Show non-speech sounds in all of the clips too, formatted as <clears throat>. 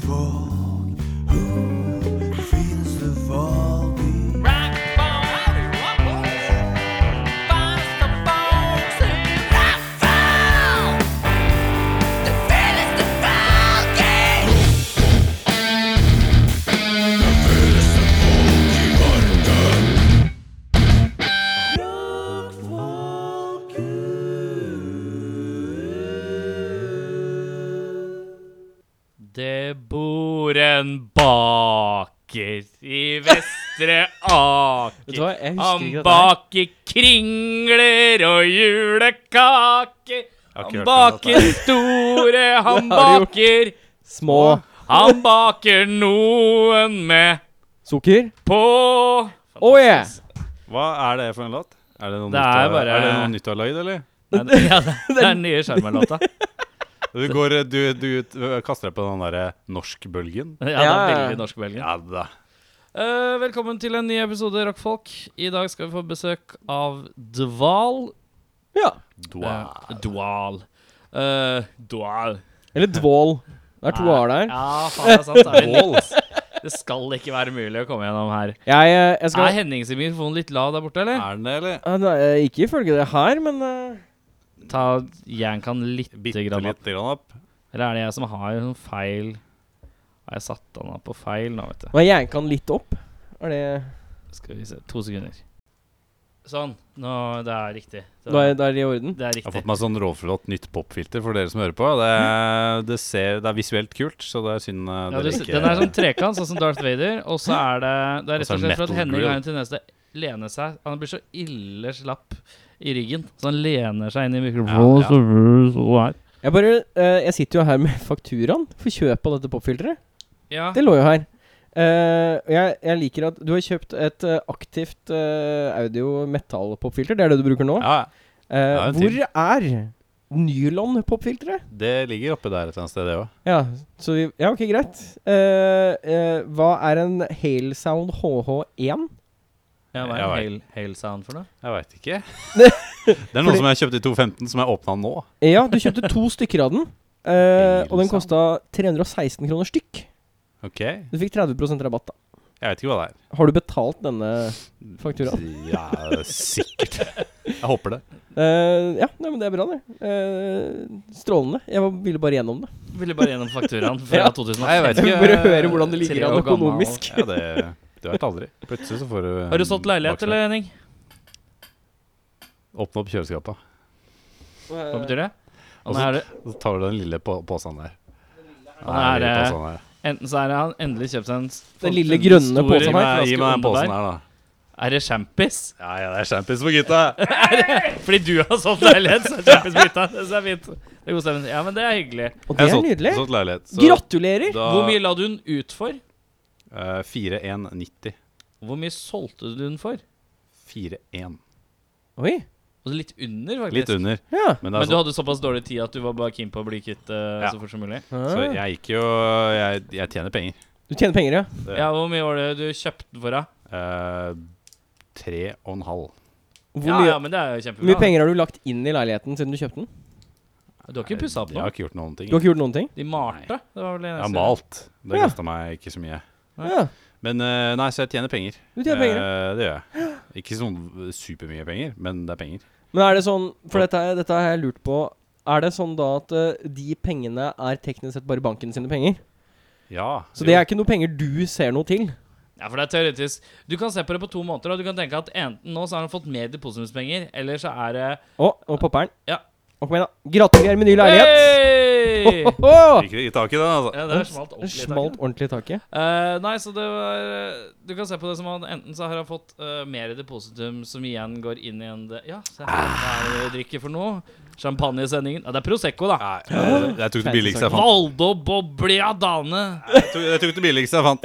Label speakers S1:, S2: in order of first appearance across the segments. S1: folk? Who feels the fall beat?
S2: Det bor en baker i Vestre
S3: Vet du hva,
S2: Aker.
S3: jeg husker
S2: Han
S3: ikke det der.
S2: baker kringler og julekaker.
S4: har ikke
S2: Han
S4: hørt om dette
S2: baker store,
S3: <laughs>
S2: han
S3: Det har du
S2: baker
S3: Små
S2: Han baker noen med
S3: sukker.
S2: på
S3: Å yeah!
S4: Hva er det for en låt? Er det noe,
S2: Det
S4: nytt,
S2: er
S4: av-
S2: bare-
S4: er det noe nytt du har lagd, eller?
S2: <laughs> Nei, det, ja, det, det er den nye <laughs> sjarmerlåta.
S4: Du, går, du, du ut- kaster deg på den derre norskbølgen.
S2: Ja, det er
S3: Ja.
S2: veldig norsk-belgisk.
S4: Ja da.
S2: Eh, velkommen til en ny episode Rockfolk. I dag skal vi få besøk av Dval.
S3: Ja.
S4: Dua.
S2: Eh, Dval. Eh, Dval.
S3: Eller dvål. Det er to
S4: Ah,
S3: a-er der.
S2: Ja, faen, <laughs> det er sant. Det, er litt, det skal ikke være mulig å komme gjennom her.
S3: Jeg, eh, jeg
S2: Er
S3: skal
S2: Hennings mikrofon litt lav der borte, eller?
S4: Er den det, eller?
S3: Ah, nei, eh, Ikke ifølge det her, men eh,
S2: Ta jank han lite
S4: Bitte
S2: grann opp.
S4: lite grann opp.
S2: Eller er det jeg som har noen feil Har jeg satt han opp på feil nå, vet du?
S3: Nå har jeg janka den litt opp. Er det
S2: Skal vi se. To sekunder. Sånn. Nå, det er riktig. Det,
S3: Da er, da er det i orden?
S2: det er
S4: Jeg har
S2: riktig.
S4: fått meg sånn råflott nytt popfilter for dere som hører på. Det, er- det, ser, det er visuelt kult, så det er synd eh,
S2: Ja, du,
S4: dere
S2: ser-
S4: ikke
S2: den er sånn trekant, sånn som Darth Vader. Og så er det Det er
S4: Og
S2: rett
S4: så er
S2: og
S4: det
S2: slett for at
S4: metal
S2: Henning
S4: grill.
S2: har en tendens til å lene seg Han blir så ille slapp i ryggen, så han lener seg inn i
S4: Ja, ja.
S2: mikrofonen. så- så her.
S3: Jeg bare eh, Jeg sitter jo her med <laughs> fakturaen for kjøp av dette popfilteret.
S2: Ja.
S3: Det lå jo her. Eh, og jeg, jeg liker at du har kjøpt et eh, aktivt eh, audio metal-popfilter. Det er det du
S2: sånn-
S3: bruker nå.
S4: Ja,
S3: Eh,
S4: ja, en
S3: hvor er nylon-popfilteret?
S4: det ligger oppi der et eller annet sted, det òg.
S3: Ja, så vi, ja, ok, greit. Eh, eh, hva er en Halesound HH1?
S2: Ja, hva er
S4: Jeg
S2: hail, hail sound for noe?
S4: Jeg veit ikke.
S2: <laughs>
S4: Det er noe som jeg kjøpte i 215, som jeg åpna nå.
S3: Eh, ja, du kjøpte to stykker av den. eh, og den kosta 316 kroner stykk.
S4: Ok, Jeg
S3: Du fikk 30 rabatt. da
S4: vet ikke hva det er.
S3: Har du betalt denne fakturaen?
S4: Ja, sikkert. Jeg håper det.
S3: Eh, ja, nei, men det er bra, det. Eh, strålende. Jeg var, ville bare gjennom det.
S2: Ville bare gjennom fakturaen
S3: Ja.
S4: <laughs>
S2: <laughs> fra 2005.
S4: Nei, jeg vet ikke.
S3: Bare høre hvordan det
S2: Tre
S3: ligger an
S2: år gammel.
S3: økonomisk.
S4: Ja, det du vet aldri. Plutselig så får du
S2: Har du solgt leilighet, eller, Henning?
S4: Åpne opp kjøleskapet.
S2: Hva betyr det?
S4: Og
S2: Han er,
S4: Så tar du den lille på posen der. Nei,
S2: Han er,
S4: den lille
S2: eh,
S4: posen der.
S2: enten så er det han endelig kjøpt seg en s-
S3: Den lille
S2: en
S3: grønne
S2: stor-
S3: posen
S4: Gi meg, gi meg den
S2: ganske onde
S4: posen
S2: der.
S4: her, da.
S2: Er det champis?
S4: Ja, ja, det er champions for
S2: <laughs>
S4: gutta.
S2: Fordi du har solgt leilighet, så er
S4: <laughs>
S2: champis bytta. Det er fint. Det er god stemning. Ja, men det er hyggelig.
S3: Og det er nydelig.
S4: Solgt leilighet. Så
S3: Gratulerer!
S4: da
S2: Hvor mye la du den ut for?
S4: eh, 4190.
S2: Hvor mye solgte du den for?
S4: 41.
S3: Oi.
S2: Altså litt under, faktisk.
S4: Litt under.
S3: Ja.
S4: Men, det er
S2: Men du
S4: sånn-
S2: hadde såpass dårlig tid at du var bare keen på å bli kvitt eh,
S4: Ja.
S2: så fort som mulig.
S4: så
S3: Ah.
S4: jeg gikk jo Jeg, jeg tjener penger.
S3: Du tjener penger, ja?
S4: Ja.
S2: Ja, Hvor mye var det du kjøpte den for, da?
S4: Eh, tre og en halv.
S3: Hvor
S2: Ja,
S3: mye,
S2: ja, men det er jo
S3: hvor mye
S2: kjempebra.
S3: penger har du lagt inn i leiligheten siden du kjøpte den?
S2: Du har ikke pussa opp
S4: Jeg
S2: nå?
S4: har ikke gjort noen ting.
S3: Du har ikke gjort noen ting?
S2: De malte? Det var vel det
S4: Jeg har
S2: eneste.
S4: malt. Det
S3: Ja.
S4: kosta meg ikke så mye.
S2: Nei.
S3: Ja,
S4: Men eh, nei, så jeg tjener penger.
S3: du tjener penger. ja.
S4: Eh, det gjør jeg. Ikke sånn supermye penger, men det er penger.
S3: Men er det sånn For dette, er- dette har jeg lurt på. Er det sånn da at eh, de pengene er teknisk sett bare banken sine penger?
S4: Ja.
S3: Så det er ikke noe penger du ser noe til?
S2: Ja, for det er teoretisk. Du kan se på det på to måter, og du kan tenke at enten nå så har han fått mer depositumspenger, eller så er det
S3: Å, og popper'n.
S2: Ja.
S3: Og kom igjen, da. Gratulerer med ny leilighet!
S4: <laughs>
S2: Hey!
S3: Ho, ho, ho!
S4: Fikk i tak i den, altså.
S2: Ja, det er smalt opp
S3: Det
S2: litt. er det ikke
S3: smalt
S2: det?
S3: ordentlig i taket.
S2: Eh, nei, så det var eh, Du kan se på det som at enten så har han fått eh, mer depositum, som igjen går inn i en de- Ja, se
S4: Ah.
S2: her. Hva er det vi drikker for noe? Champagne i sendingen. Ja, det er Prosecco, da.
S4: Nei, jeg- jeg tok det billigste jeg fant.
S2: Valdo Bobliadane.
S4: Jeg tok, jeg tok det billigste jeg fant.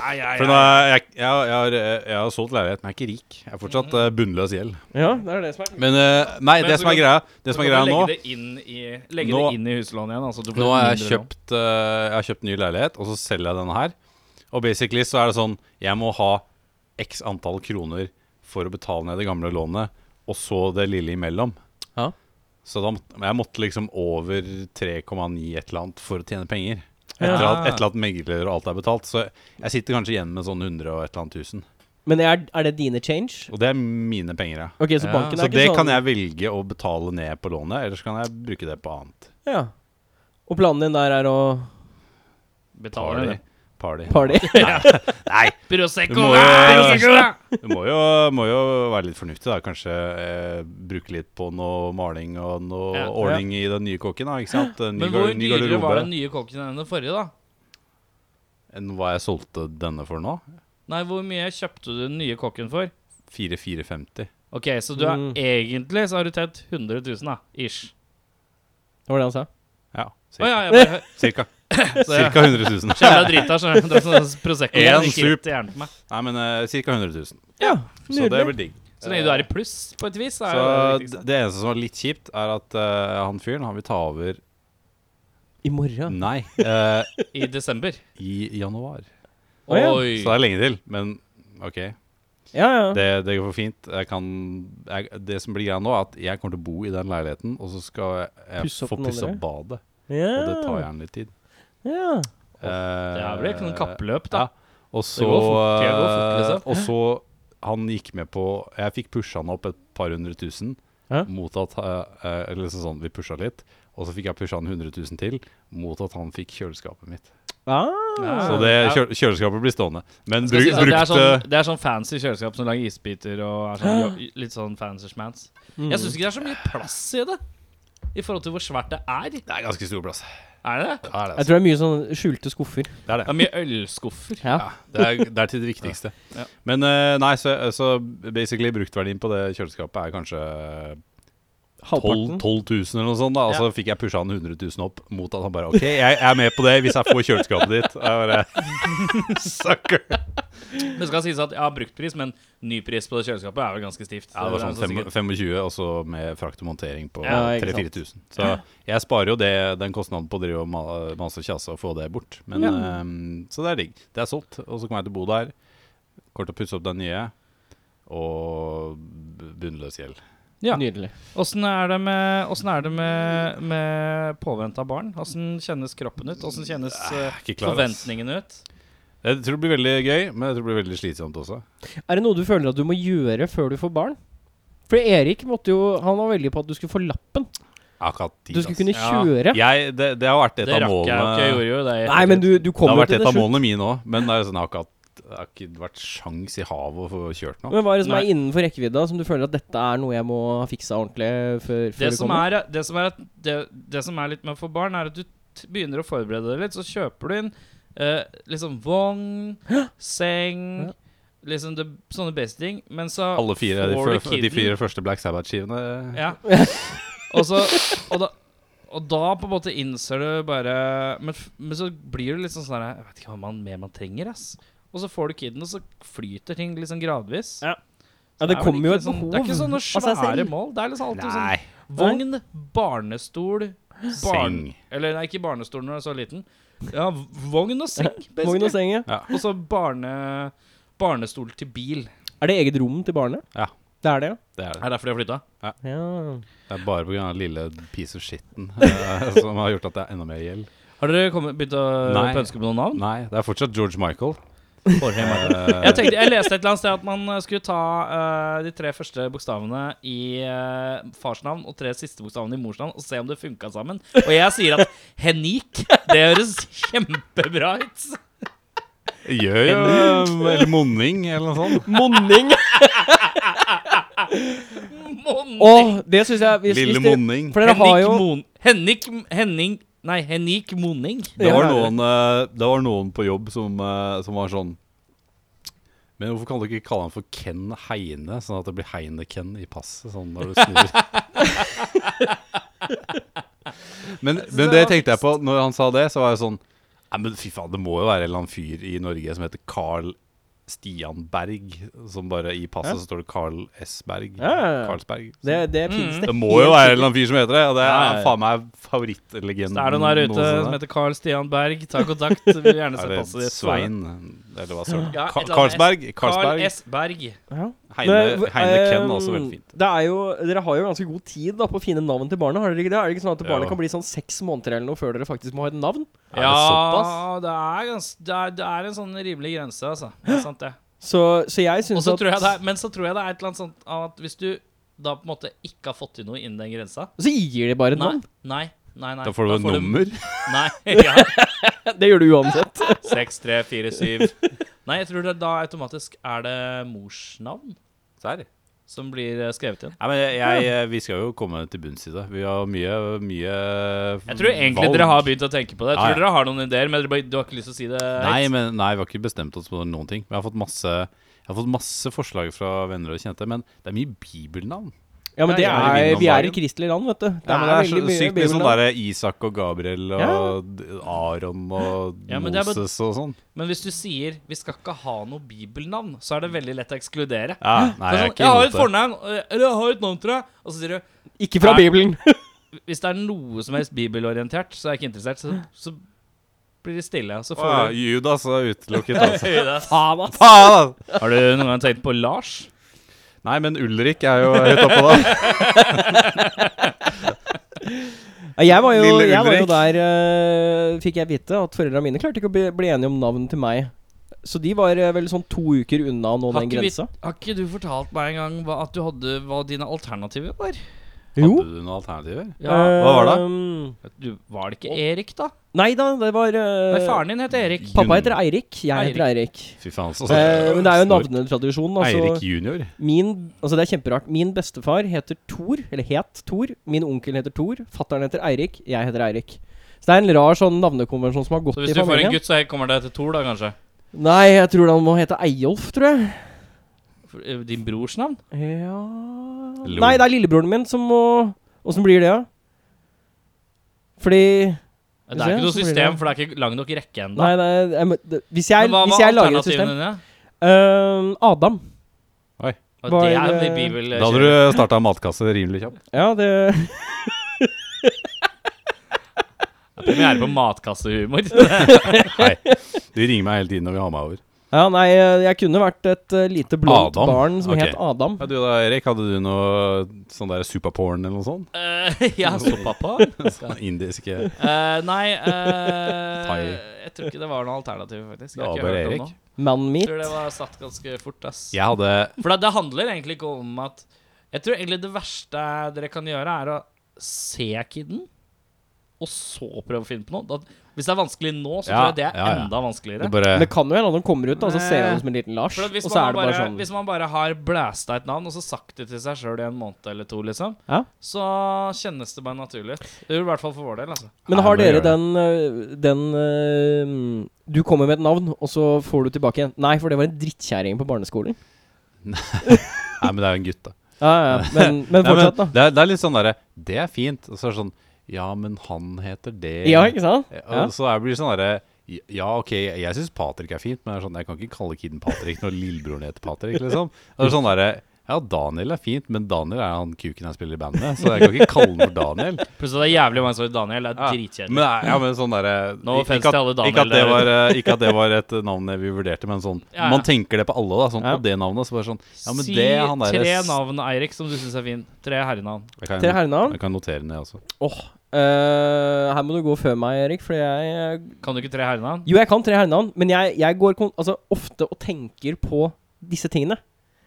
S2: Nei, nei,
S4: For nå er jeg, jeg, har- jeg, har, eh, jeg har solgt leilighet, men jeg er ikke rik. Jeg er fortsatt eh, bunnløs gjeld.
S3: Ja, det er det som er
S4: Men eh, nei,
S2: Men
S4: det
S2: så
S4: som er
S2: kan-
S4: greia Det som er greia nå
S2: Legge det inn i, legge
S4: Nå-
S2: det inn i huslånet igjen. Altså, du får
S4: Nå har jeg
S2: mindre lån.
S4: kjøpt, eh, jeg har kjøpt ny leilighet, og så selger jeg denne her. Og basically så er det sånn Jeg må ha x antall kroner for å betale ned det gamle lånet, og så det lille imellom.
S3: Ja.
S4: Så da måtte, men jeg måtte liksom over 3,9 et eller annet for å tjene penger. Etter
S2: Ja.
S4: at et eller annet megler og alt er betalt. Så jeg sitter kanskje igjen med sånn 100 og et eller annet tusen.
S3: Men er, er det dine change?
S4: Og det er mine penger, ja.
S3: Ok, så
S2: Ja.
S3: banken er
S4: Så
S3: ikke
S4: det
S3: sånn
S4: kan jeg velge å betale ned på lånet, eller så kan jeg bruke det på annet.
S3: Ja. Og planen din der er å
S2: Betaler
S4: Party.
S2: det.
S4: Party.
S3: party? <laughs>
S4: Nei, Du
S2: Prosecco!
S4: må jo-
S2: ja, Prosecco! ja.
S4: du må jo, må jo være litt fornuftig, da. Kanskje eh, bruke litt på noe maling og noe
S2: Ja.
S4: ordning i den nye kåken, da. Ikke sant? En Ny,
S2: Men
S4: gar-
S2: hvor
S4: ny
S2: dyrere
S4: garderobe.
S2: var den nye kokken enn den forrige, da?
S4: Enn hva jeg solgte denne for nå?
S2: Nei, hvor mye kjøpte du den nye kokken for?
S4: 4450.
S2: Ok, så du er
S3: Mm.
S2: egentlig så har du tjent 100 000, da. Ish.
S3: Det var det han sa.
S4: Ja,
S2: Å
S4: cirka.
S2: ja, jeg bare
S4: Cirka,
S2: <laughs> så jeg-
S4: cirka 100 000.
S2: Jævla drita, skjønner du. Det er sånn Prosecco
S4: En
S2: som gikk
S4: sup.
S2: rett i hjernen på meg.
S4: <laughs> Nei, men eh, cirka 100 000.
S3: Ja,
S4: Så det
S3: nydelig.
S4: blir digg.
S2: Så lenge du er i pluss, på et vis, så
S4: Så
S2: er det liksom, det
S4: d-
S2: viktigste.
S4: det eneste som var litt kjipt, er at eh, han fyren han vil ta over
S3: I morgen.
S4: Nei, eh,
S2: I desember.
S4: i januar.
S3: Å, ja.
S2: Oi.
S4: Så det er lenge til, men OK.
S3: Ja, ja.
S4: Det, det går fint. Jeg kan, jeg, det som blir greia nå, er at jeg kommer til å bo i den leiligheten, og så skal jeg, jeg
S3: Pusse opp
S4: få
S3: den
S4: pusse
S3: andre.
S4: opp badet.
S3: ja.
S4: Og det tar gjerne litt tid.
S3: Ja.
S2: Det
S4: Eh,
S2: er vel ikke noe kappløp, da.
S4: Ja. Og så
S2: går fort, det går fort, liksom.
S4: Og så han gikk med på Jeg fikk pusha han opp et par hundre tusen
S3: Ja.
S4: mot at eh, eh, Eller liksom sånn, vi pusha litt. Og så fikk jeg pusha han 100 000 til mot at han fikk kjøleskapet mitt.
S3: Ah.
S4: Så det
S2: Ja.
S4: kjøl, kjøleskapet blir stående. Men
S2: Skal
S4: bru,
S2: jeg si, det, er
S4: brukte
S2: sånn, det er sånn fancy kjøleskap som lager isbiter og er sånn, jo- litt sånn fancy schmans.
S3: Mm.
S2: Jeg syns ikke det er så mye plass i det. I forhold til hvor svært det er.
S4: Det er ganske stor plass.
S2: Er det det?
S4: Ja, det, altså.
S3: Jeg tror det er mye sånn skjulte skuffer.
S4: det er det.
S2: Det er mye ølskuffer.
S3: Ja.
S4: Ja, det, er, det er til det viktigste.
S2: <laughs> Ja.
S4: Men eh, nei, så, så basically bruktverdien på det kjøleskapet er kanskje 12, 12
S3: Halvparten.
S4: 000 eller noe sånt. da Og så fikk jeg pusha han 100 000 opp mot at han bare OK, jeg, jeg er med på det hvis jeg får kjøleskapet ditt. Jeg bare, <laughs> Sucker!
S2: Det skal sies at jeg har bruktpris, men nypris på det kjøleskapet er vel ganske stivt.
S4: Ja, det var sånn
S2: Så det er sikkert-
S4: 25, og så med frakt og montering på
S3: Ja, ikke
S4: 3-4 000. Så jeg sparer jo det, den kostnaden på å drive og ma- mase og kjase og få det bort. Men, ehm, så det er digg. Det er solgt, og så kommer jeg til å bo der. Kort å pusse opp den nye. Og b- bunnløs gjeld.
S2: Ja.
S3: Nydelig.
S2: Åssen er det med, åssen er det med, med påventa barn? Åssen kjennes kroppen ut? Åssen kjennes eh,
S4: Ikke klar, ass.
S2: forventningene ut?
S4: Jeg tror det blir veldig gøy, men jeg tror det blir veldig slitsomt også.
S3: Er det noe du føler at du må gjøre før du får barn? For Erik måtte jo Han var veldig på at du skulle få lappen.
S4: Akkurat
S3: Du skulle
S4: ass.
S3: kunne
S2: Ja.
S3: kjøre.
S4: jeg, det, det har vært et
S2: Det
S4: av
S2: rakk jeg jo ikke. Jeg
S4: målene
S2: gjorde jo det. i
S3: Nei, men du, du
S4: Det har
S3: kommer
S4: vært
S3: til
S4: et
S3: det
S4: av
S3: slutt.
S4: målene mine òg, men det er jo sånn, jeg har ikke hatt- det har ikke vært sjans i havet å få kjørt nå.
S3: Men hva er det som
S2: Nei.
S3: er innenfor rekkevidda som du føler at dette er noe jeg må ha fiksa ordentlig før, før
S2: det
S3: du
S2: som,
S3: kommer?
S2: er, det, som er at, det, det som er litt med å få barn, er at du t begynner å forberede deg litt. Så kjøper du inn eh, liksom vogn, seng
S3: Ja.
S2: Liksom det, sånne basic ting. Men så
S4: Alle fire, de,
S2: får du
S4: fir- de
S2: kidden.
S4: fire første Black eh, Sabbath-skivene.
S2: Ja. Og så og da, og da på en måte innser du bare Men, f- men så blir du litt sånn sånn her, Jeg vet ikke hva man, mer man trenger, ass. Og så får du kiden, og så flyter ting liksom gradvis.
S3: Ja. Ja,
S2: er
S3: det
S2: vel
S3: kommer jo
S2: ikke
S3: et
S2: sånn,
S3: behov
S2: Det er ikke sånne
S3: av seg
S2: svære
S3: selv.
S2: mål. Det er liksom alltid
S4: Nei.
S2: sånn Vogn, barnestol, barn
S4: Seng.
S2: Eller nei, ikke barnestol når du er så liten. Ja, vogn og seng,
S3: <laughs> Vogn og
S2: basically.
S3: seng, ja.
S2: Og så barne, barnestol til bil.
S3: Er det eget rom til barnet?
S4: Ja.
S3: Det er det, ja.
S4: Det er
S2: Det
S4: det.
S2: er derfor de har flytta.
S3: ja.
S4: Det er bare pga. den lille piece of shitten eh, <laughs> som har gjort at det er enda mer gjeld.
S2: Har dere kommet, begynt å
S4: Nei.
S2: pønske på noen navn?
S4: Nei, det er fortsatt George Michael. Eh,
S2: Jeg, tenkte, jeg leste et eller annet sted at man eh, skulle ta eh, de tre første bokstavene i eh, fars navn og tre siste bokstavene i mors navn og se om det funka sammen. Og jeg sier at Henik, det høres kjempebra ut.
S4: gjør jo eh, Eller Monning, eller noe sånt.
S3: <laughs> Monning!
S2: Mon
S3: Å, det syns jeg hvis,
S4: Lille
S3: hvis dere-
S4: Monning.
S3: For dere har
S2: Henrik
S3: jo
S2: Mon... Henrik Henning Nei, Henrik Moning.
S4: Det
S3: Ja.
S4: var noen, eh, det var noen på jobb som, eh, som var sånn Men hvorfor kan du ikke kalle han for Ken Heine, sånn at det blir Heineken i passet? Sånn når du snur. <laughs> men, men det tenkte jeg på når han sa det, så var jeg sånn Nei, men fy faen, det må jo være en eller annen fyr i Norge som heter Carl Stian Berg. Som bare i passet så står det Carl S. Berg.
S3: Ja, ja, ja.
S4: Carlsberg.
S3: Det, det
S2: Mm.
S3: finnes det.
S4: Det må jo være en eller annen fyr som heter det, og det
S3: Ja, ja,
S4: er
S3: ja.
S4: faen meg favorittlegenden.
S2: Så er det noen der ute
S4: noensinne.
S3: <laughs>
S2: som heter Carl Stian Berg. Ta kontakt. Vi vil
S4: Er
S2: gjerne se
S4: det
S2: passet ditt.
S4: Svein Eller hva søren.
S2: Ja, et
S4: Ka-
S2: eller annet
S4: Carlsberg.
S2: Carl
S4: Carlsberg.
S2: S. Berg.
S3: Ja.
S4: Heine,
S3: Det-
S4: Heine Ken,
S3: ehm,
S4: også veldig fint.
S3: Det er jo, dere har jo ganske god tid da på å finne navn til barnet. Har dere ikke det? Er det ikke sånn at
S4: Jo.
S3: barnet kan bli sånn seks måneder eller noe før dere faktisk må ha et navn?
S4: Er det såpass?
S2: Ja, det er, gans, det, er, det er en sånn rimelig grense, altså. Det er sant, det.
S3: Så, så jeg
S2: Og
S3: syns
S2: så
S3: at
S2: tror jeg det er, men så tror jeg det er et eller annet sånt av at hvis du da på en måte ikke har fått til noe innen den grensa
S3: Så gir de bare et
S2: Nei,
S3: navn. <laughs>
S2: nei, nei. nei
S4: Da får du et nummer.
S2: <laughs> Nei. Ja.
S3: Det gjør du uansett.
S2: 6, 3, 4, 7. Nei, jeg tror det da automatisk er det morsnavn
S4: Serr?
S2: som blir eh, skrevet igjen.
S4: Nei, men jeg, jeg, vi skal jo komme til bunns i det. Vi har mye, mye
S2: Jeg tror egentlig
S4: valg.
S2: dere har begynt å tenke på det. Jeg
S4: Ja,
S2: tror
S4: ja.
S2: dere har noen ideer, men dere bare, du har ikke lyst til å si det
S4: Nei, men, nei, vi har ikke bestemt oss på noen ting. Vi har fått masse, jeg har fått masse forslag fra venner og kjente, men det er mye bibelnavn.
S3: Ja, men det
S4: Ja, jeg
S3: er,
S4: vinner
S3: vi
S4: om
S3: er
S4: dagen.
S3: et kristelig land, vet du. Det
S4: Ja, men det er så
S3: veldig mye
S4: sykt mye sånn
S3: bibelnavn.
S4: derre Isak og Gabriel og d- Aron og
S2: Ja, men det er bare-
S4: Moses og sånn.
S2: Men hvis du sier 'vi skal ikke ha noe bibelnavn', så er det veldig lett å ekskludere.
S4: Ja, nei, jeg
S2: Det er sånn,
S4: er ikke
S2: jeg har
S4: imot
S2: et
S4: det.
S2: fornavn, eh, eller jeg har et navn til deg. Og så sier du
S3: Ikke fra
S2: Nei.
S3: Bibelen.
S2: hvis det er noe som helst bibelorientert, så er jeg ikke interessert. Så, så blir det stille. og Så
S4: Å, ja,
S2: får du
S4: Judas er
S2: <laughs>
S4: utelukket, altså.
S3: Faen,
S4: <laughs>
S3: ass.
S4: Faen! altså.
S2: Har du noen gang tenkt på Lars?
S4: Nei, men Ulrik er jo høyt oppå da.
S3: Ja, Jeg var jo,
S4: Lille
S3: jeg var jo
S4: Ulrik.
S3: der eh, fikk jeg vite at foreldra mine klarte ikke å bli, bli enige om navn til meg. Så de var eh, vel sånn to uker unna å nå
S2: Har
S3: den
S2: ikke vi-
S3: grensa.
S2: Har ikke du fortalt meg en gang hva, at du hadde, hva dine alternativer var?
S3: <laughs> Jo.
S4: Hadde du noen alternativer?
S2: Ja,
S4: Hva var det?
S3: Um,
S2: du, Var det ikke Erik, da?
S3: nei da, det var eh,
S2: Nei, faren din het Erik.
S3: Pappa heter Eirik, jeg heter Eirik.
S4: Fy faen, så
S3: Eh, men det er jo
S4: stor.
S3: navnetradisjon. Altså,
S4: Eirik junior.
S3: min, altså det er kjemperart. Min bestefar heter Thor, eller het Thor. Min onkel heter Thor. Fattern heter Eirik. Jeg heter Eirik. Så det er en rar sånn navnekonvensjon som har gått
S2: Så
S3: i
S2: hvis du får en
S3: familien.
S2: gutt, så kommer det til Thor, da, kanskje?
S3: Nei, jeg tror han må hete Eyolf, tror jeg.
S2: For, eh, Din brors navn?
S3: Ja
S4: Lo.
S3: Nei, det er lillebroren min som må Åssen blir det, da? Fordi
S2: Det er ikke noe
S3: Så blir det-
S2: system, for det er ikke lang nok rekke ennå.
S3: Nei, nei jeg, må- det- hvis,
S2: Men
S3: jeg,
S2: hva
S3: hvis
S2: var
S3: jeg lager et
S2: alternativene
S3: system
S2: dine?
S3: Øhm, Adam.
S2: Og
S3: Var,
S2: det er jo
S3: eh,
S2: bibel...
S4: Da hadde
S2: <laughs>
S4: du starta matkasse rimelig kjapt.
S3: Ja, det
S2: Premiere på matkassehumor. <laughs>
S4: Nei, de ringer meg hele tiden når vi har meg over.
S3: Ja, nei, jeg kunne vært et eh, lite blondt
S4: Adam.
S3: barn som
S4: Ok.
S3: het Adam.
S4: Ja, du da, Erik, hadde du noe sånn der superporn eller noe
S2: <laughs>
S4: sånt?
S2: Eh, <laughs> ja, så pappa.
S4: Sånn indiske
S2: Eh, nei
S4: <laughs> Thai.
S2: eh, Jeg tror ikke det var noe alternativ, faktisk. Jeg
S4: Det
S2: har ikke
S4: var
S2: hørt
S4: bare
S2: om
S4: Erik.
S2: noe.
S3: Man
S2: Jeg
S3: meat.
S2: tror det var satt ganske fort, ass.
S4: Jeg hadde
S2: For det, det handler egentlig ikke om at Jeg tror egentlig det verste dere kan gjøre, er å se kiden, og så prøve å finne på noe. Da, hvis det er vanskelig nå, så
S4: Ja,
S2: tror jeg det er
S4: ja, ja.
S2: enda
S4: det
S2: vanskeligere.
S4: bare
S3: Det kan jo hende at han kommer ut, og så
S4: Nei.
S3: ser han ut som en liten Lars.
S2: For at hvis,
S3: Og så
S2: man
S3: er det
S2: bare,
S3: bare sånn
S2: hvis man bare har blæsta et navn, og så sagt det til seg sjøl i en måned eller to, liksom,
S3: Ja.
S2: så kjennes det bare naturlig ut. Det gjør det i hvert fall for vår del, altså.
S3: Men
S4: Nei,
S3: har
S4: men
S3: dere
S4: det
S3: den, øh, den øh, Du kommer med et navn, og så får du tilbake en Nei, for det var en drittkjerring på barneskolen.
S4: Nei, men det er jo en gutt, da.
S3: Ja, ja,
S4: <laughs>
S3: men, men
S4: Nei,
S3: fortsatt,
S4: men,
S3: da.
S4: det, er, det er litt sånn derre Det er fint. Og så er det sånn Ja, men han heter det.
S3: Ja, ikke sant?
S4: Ja,
S3: Ja.
S4: Og så er- blir det sånn derre ja, ok, jeg syns Patrick er fint, men det er sånn, jeg kan ikke kalle kiden Patrick når lillebroren heter Patrick. liksom Og det er sånn derre Ja, Daniel er fint, men Daniel er han kuken jeg spiller i band med, så jeg kan ikke kalle han for Daniel.
S2: Plutselig det er jævlig mange som heter Daniel. Det er dritkjedelig.
S4: Men, ja, men sånn derre
S2: No
S4: ikke-
S2: offense
S4: ikke at-
S2: til alle Daniel
S4: ikke at, det
S2: der
S4: var, eh, ikke at det var et eh, navn vi vurderte, men sånn
S2: Ja, ja.
S4: Man tenker det på alle, da. Sånn,
S3: Ja.
S4: Og det navnet. Så bare sånn Ja, men
S2: si
S4: det er han derre
S2: tre
S4: s-
S2: navn, Eirik, som du syns er fin. Tre herrenavn.
S4: Jeg kan,
S3: Tre herrenavn.
S4: jeg kan notere ned også.
S3: Åh. øh, her må du gå før meg, Erik, for jeg øh,
S2: Kan du ikke tre herrenavn?
S3: Jo, jeg kan tre herrenavn, men jeg, jeg går kon altså, ofte og tenker på disse tingene.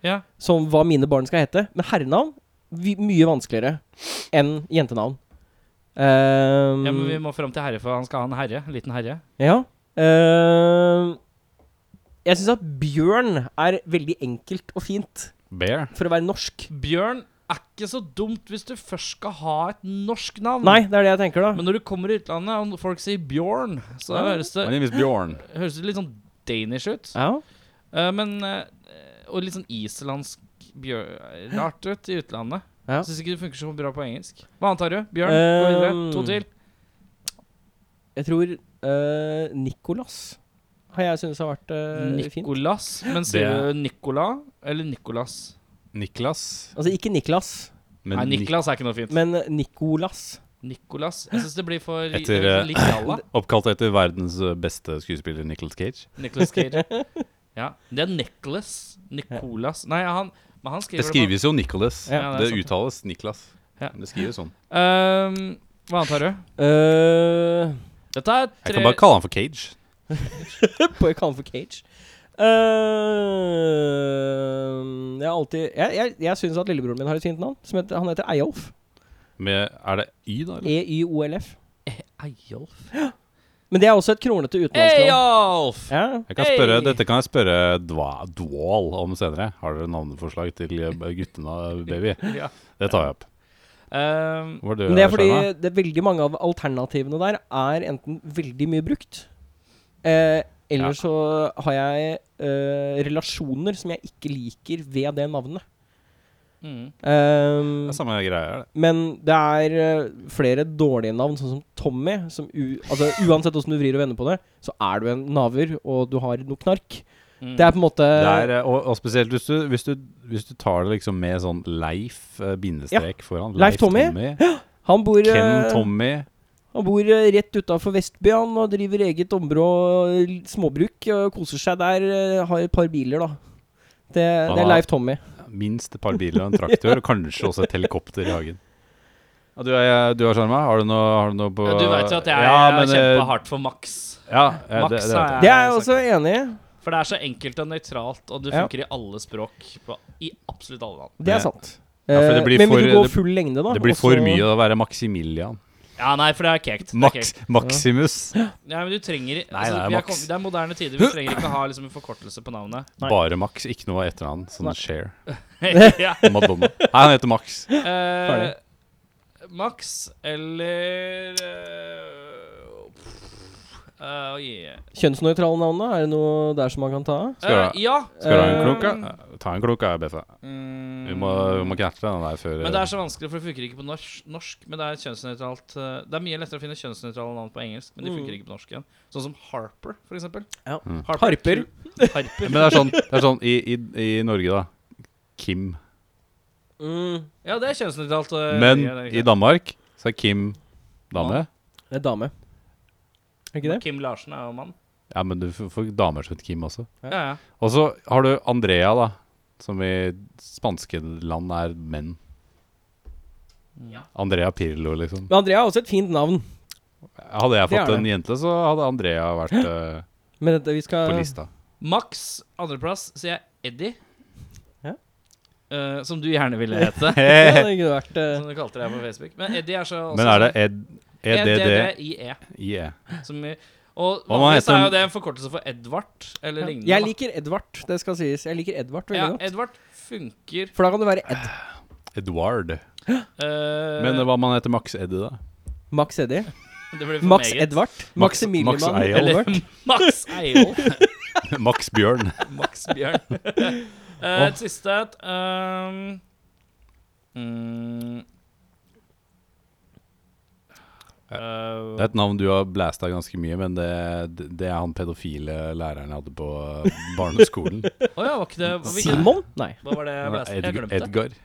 S2: Ja.
S3: Som hva mine barn skal hete. Men herrenavn vi, mye vanskeligere enn jentenavn. Ehm,
S2: ja, men vi må fram til herre, for han skal ha en herre. En liten herre.
S3: ja. Ehm, jeg syns at bjørn er veldig enkelt og fint
S4: Bear.
S3: for å være norsk.
S2: Bjørn er ikke så dumt hvis du først skal ha et norsk navn.
S3: Nei, det er det jeg tenker, da.
S2: Men når du kommer i utlandet og folk sier Bjørn, så
S3: Ja.
S2: høres,
S4: My
S2: det,
S4: name is Bjorn.
S2: høres det litt sånn danish ut.
S3: Ja.
S2: Eh, men eh, Og litt sånn islandsk bjør- rart ut i utlandet.
S3: Ja.
S2: Syns ikke det funker så bra på engelsk. Hva annet har du? Bjørn? Gå videre.
S3: Ehm,
S2: To til.
S3: Jeg tror uh, Nicolas har jeg syntes har vært eh, fint.
S2: Nicolas. Men sier
S4: Det-
S2: du Nicola eller Nicolas?
S4: Niklas.
S3: Altså ikke Niklas,
S4: Men
S2: Nei,
S4: Nik-
S2: Niklas er ikke noe fint.
S3: men Nicolas.
S2: Nicolas. Jeg syns det blir for li-
S4: Etter,
S2: det
S4: eh,
S2: blir litt
S3: <laughs>
S2: jalla.
S4: Oppkalt etter verdens eh, beste skuespiller, Nicholas Cage.
S2: Nicolas Cage. Ja. Det er Nicholas. Nicolas Nei, han, men han
S4: Det
S2: skriver bare-
S4: skrives jo Nicholas.
S3: Ja,
S2: det er
S4: det
S2: sant.
S4: uttales Niklas.
S2: Ja.
S4: Det skrives sånn.
S2: Ehm, hva annet har du?
S3: Uh,
S2: Dette er
S4: Jeg
S2: tre
S4: kan bare kalle han for Cage.
S3: <laughs> på jeg kaller for Cage. Eh, jeg har alltid Jeg, jeg, jeg syns at lillebroren min har et fint navn. Som heter, han heter Eyolf. E
S4: Med, er det Y, da? Eller?
S3: E-Y-O-L-F.
S2: Eyolf.
S3: Men det er også et kronete utenlandsnavn.
S2: Eyolf!
S3: Ja.
S4: Jeg kan spørre,
S2: Hey!
S4: dette kan jeg spørre Dwa- Dwal om senere. Har dere navneforslag til eh, guttene, baby?
S2: Ja.
S4: Det tar jeg opp.
S2: Ehm,
S4: Hva var det
S3: Men det er fordi
S4: Sharna?
S3: det er veldig mange av alternativene der er enten veldig mye brukt, eh, eller
S4: Ja.
S3: så har jeg eh, relasjoner som jeg ikke liker ved det navnet.
S2: mm.
S3: Eh,
S4: Det er samme greia. er det?
S3: Men det er eh, flere dårlige navn, sånn som Tommy. Som u altså, uansett hvordan du vrir og vender på det, så er du en naver, og du har noe knark.
S2: Mm.
S3: Det er på en måte
S4: Det er, eh, og, og spesielt hvis du, hvis, du, hvis du tar det liksom med sånn Leif eh, bindestrek foran.
S3: Leif Tommy. Han bor, eh,
S4: Ken Tommy.
S3: han bor eh, rett utafor Vestby, han, og driver eget ombrå og småbruk. Og koser seg der. eh, Har et par biler, da. Det,
S4: Han
S3: det er
S4: har-
S3: Leif Tommy.
S4: Minst et par biler og en traktor, og kanskje også et helikopter i hagen. Ja, du, er, eh, du er sjarma? Har du noe, har du noe på
S2: Ja, du veit jo at jeg
S4: Ja, men, eh,
S2: kjemper hardt for Max.
S4: Ja, eh,
S2: Max
S4: det, det,
S2: er-
S4: vet jeg.
S3: Det er jeg også enig i.
S2: For det er så enkelt og nøytralt, og det
S3: Ja.
S2: funker i alle språk. På, I absolutt alle land.
S3: Det
S4: Ja.
S3: er sant.
S4: Ja, for det
S3: Eh,
S4: blir
S3: Men
S4: for-
S3: vil du gå
S4: det-
S3: full lengde, da?
S4: det blir
S3: og
S4: for
S3: så-
S4: mye å være Maximilian.
S2: Ja, nei, for det er kekt. Det er
S4: Max,
S2: kekt.
S4: Maximus.
S2: Nei, men du trenger altså,
S4: Nei, nei,
S2: vi er
S4: Max.
S2: kom, Det er moderne tider. Vi trenger ikke ha liksom, en forkortelse på navnet.
S4: Bare Max, ikke noe etternavn. Sånn
S3: Nei.
S4: Cher.
S2: <laughs> ja.
S4: Madonna. Nei, han heter Max.
S2: Eh, Max eller eh, pff, eh, oi.
S3: Kjønnsnøytrale navn, da? Er det noe der som man kan ta av?
S4: Skal du ha-
S2: Eh, ja.
S4: Skal du ha en
S2: eh,
S4: klok, da? Ta en klok, da, BFA.
S2: mm,
S4: Vi må, vi må knerte den der før
S2: Men det er så vanskelig, for det funker ikke på norsk. norsk men det er kjønnsnøytralt eh, Det er mye lettere å finne kjønnsnøytrale navn på engelsk, men de funker ikke på norsk igjen. Sånn som Harper, for eksempel.
S3: Ja.
S4: Mm.
S3: Harper.
S2: Harper.
S4: Men det er sånn, det er sånn i, i, i Norge, da. Kim.
S2: Ja, det er kjønnsnøytralt. eh,
S4: Men
S2: ja, det er
S4: i
S2: greit.
S4: Danmark så er Kim dame.
S3: Det er dame. Er ikke det?
S2: Kim Larsen er jo mann.
S4: Ja, men du f- får damer som heter Kim også.
S2: Ja, ja.
S4: Og så har du Andrea, da. Som i spanske land er menn. Andrea Pirlo, liksom.
S3: Men Andrea er også et fint navn.
S4: Hadde jeg
S3: Det er
S4: fått
S3: det.
S4: en jente, så hadde Andrea vært eh,
S3: Men dette, vi skal
S4: på lista.
S2: Max, andreplass, sier jeg Eddie.
S3: Ja.
S2: Eh, som du gjerne ville hete.
S3: <laughs> <laughs> Ja, det kunne vært eh,
S2: som du kalte deg på Facebook. Men Eddie er så altså E
S4: Men er det Ed...
S3: E
S4: E EDDIE?
S2: EDDIE.
S4: Ja,
S2: Som i- Og
S4: Og hva
S2: vanligvis
S4: heter
S2: er jo
S4: den?
S2: det en forkortelse for Edvard eller lignende.
S3: Jeg
S2: da.
S3: liker Edvard, det skal sies. Jeg liker Edvard veldig
S2: ja,
S3: godt.
S2: Edvard funker.
S3: For da kan det være Ed.
S4: Edward.
S2: eh,
S4: Men hva man heter Max Eddy, da? <laughs>
S3: Max Eddie.
S2: det blir for
S3: Max
S2: meget.
S3: Edvard.
S4: Max-
S3: Maximilian
S4: Max Eyolf.
S2: Eller
S3: Edvard.
S2: <laughs> Max Eyolf.
S4: Max Bjørn.
S2: Max Bjørn.
S3: <laughs>
S2: Eh, Et siste et. ehm, mm, eh,
S4: Det er et navn du har blæsta ganske mye, men det, det er han pedofile læreren jeg hadde på eh, barneskolen.
S2: Å ja, var ikke det hva- hvilken-
S3: Simon? Nei.
S2: Hva var det jeg ble- Jeg
S4: Edg-
S2: glemte det.
S4: Edgar.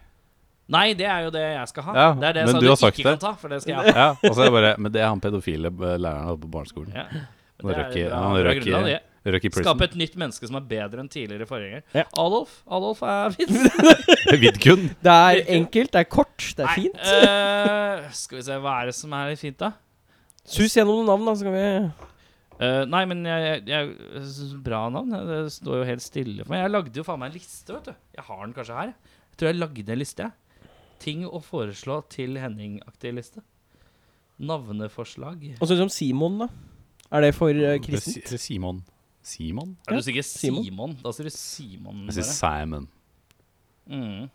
S2: Nei, det er jo det jeg skal ha.
S4: Ja,
S2: det er det jeg
S4: men
S2: sa
S4: du
S2: du
S4: har sagt
S2: ikke
S4: det.
S2: kan ta, for det
S4: <laughs>
S2: skal jeg ha.
S4: Ja, og så er det bare Men det er han pedofile eh, læreren jeg hadde på barneskolen.
S2: Ja.
S4: Han
S2: Det er
S4: røk i-
S2: bra-
S4: han
S2: bra
S4: røk i-
S2: grunnlag, det.
S4: Røk i prison.
S2: Skape et nytt menneske som er bedre enn tidligere forgjenger.
S3: Ja.
S2: Adolf Adolf
S4: <laughs>
S2: er fint.
S4: Vidkun.
S3: Det er enkelt, det er kort, det er fint.
S2: Nei, eh, skal vi se, hva er det som er fint, da?
S3: Sus gjennom noen navn, da, så kan vi
S2: Eh, nei, men jeg, jeg, jeg synes Bra navn. Det står jo helt stille for meg. Jeg lagde jo faen meg en liste, vet du. Jeg har den kanskje her. Jeg tror jeg lagde en liste, jeg. Ting å foreslå til Henning-aktig liste. Navneforslag.
S3: Og så som Simon, da. Er det for eh, kristent?
S4: Si- Simon. Simon?
S2: Er du sikker
S3: Simon.
S2: Simon? Da sier du Simon.
S4: Jeg sier
S2: bare.
S4: Simon.
S2: Mm.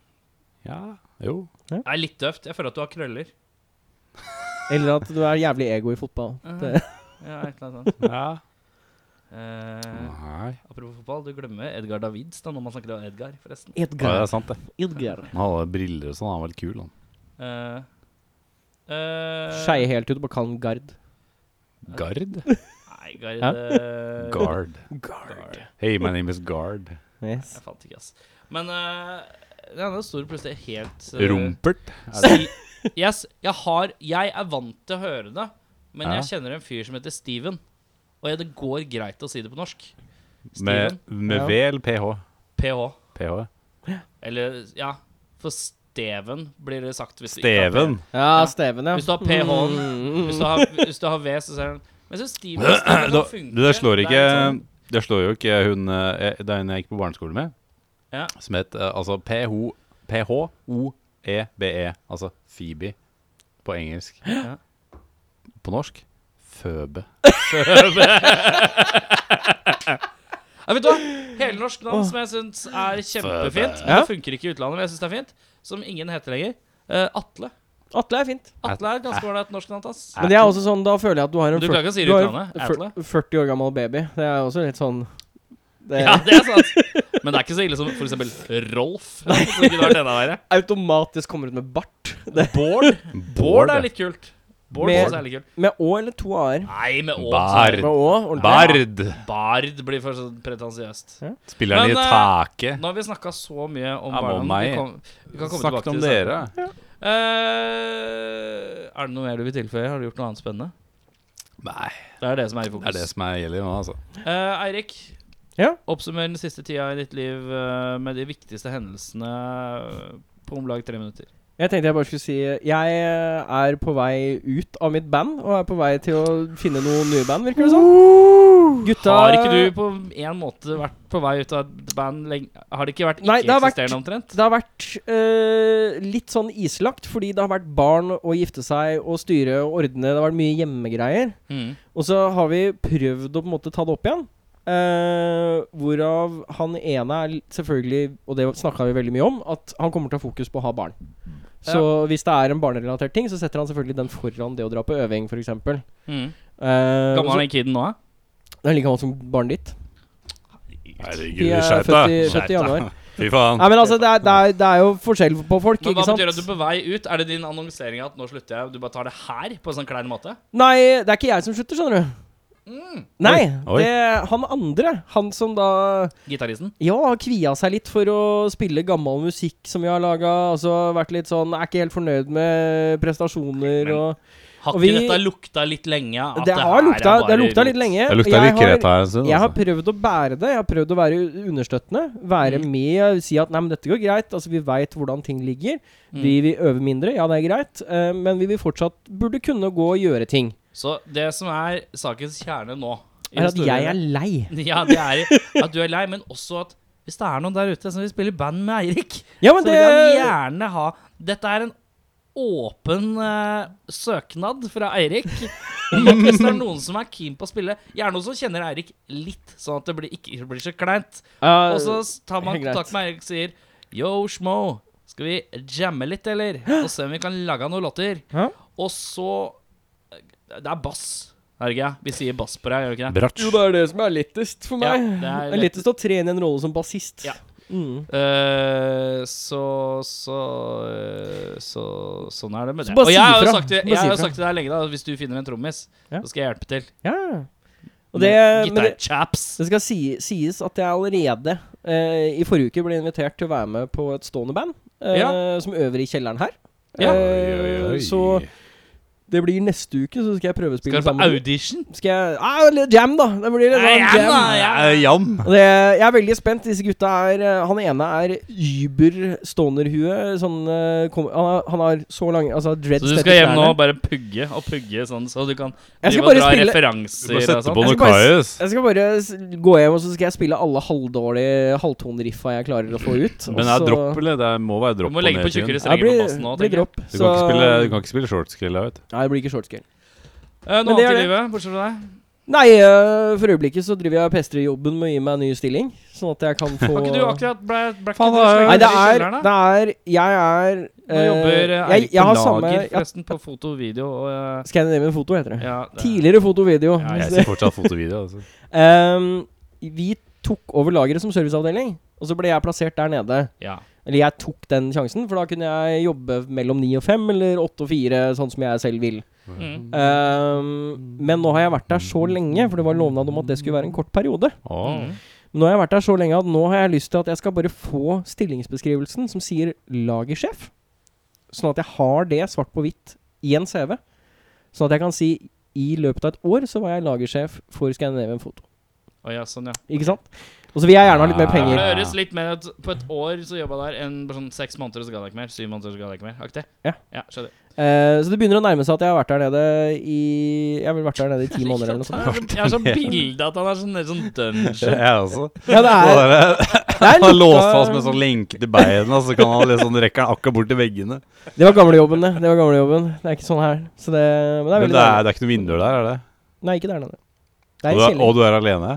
S4: Ja, jo.
S2: Det er litt døvt. Jeg føler at du har krøller.
S3: Eller at du er jævlig ego i fotball. Det.
S2: Ja, et eller annet sånt.
S4: Ja.
S2: Eh,
S4: Nei.
S2: apropos fotball, du glemmer Edgar Davids da, når man snakker om Edgar, forresten.
S4: Ja, det
S3: Edgar.
S4: er sant, det.
S3: Edgar.
S4: Han hadde briller og sånn. Han var litt kul, han.
S2: Eh, eh,
S3: Skeie helt ut på Kan Gard.
S4: Gard? <laughs>
S2: Nei, Gard,
S3: Hæ?
S2: eh,
S4: Guard.
S2: Gard.
S4: Hey, my name is Guard.
S3: Yes.
S2: Jeg fant ikke, ass. Men eh, ja, det sto det plutselig helt eh,
S4: Rumpert?
S2: Si Yes, jeg, har, jeg er vant til å høre det, men
S4: Ja.
S2: jeg kjenner en fyr som heter Steven. Og ja, det går greit å si det på norsk.
S4: Med,
S2: Steven.
S4: med
S3: Ja.
S4: V eller PH?
S2: PH.
S4: PH.
S2: Eller ja, for Steven blir det sagt hvis du ikke har P.
S4: Steven.
S3: Ja, Steven, ja. Mm.
S2: Hvis du har PH-en, hvis, du har- hvis du har V, så sier han Men så Steven,
S4: <clears throat>
S2: Steven
S4: Da-
S2: kan funke.
S4: Det slår
S2: Det er
S4: ikke
S2: litt sånn-
S4: Det slår jo ikke hun eh, Det er en jeg gikk på barneskolen med,
S2: Ja.
S4: som het eh, altså PH PHOEBE, altså Phoebe på engelsk.
S2: Ja.
S4: På norsk Føbe.
S2: Ja, vet du hva? Helnorsk navn som jeg syns er kjempefint. Men
S3: Ja.
S2: det funker ikke i utlandet, men jeg syns det er fint. Som ingen heter lenger. Eh, Atle.
S3: Atle er fint.
S2: Atle er ganske ålreit norsk navn, ass.
S3: Men det er også sånn, da føler jeg at du har en
S2: Du
S3: 40
S2: klarer ikke å si det
S3: du har
S2: uten navnet,
S3: en fyr- 40 år gammel baby. Det er også litt sånn det
S2: Ja, det er sant. Men det er ikke så ille som for eksempel Rolf. Som kunne vært enda verre.
S3: <laughs> automatisk kommer ut med bart. Det.
S2: Bård. Bård er litt kult. Bård
S3: Med-
S2: synes jeg er litt kult.
S3: Med Å eller to A-er.
S2: Nei, med Å.
S4: Bard.
S3: Med Å, ordentlig.
S4: Bard!
S2: Bard blir for sånn pretensiøst.
S4: Spilleren
S2: Men,
S4: i
S2: eh,
S4: taket.
S2: Nå har vi snakka så mye om
S4: Ja, men om
S2: barna.
S4: meg.
S2: Vi, kom, vi kan komme
S4: Snakket
S2: tilbake
S4: om
S2: til det.
S4: dere.
S2: Eh, er det noe mer du vil tilføye? Har du gjort noe annet spennende?
S4: Nei,
S2: Det er det som er i
S4: det er det
S2: fokus.
S4: som er gjelder nå, altså.
S2: Eh, Eirik,
S3: Ja.
S2: oppsummer den siste tida i ditt liv eh, med de viktigste hendelsene eh, på om lag tre minutter.
S3: Jeg tenkte jeg bare skulle si Jeg er på vei ut av mitt band, og er på vei til å finne noen nye band, virker det som. Gutta
S2: Har ikke du på en måte vært på vei ut av et band lenge? Har det ikke vært
S3: Nei, det har vært-
S2: ikke-eksisterende omtrent?
S3: Det har vært eh, litt sånn islagt, fordi det har vært barn å gifte seg og styre og ordne. Det har vært mye hjemmegreier.
S2: Mm.
S3: Og så har vi prøvd å på en måte ta det opp igjen. Eh, hvorav han ene er litt- selvfølgelig, og det snakka vi veldig mye om, at han kommer til å ha fokus på å ha barn. Så hvis det er en barnerelatert ting, så setter han selvfølgelig den foran det å dra på øving, f.eks.
S2: Mm.
S3: Uh,
S2: Gammel er den kiden nå? da?
S3: Det er like gammel som barnet ditt.
S4: Herregud,
S3: De er
S4: skjerp
S3: født
S4: deg!
S3: i- født i
S4: Skjerp deg.
S3: januar.
S4: Fy faen.
S3: Nei, men altså, det er, det er, det er jo forskjell på folk,
S2: Men
S3: ikke
S2: hva
S3: sant?
S2: betyr det at du er på vei ut? Er det din annonsering at nå slutter jeg, du bare tar det her? På en sånn klein måte?
S3: Nei, det er ikke jeg som slutter, skjønner du.
S2: Mm.
S3: Nei,
S4: Oi.
S3: det han andre, han som da
S2: Gitaristen?
S3: Ja, har kvia seg litt for å spille gammel musikk som vi har laga. Altså vært litt sånn Er ikke helt fornøyd med prestasjoner
S2: Men-
S3: og
S2: Har
S3: Og
S2: ikke
S3: vi-
S2: dette lukta litt lenge? at
S3: Det
S2: her
S3: har
S2: er
S3: lukta, det
S2: bare
S3: har lukta
S2: rot?
S3: litt lenge.
S4: Jeg lukta
S3: Jeg
S4: litt
S3: har-
S4: Kreta en stund.
S3: Jeg har
S4: altså.
S3: prøvd å bære det. Jeg har prøvd å være u- understøttende. Være
S2: Mm.
S3: med, si at 'nei, men dette går greit'. Altså, vi veit hvordan ting ligger.
S2: Mm.
S3: Vi vil øve mindre, ja, det er greit. eh, men vi vil fortsatt burde kunne gå og gjøre ting.
S2: Så det som er sakens kjerne nå i
S3: Er
S2: det
S3: at
S2: store-
S3: jeg er lei.
S2: Ja, det er at du er lei, men også at hvis det er noen der ute som vil spille i band med Eirik,
S3: <laughs> Ja,
S2: så
S3: men
S2: vil han
S3: det
S2: gjerne ha Dette er en åpen eh, søknad fra Eirik. om at Hvis det er noen som er keen på å spille, gjerne noen som kjenner Eirik litt, sånn at det blir, ikke blir så kleint.
S3: Ja,
S2: Og så s- tar man
S3: helt greit.
S2: kontakt med Eirik og sier Yo, Schmo, skal vi jamme litt, eller? Og se om vi kan lage noen låter.
S3: Hæ?
S2: Og så Det er bass, er det ikke? Vi sier bass på deg, gjør vi ikke det?
S4: Bratsj.
S3: Jo, det er det som er lettest for
S2: Ja,
S3: meg.
S2: det er
S3: <laughs> det er lettest å tre inn i en rolle som bassist.
S2: Ja.
S3: Mm.
S2: Eh, så, så, eh, så Sånn er det med
S3: Så
S2: det.
S3: bare
S2: Og jeg
S3: si
S2: har jo
S3: ifra.
S2: sagt, til-
S3: Bare
S2: jeg
S3: si
S2: har jo
S3: ifra.
S2: sagt til deg lenge, da, at hvis du finner en trommis,
S3: Ja.
S2: så skal jeg hjelpe til.
S3: ja. Og det, men det,
S2: Gitarchaps.
S3: det skal si, sies at jeg allerede eh, i forrige uke ble invitert til å være med på et stående band eh,
S2: Ja.
S3: som øver i kjelleren her.
S2: Ja.
S3: Eh, Så det blir neste uke, så skal jeg prøvespille
S2: Skal du på
S3: sammen. med dem.
S2: audition?
S3: Skal jeg ah, eller Jam, da. Det blir litt
S2: Nei,
S3: sånn
S2: jam,
S3: jam.
S2: da.
S4: Eh, Jam.
S3: Og Det, jeg er veldig spent. Disse gutta er eh, Han ene er über stonerhue. Sånn, eh, kom, han, har- han har så lange altså, dreads
S2: Så du
S3: ned til
S2: skal hjem nå
S3: knærne.
S2: og bare pugge og pugge sånn, så du kan
S3: Jeg
S2: drive
S3: skal
S2: og
S3: bare
S2: dra
S3: spille
S4: Du må
S2: referanser og
S4: sette
S2: sånn?
S4: på
S3: Jeg
S4: noe
S3: skal bare
S4: Kaius.
S3: Jeg skal bare s- gå hjem og så skal jeg spille alle halvdårlige halvtoneriffa jeg klarer å få ut.
S4: Men det er
S3: og så-
S4: dropp, eller? Det er- må være dropp
S2: Du må legge på
S4: nedtiden.
S2: tjukkere
S3: Ja, det
S2: strenger på
S3: blir,
S2: bassen nå,
S3: blir
S2: tenker jeg.
S3: dropp.
S4: Du kan, ikke spille, du kan ikke spille shortscreen, vet du.
S3: Nei, det blir ikke shortscale.
S2: Eh,
S3: Men
S2: noe
S3: det
S2: annet i
S3: er
S2: livet, bortsett fra deg?
S3: Nei, øh, for øyeblikket så driver jeg og pestrer jobben med å gi meg en ny stilling. Sånn at jeg kan få
S2: Har ikke du akkurat ble, ble ikke
S4: Faen,
S2: du
S4: da-
S2: slengt
S3: Nei, det
S2: i
S3: er,
S2: kjelleren, da?
S3: det er Jeg er
S2: Nå jobber eh,
S3: jeg,
S2: Eirik
S3: jeg
S2: på
S3: har
S2: lager,
S3: samme jeg,
S2: forresten, på foto og video og eh,
S3: Scandinavian Foto heter det.
S2: ja, det-
S3: Tidligere foto og video.
S2: Ja,
S3: <laughs>
S4: Jeg ser fortsatt fotovideo. Altså.
S3: Ehm, vi tok over lageret som serviceavdeling, og så ble jeg plassert der nede.
S2: ja.
S3: Eller jeg tok den sjansen, for da kunne jeg jobbe mellom ni og fem, eller åtte og fire, sånn som jeg selv vil.
S2: Mm.
S3: Ehm, men nå har jeg vært der så lenge, for det var lovnad om at det skulle være en kort periode.
S4: Åh.
S2: Mm.
S3: Men nå har jeg vært der så lenge at nå har jeg lyst til at jeg skal bare få stillingsbeskrivelsen som sier lagersjef. Sånn at jeg har det svart på hvitt i en CV. Sånn at jeg kan si i løpet av et år så var jeg lagersjef for Scandinavian Photo.
S2: Å ja, sånn, ja.
S3: Ikke sant? Og så vil jeg gjerne ha litt mer
S2: For
S3: penger.
S2: det høres litt mer ut På et år så jobba jeg der enn på sånn seks måneder, og så ga jeg ikke mer. Syv måneder, så ga jeg ikke mer. Aktig.
S3: Ja.
S2: ja skjønner.
S3: Eh, så det begynner å nærme seg at jeg har vært der nede i Jeg har vel vært der nede i
S2: <laughs>
S3: ti måneder eller noe sånt.
S2: Jeg har sånn- Jeg har sånn bilde at han er sånn, sånn dungeon.
S4: Jeg også.
S3: Ja, det
S4: Og
S3: er,
S4: der,
S3: det er
S4: han er <laughs> låst
S3: lukka-
S4: fast med sånn lenke til beina, så kan han liksom rekker han akkurat bort til veggene.
S3: Det var gamlejobben, det. Det var gamlejobben. Det er ikke sånn her. Så det, men det er
S4: Men det
S3: veldig
S4: er,
S3: deilig.
S4: det er ikke noen vinduer der, er det?
S3: Nei, ikke der nede.
S4: Og du er,
S3: Det er i
S4: og
S3: kjelleren.
S4: du er alene?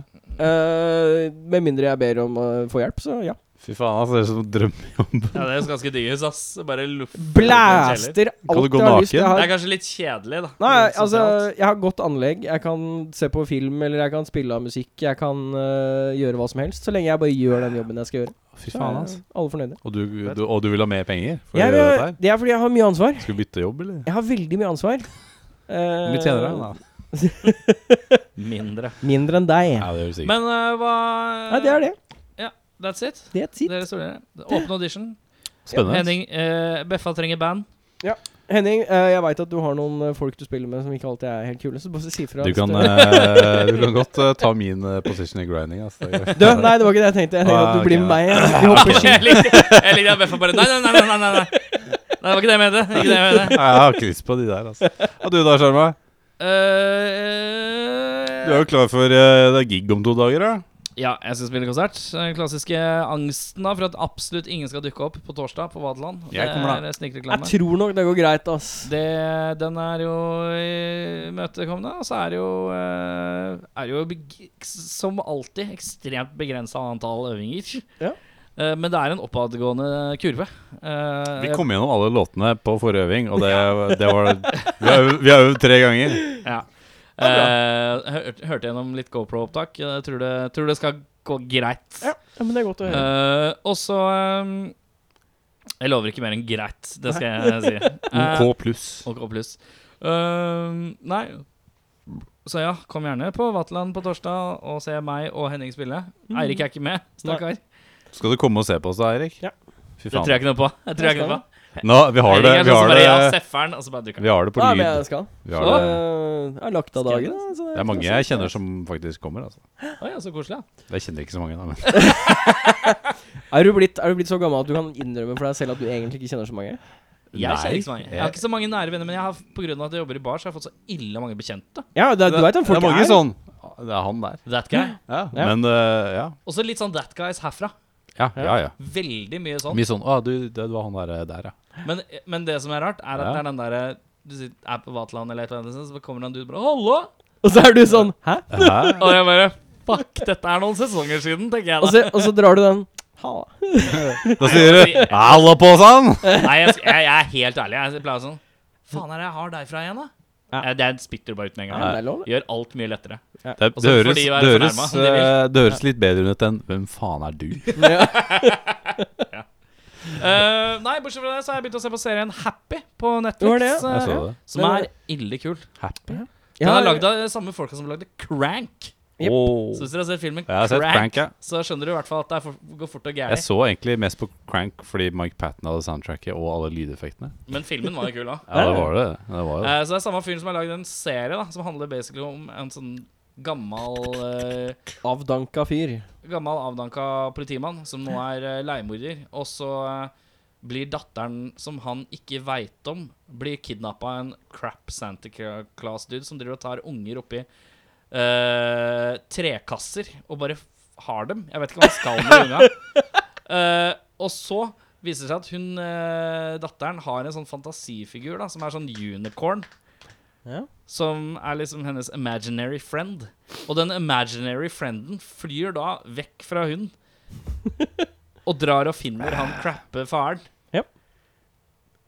S3: Eh, med mindre jeg ber om å få hjelp, så ja.
S4: Fy faen, altså, det er som en drømmejobb.
S2: Ja, det er ganske dyrt, ass. Bare luft.
S3: Blæster
S4: Kan du
S3: alt
S4: gå
S3: jeg har lyst til.
S4: naken?
S2: Det er
S3: Jeg har,
S2: kanskje litt kjedelig, da. sånn
S3: nei,
S2: Litt
S3: altså,
S2: sosialt.
S3: jeg har godt anlegg. Jeg kan se på film, eller jeg kan spille av musikk. Jeg kan eh, gjøre hva som helst, så lenge jeg bare gjør den jobben jeg skal gjøre.
S4: Fy
S3: Så
S4: faen,
S3: er
S4: altså.
S3: alle fornøyde.
S4: Og du, du, og du vil ha mer penger for
S3: Jeg,
S4: å gjøre dette
S3: vil-
S4: her?
S3: det er fordi jeg har mye ansvar.
S4: Skal du bytte jobb, eller?
S3: Jeg har veldig mye
S4: <laughs>
S3: ansvar. Eh,
S4: Litt senere, da.
S2: Mindre.
S3: Mindre enn deg.
S4: Ja, det gjør du sikkert.
S2: Men eh, hva
S3: Nei, det er det.
S2: That's it.
S3: Det er tid.
S2: Dere studerer. Åpen audition.
S4: Spennende.
S2: Henning eh, Beffa trenger band.
S3: Henning, eh, jeg veit at du har noen eh, folk du spiller med som ikke alltid er helt kule, så bare si fra.
S4: Du
S3: hvis
S4: kan,
S3: det-
S4: eh, du kan godt eh, ta min eh, position i grinding. Altså.
S3: <laughs> <laughs> Du, nei,
S4: <laughs>
S3: det var ikke det jeg tenkte. Jeg tenkte at
S4: Ah,
S3: du blir
S4: ok. <laughs>
S3: med meg. jeg. Vi hopper ski.
S2: Ah, <laughs> Jeg likte jeg likte at Beffa bare Nei, nei, nei, nei, nei, nei, nei. Nei, Det var ikke det jeg mente. Det var Ikke det jeg mente.
S4: Nei, jeg har ikke lyst på de der, altså. Og du da, Sjarma?
S2: Eh,
S4: Du er jo klar for eh, det er gig om to dager, da?
S2: Ja, jeg skal spille konsert. Den klassiske angsten da for at absolutt ingen skal dukke opp på torsdag på Vadeland.
S4: Jeg kommer da.
S2: Det er snikreklame.
S3: Jeg tror nok det går greit, ass.
S2: Det, den er jo imøtekommende. Og så er det jo, eh, er det jo beg- som alltid ekstremt begrensa antall øvinger.
S3: Ja.
S2: Eh, Men det er en oppadgående kurve. Eh,
S4: Vi
S2: jeg-
S4: kom gjennom alle låtene på forrige øving, og det, det var Vi har øvd- vi har øvd tre ganger.
S2: Ja. Eh, hør, hørte gjennom litt GoPro-opptak. Jeg tror det, tror det skal gå greit.
S3: Ja, men det er godt å høre.
S2: Eh, og så eh, Jeg lover ikke mer enn greit, det skal jeg si. Eh,
S4: OK pluss.
S2: OK pluss. Ehm, nei. Så ja, kom gjerne på Vatland på torsdag og se meg og Henning spille. Eirik er ikke med, stakkar.
S4: Skal du komme og se på oss da, Eirik?
S3: Ja.
S4: Fy
S2: Det tror
S4: faen.
S2: jeg ikke noe på. Jeg tror jeg ikke noe på.
S4: Nå, vi har det,
S2: Eirik er
S4: vi
S2: sånn som
S4: har
S2: bare ja,
S4: det,
S2: sefferen, og så bare dukker
S4: vi
S2: han.
S4: har det på
S3: Nei, men jeg
S4: lyd.
S3: skal.
S4: Vi
S3: Så,
S4: har det.
S3: eh, jeg har lagt av dagen. da, så
S4: Det er mange jeg kjenner som faktisk kommer. Altså.
S2: Oi, ja, så koselig. Ja.
S4: Jeg kjenner ikke så mange, da. Men.
S3: Er du, blitt, er du blitt så gammel at du kan innrømme for deg selv at du egentlig ikke kjenner så mange?
S2: Jeg
S4: Nei,
S2: kjenner ikke så mange. Jeg har ikke så mange nære venner, men jeg har, på grunn av at jeg jobber i bar, så har jeg fått så ille mange bekjente.
S3: Ja, det, du veit hvem
S4: det
S3: folk
S4: er mange sånn. Det er han der.
S2: That guy.
S4: Ja.
S3: Ja.
S4: Men eh, ja.
S2: Også litt sånn that guys herfra.
S4: Ja, ja, ja.
S2: Veldig mye sånn.
S4: Mye sånn Å, du, det, det var han der, eh, <laughs> der, ja.
S2: Men, men det som er rart, er at
S4: Ja.
S2: det er den derre du sitter, er på Vatland eller et eller annet, så kommer det en dude og bare 'Hallo!'
S3: Og så er du sånn Hæ?
S4: Hæ?
S2: Og jeg bare 'Fuck, dette er noen sesonger siden', tenker jeg da.
S3: Og så, og så drar du den. Ha.
S4: Da sier du 'halla på sånn!» sann'!
S2: Nei, jeg, jeg, jeg er helt ærlig. Jeg pleier sånn Faen er det jeg har deg fra igjen, da?
S3: Ja.
S2: Eh, Det spytter du bare ut med en
S3: Ja, det
S2: gang.
S3: er lov. det.
S2: Gjør alt mye <laughs> lettere.
S4: Det,
S2: Og
S4: det,
S2: så får
S4: høres,
S2: de
S4: det,
S2: være
S4: høres,
S2: fornærmet, om de vil.
S4: eh, det høres litt bedre ut enn 'Hvem faen er du?'
S3: Ja.
S2: Eh, nei, bortsett fra det så har jeg begynt å se på serien Happy på
S3: Du har det,
S2: Netflix. eh,
S3: ja.
S4: Jeg så det.
S2: Som er ille kul.
S4: Happy.
S2: Den
S3: Ja,
S2: er lagd av de samme folka som lagde Crank.
S3: Jep.
S2: Så hvis dere har sett filmen
S4: Jeg har sett Crank, ja.
S2: så skjønner du i hvert fall at det er for, går fort og
S4: Jeg
S2: gærent.
S4: så egentlig mest på Crank fordi Mike Patton hadde soundtracket og alle lydeffektene.
S2: Men filmen var jo kul,
S4: <laughs>
S2: da.
S4: Ja, det var det. det, var det.
S2: Eh, så det er samme fyren som har lagd en serie da som handler basically om en sånn gammal eh,
S3: Avdanka fyr.
S2: Gammel avdanka politimann som nå er eh, leiemorder. Og så eh, blir datteren som han ikke veit om, blir kidnappa av en crap Santa Claus-dude som driver og tar unger oppi eh, trekasser og bare f- har dem. Jeg vet ikke hva han skal med unga. Eh, og så viser det seg at hun, eh, datteren har en sånn fantasifigur da som er sånn unicorn.
S3: Ja.
S2: Som er liksom hennes imaginary friend. Og den imaginary frienden flyr da vekk fra
S4: <laughs>
S2: hun og drar og finner han crappe faren.
S3: Japp.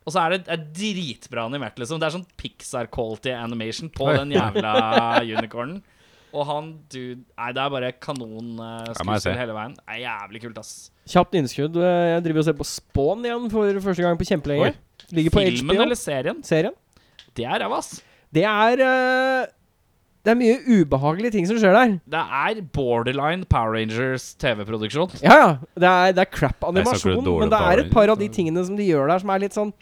S2: Og så er det, det er dritbra animert, liksom. Det er sånn Pixar-quality animation på
S4: Oi.
S2: den
S4: <laughs>
S2: jævla unicornen. Og han dude Nei, det er bare kanon eh,
S4: Ja, må jeg se.
S2: skuespill hele veien. Det er jævlig kult, ass.
S3: Kjapt innskudd. Eh, Jeg driver og ser på Spawn igjen for første gang på kjempelenge.
S4: Oi.
S3: Ligger på
S2: Filmen
S3: HBO.
S2: eller serien?
S3: Serien.
S2: Det er ræva, ass.
S3: Det er eh, Det er mye ubehagelige ting som skjer der.
S2: Det er borderline Power Rangers TV-produksjon.
S3: Ja, ja. Det er, det er
S4: Jeg
S3: crap
S4: snakker
S3: animasjon,
S4: dårlig
S3: men det
S4: om
S3: er
S4: Power
S3: et par av de
S4: Rangers.
S3: tingene som de gjør der, som er litt sånn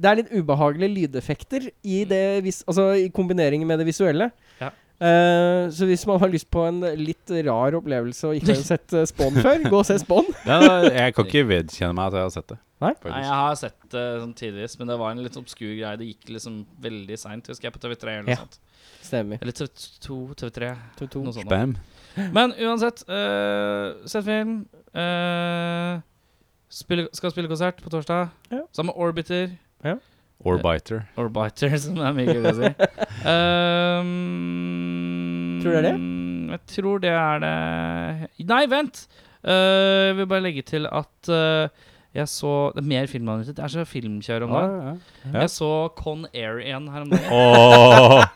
S3: det er litt ubehagelige lydeffekter i, det vis, altså, i kombineringen med det visuelle.
S2: Ja.
S3: Eh, så hvis man har lyst på en litt rar opplevelse og ikke har sett eh, Spawn før, gå og se Spawn.
S4: Nei, nei, jeg kan ikke vedkjenne meg at jeg har sett det.
S3: Nei?
S4: faktisk.
S2: Nei, jeg har sett det sånn tidligvis, men det var en litt obskur greie. Det gikk liksom veldig seint, husker jeg, på TV3 eller noe
S3: Ja.
S2: sånt.
S3: Stemmer.
S2: Eller TV2, TV3,
S3: To, to.
S2: noe sånt. da.
S4: Bam.
S2: Men uansett, øh, sett film. øh, spille, skal spille konsert på torsdag.
S3: Ja.
S2: Sammen med Orbiter.
S4: <laughs> Orbiter.
S2: Orbiter, <laughs> som det er mye gøy å si. Um,
S3: Tror du det er
S2: Jeg tror det er det Nei, vent! Øh, jeg vil bare legge til at øh, jeg så Det er mer filmanmeldelser. Det er så filmkjør om dagen.
S4: Ja.
S2: Jeg så Con Air igjen her om dagen.
S4: Åh,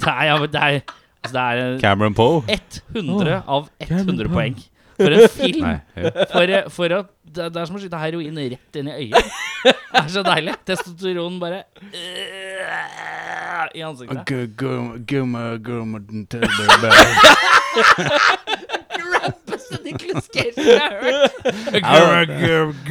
S2: Det er, ja, men det er, altså det
S4: <laughs> Cameron Poe.
S2: er 100 av 100
S3: Cameron
S2: poeng. For en film!
S4: Nei. ja.
S2: For, for å, det, det er som å skyte heroin rett inn i øyet. Det er så deilig. Testosteron bare øh, i ansiktet. <laughs> Rampeste Nicolas Cage <laughs> jeg har
S4: Ja,
S2: hørt.
S4: Det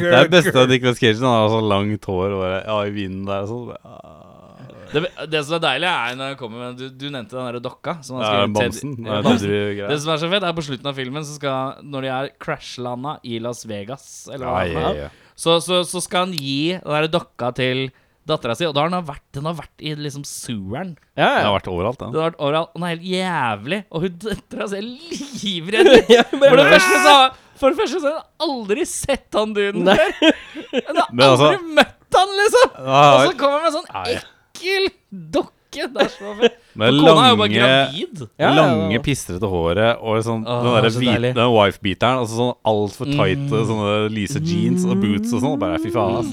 S4: er det beste av Nicolas Cage. Han har så langt hår og bare, ja, i vinden der og sånn. Ah.
S2: Det, det som er deilig, er når han kommer med Du, du nevnte den derre dokka. Som han
S4: Det er
S2: skrev-
S4: bamsen.
S2: Ted-
S4: Det er
S2: Bamsen.
S4: Didrik
S2: Det
S4: greier.
S2: som er så fett, er på slutten av filmen, så skal når de er crashlanda i Las Vegas, eller hva
S4: Ja,
S2: det
S4: ja,
S2: er,
S4: ja.
S2: så, så, så skal han gi den der dokka til dattera si, og da har den vært, den har vært i liksom seweren.
S3: Ja,
S4: Det
S3: ja.
S4: har vært overalt,
S2: Den
S4: den.
S2: har vært overalt. og Den er helt jævlig, og hun dattera ser livredd ut.
S3: Ja,
S2: For det
S3: bare-
S2: første så For det første så har hun aldri sett han duden
S3: Nei.
S2: før. Hun har
S4: Men altså-
S2: aldri møtt han, liksom. Og
S4: Ah,
S2: så kommer han med en sånn
S4: ja, ja.
S2: ekkel dokke. Det er så fett.
S4: Men
S2: For Kona er jo bare
S4: lange
S2: gravid.
S3: Ja, ja,
S4: lange,
S3: ja.
S4: pistrete håret og sånn,
S2: Åh,
S4: den der
S2: så
S4: hvite
S2: deilig.
S4: den wife-beateren. Altså sånn altfor tighte sånne lyse jeans og boots og sånn. og Bare fy faen, ass.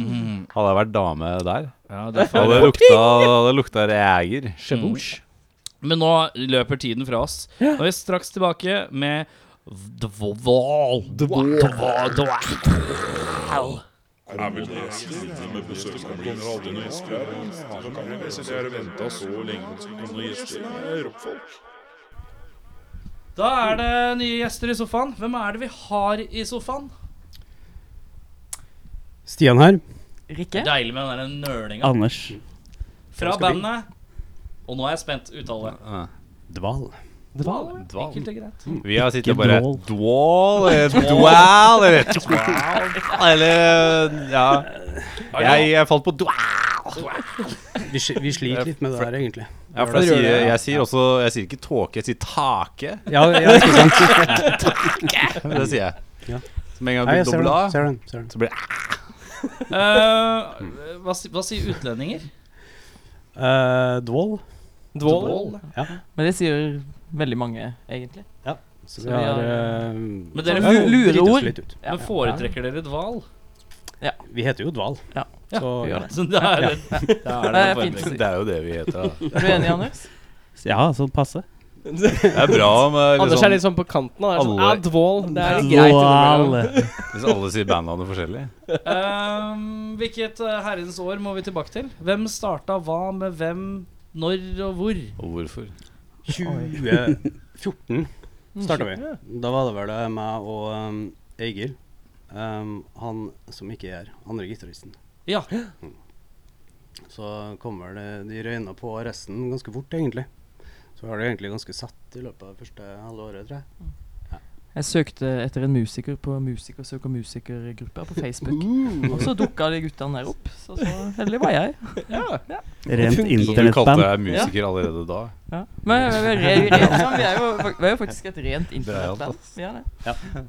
S4: Hadde jeg vært dame der,
S2: Ja, derfor
S4: hadde det lukta, hadde det lukta reager.
S3: Shaboosh.
S2: Mm. Men nå løper tiden fra oss. Nå er vi straks tilbake med The Wall. The Wall. Da er det nye gjester i sofaen. Hvem er det vi har i sofaen?
S5: Stian her.
S6: Rikke?
S2: Deilig med den der nølinga.
S5: Anders
S2: Fra bandet. Og nå er jeg spent. Uttale.
S4: Ah.
S5: Dval.
S3: Dval.
S4: Dval.
S2: Enkelt og greit.
S4: Vi har sittet
S5: Ikke
S4: og bare eh,
S5: dwall.
S4: Dwall eller dwell eller dwell eh. eller Ja. Jeg, jeg falt på dwell.
S5: Vi, sli- vi sliter litt med det der, egentlig.
S4: Ja, for jeg sier, jeg sier også Jeg sier ikke tåke, jeg sier take.
S5: Ja, ja ikke <laughs> sant?
S4: Det sier jeg.
S5: Ja.
S4: Så med en gang du
S5: Nei, jeg ser
S4: dobler
S5: den.
S4: av,
S5: Ser den, ser den.
S4: så blir det
S2: Eh, hva, si- hva sier utlendinger?
S5: Eh, dval.
S3: Dval.
S5: Ja.
S6: Men det sier veldig mange, egentlig.
S5: Så
S6: Så
S5: vi
S6: vi har,
S5: har eh,
S2: Men dere
S5: ja,
S6: lu-
S5: driter oss
S6: lureord.
S5: litt ut.
S6: Ja.
S2: Men foretrekker dere dval?
S5: Vi heter jo Dval.
S6: Ja,
S5: Så-
S6: vi gjør det.
S2: <laughs> Så det er, det, det, er det,
S6: Det er
S2: man
S6: fint.
S2: foretrekker.
S4: Det er jo det vi heter. da.
S6: Er du enig, Anders?
S5: Ja, sånn passe.
S4: Det er bra om eh,
S3: Anders er
S4: liksom,
S3: litt sånn på kanten. Han er sånn,
S4: Alle-
S3: ja, dvål. Det er greit. innimellom.
S4: hvis alle sier bandnavnet forskjellig.
S2: <laughs> Ehm, hvilket eh, herrens år må vi tilbake til? Hvem starta hva med hvem, når og hvor?
S4: Og hvorfor?
S5: 2014 starta vi. Da var det vel det meg og um, Egil. Um, han som ikke er her, andre gitaristen.
S2: Ja. <gasps>
S5: Så kommer det De røyna på resten ganske fort, egentlig. Så var det egentlig ganske satt i løpet av det første halve året, tror jeg.
S6: Jeg søkte etter en musiker på musiker søker musikergruppa på <laughs> Facebook.
S7: Uh.
S6: Og så dukka de guttene der opp. Så, så heldig var jeg.
S3: Rent
S7: Rent
S4: Så du kalte
S7: internettband.
S4: deg musiker allerede
S5: <laughs>
S4: da?
S6: Ja. Men vi <laughs> er, re- re- sånn, vi er, jo, fak- vi er jo faktisk et rent
S4: Bra,
S6: internettband. Vi er det.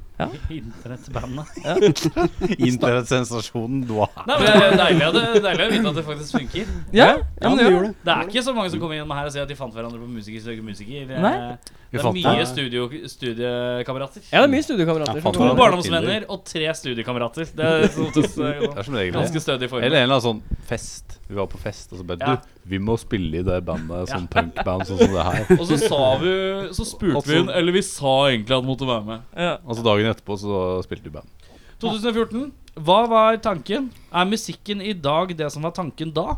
S2: Internettbandet.
S4: Internettsensasjonen Dwa.
S2: Nei, men det er deilig, at det- deilig å vite at det faktisk funker.
S6: Ja, ja, men det gjør det.
S5: gjorde
S2: Det er ikke så mange som kommer inn her og sier at de fant hverandre på Musiker søker musiker. Det
S6: Nei.
S2: er, det er
S4: fant
S2: mye
S4: det.
S2: studio, studiekamerater.
S3: Ja, det er mye studiekamerater.
S4: Ja,
S3: som
S4: faen,
S2: To
S4: det
S3: kommer.
S4: er-
S2: barndomsvenner og tre studiekamerater. Det er som oftest eh,
S4: Det er som regel
S2: ganske
S4: det.
S2: stødig form.
S4: Eller en eller annen sånn fest. Vi var på fest, og så bare
S2: Ja.
S4: Du, vi må spille i det bandet, sånn
S2: Ja.
S4: punkband sånn som det her.
S2: Og så sa vi Så spurte vi hun, eller vi sa egentlig at hun måtte være med.
S6: Ja.
S4: Og så dagen etterpå så spilte vi band.
S2: 2014. Hva var tanken? Er musikken i dag det som var tanken da?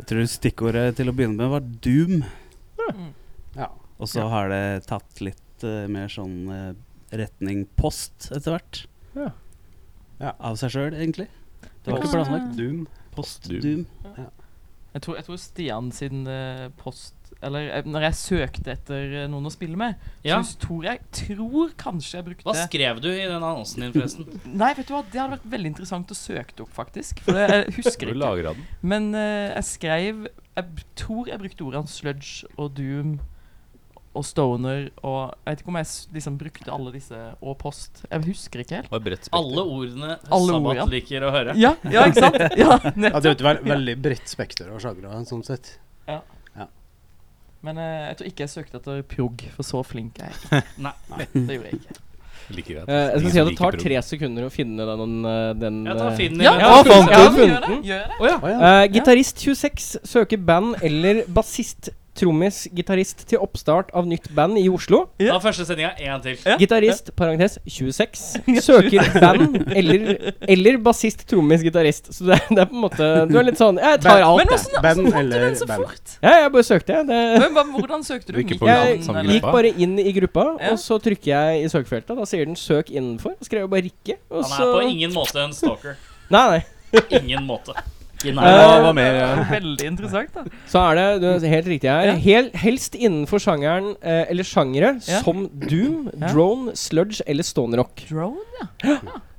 S7: Jeg tror stikkordet til å begynne med var Doom.
S5: Ja.
S7: Og så har det tatt litt eh, mer sånn eh, retning post etter hvert.
S3: Ja.
S5: Ja.
S7: Av seg sjøl, egentlig. Det var ikke planlagt.
S5: Doom.
S4: Postdoom.
S7: Doom.
S6: Jeg tror, jeg tror Stian sin eh, post Eller eh, når jeg søkte etter eh, noen å spille med,
S2: Ja.
S6: så tror jeg tror kanskje jeg brukte
S2: Hva skrev du i den annonsen din, forresten?
S6: Nei, vet du hva, det hadde vært veldig interessant å søke det opp, faktisk. For det, jeg
S4: Skal
S6: <laughs> husker
S4: du
S6: ikke.
S4: lagre den?
S6: Men eh, jeg skrev Jeg b- tror jeg brukte ordene sludge og doom og stoner og Jeg vet ikke om jeg s- liksom brukte alle disse og post. Jeg husker ikke helt.
S4: Og et bredt spekter.
S2: Alle ordene
S6: Alle
S2: Sabbat
S6: ordene.
S2: liker å høre.
S6: Ja, ja
S3: <laughs>
S6: ikke sant? Ja,
S5: Ja,
S6: nettopp.
S5: det er jo et vel- veldig bredt spekter av sjangre, sånn sett.
S6: Men eh, jeg tror ikke jeg søkte etter prog, for så flink er jeg ikke.
S2: Nei.
S6: Det gjorde jeg ikke.
S4: Like greit.
S3: Eh, jeg
S4: Ingen
S3: skal si at det
S4: liker
S3: tar
S4: prog.
S3: tre sekunder å finne den, eh, den
S2: Jeg tar
S3: eh,
S2: Finn i
S6: Ja,
S2: den.
S3: ja, fant
S6: Ja,
S3: du
S6: men gjør det.
S3: funnet den?
S6: Gjør det.
S5: Å ja.
S3: Eh, gitarist 26 søker band eller bassist, trommis, gitarist til oppstart av nytt band i Oslo.
S2: Da er første sendinga en til.
S6: Ja.
S3: Gitarist, parentes,
S4: <laughs>
S3: 26 søker band eller, eller bassist, trommis, gitarist. Så det, er- det er på en måte Du er litt sånn Jeg tar
S5: Band-
S3: alt,
S6: Men
S3: jeg.
S6: åssen
S5: Band
S6: fant du
S5: eller
S6: den så
S5: band?
S6: fort?
S3: Ja, jeg bare søkte, jeg. Det,
S6: Men, hva- hvordan søkte du?
S4: Hvilke
S6: Milan,
S4: program-
S3: Jeg
S4: som
S6: eller?
S4: gruppe?
S3: gikk bare inn i gruppa,
S6: Ja.
S3: og så trykker jeg i søkefeltet. Da sier den 'søk innenfor'. Og skrev jeg bare 'Rikke'. Og
S2: Han
S3: så
S2: er på ingen måte en stalker.
S3: Nei, nei.
S2: Ingen måte. Ikke
S3: Eh,
S2: nær.
S4: hva mer?
S6: Veldig interessant, da.
S3: Så er det du, er helt riktig her.
S6: Ja.
S3: Hel, helst innenfor sjangeren eh, eller sjangere
S6: Ja.
S3: som doom,
S6: Ja.
S3: drone, sludge eller stonerock.
S6: Drone?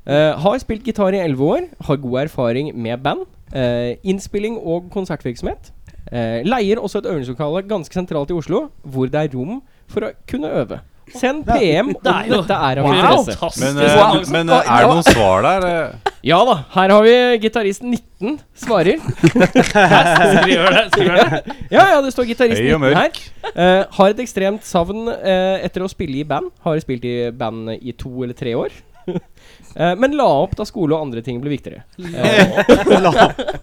S3: Eh, har spilt gitar i elleve år. Har god erfaring med band. Eh, innspilling og konsertvirksomhet. Eh, leier også et øvingslokale ganske sentralt i Oslo, hvor det er rom for å kunne øve. Send PM om
S2: Det er jo-
S3: dette er av interesse.
S2: Fantastisk.
S4: Men, eh,
S2: annonse.
S4: men eh, er det noen svar der? eh?
S3: Ja da, her har vi gitarist 19 svarer.
S2: Skriver det. Skriver det.
S3: Ja, ja, det står gitarist
S4: Høy og
S3: 19 her.
S4: mørk.
S3: Eh, har et ekstremt savn eh, etter å spille i band. Har spilt i band i to eller tre år. <laughs> Eh, men la opp da skole og andre ting ble
S4: <laughs>
S3: viktigere. Eh,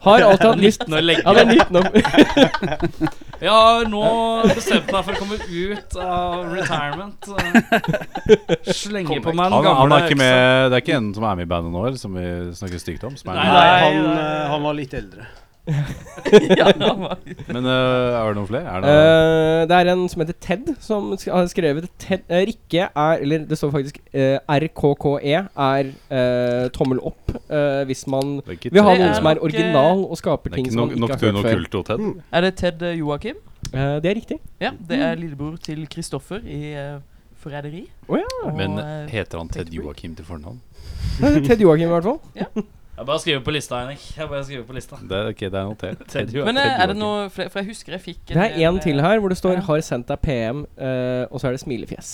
S3: har alltid hatt lyst
S2: Nå legger
S3: Ja, det er
S4: <laughs>
S3: nytt nå.
S2: Jeg har nå bestemt meg for å komme ut av retirement. eh. Slenge på meg den
S4: Han, han
S2: gamle
S4: er ikke med, det er ikke en som er med i bandet nå, eller som vi snakker stygt om. Som er
S2: Nei,
S4: med.
S5: Nei, han,
S6: nei.
S5: eh, han var litt eldre.
S6: <laughs> Ja, det var-
S4: Men eh, er det noen flere? Er det
S3: Eh, det er en som heter Ted, som sk har skrevet Ted, eh, Rikke er Eller det står faktisk eh, RKKE er eh, tommel opp eh, hvis man
S4: det er ikke
S3: vil ha
S4: tre.
S3: noen som
S6: nok,
S3: er
S6: eh,
S3: original og skaper
S4: Det er
S3: ting
S4: ikke
S3: som
S4: no
S3: man ikke har
S4: Nocturno
S3: hørt før.
S4: Culto, Ted.
S6: Er det Ted eh, Joakim?
S3: Eh, det er riktig.
S6: Ja, det er lillebror til Kristoffer i eh, Forræderi.
S3: Å ja.
S6: Og,
S4: Men
S6: eh,
S4: heter han Ted Joakim til fornavn?
S3: <laughs> Ted Joakim, i hvert fall.
S2: Jeg bare skriver på lista, Henrik. Jeg bare skriver på lista.
S4: Det, er- ok, det er notert.
S2: Ted Joakim.
S6: men eh, er det
S4: Joakim.
S6: noe flere? For jeg husker jeg fikk en
S3: Det er
S6: del, eh,
S3: én til her hvor det står
S6: ja.
S3: 'Har sendt deg PM', eh, og så er det smilefjes.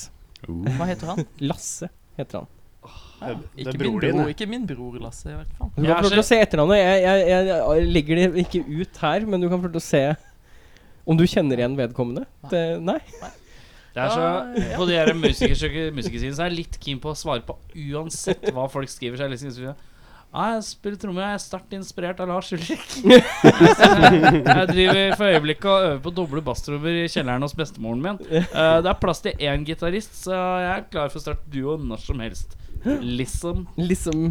S6: eh,
S4: Uh,
S6: Hva heter han?
S3: Lasse heter han.
S6: Ja,
S5: <laughs> det er
S6: ikke, min
S5: bror din,
S6: bror,
S5: det.
S6: ikke min bror, Lasse, i hvert fall.
S3: <laughs> Du
S2: Jeg
S3: kan
S2: er
S3: få lov til å
S2: så-
S3: se etternavnet. Jeg, jeg, jeg, jeg legger det ikke ut her, men du kan få lov til å se om du kjenner igjen vedkommende. Det, nei?
S2: Det er så,
S6: Ja, ja.
S2: På de her musikersøke- musikersiden så er jeg litt keen på å svare på uansett hva folk skriver. Så jeg liksom sier, Nei, jeg spiller tromme. Jeg er sterkt inspirert av Lars Ulrik. <laughs> Jeg driver for øyeblikket og øver på doble basstrommer i kjelleren hos bestemoren min. Eh, Det er plass til én gitarist, så jeg er klar for å starte duo når som helst. Liksom.
S3: Liksom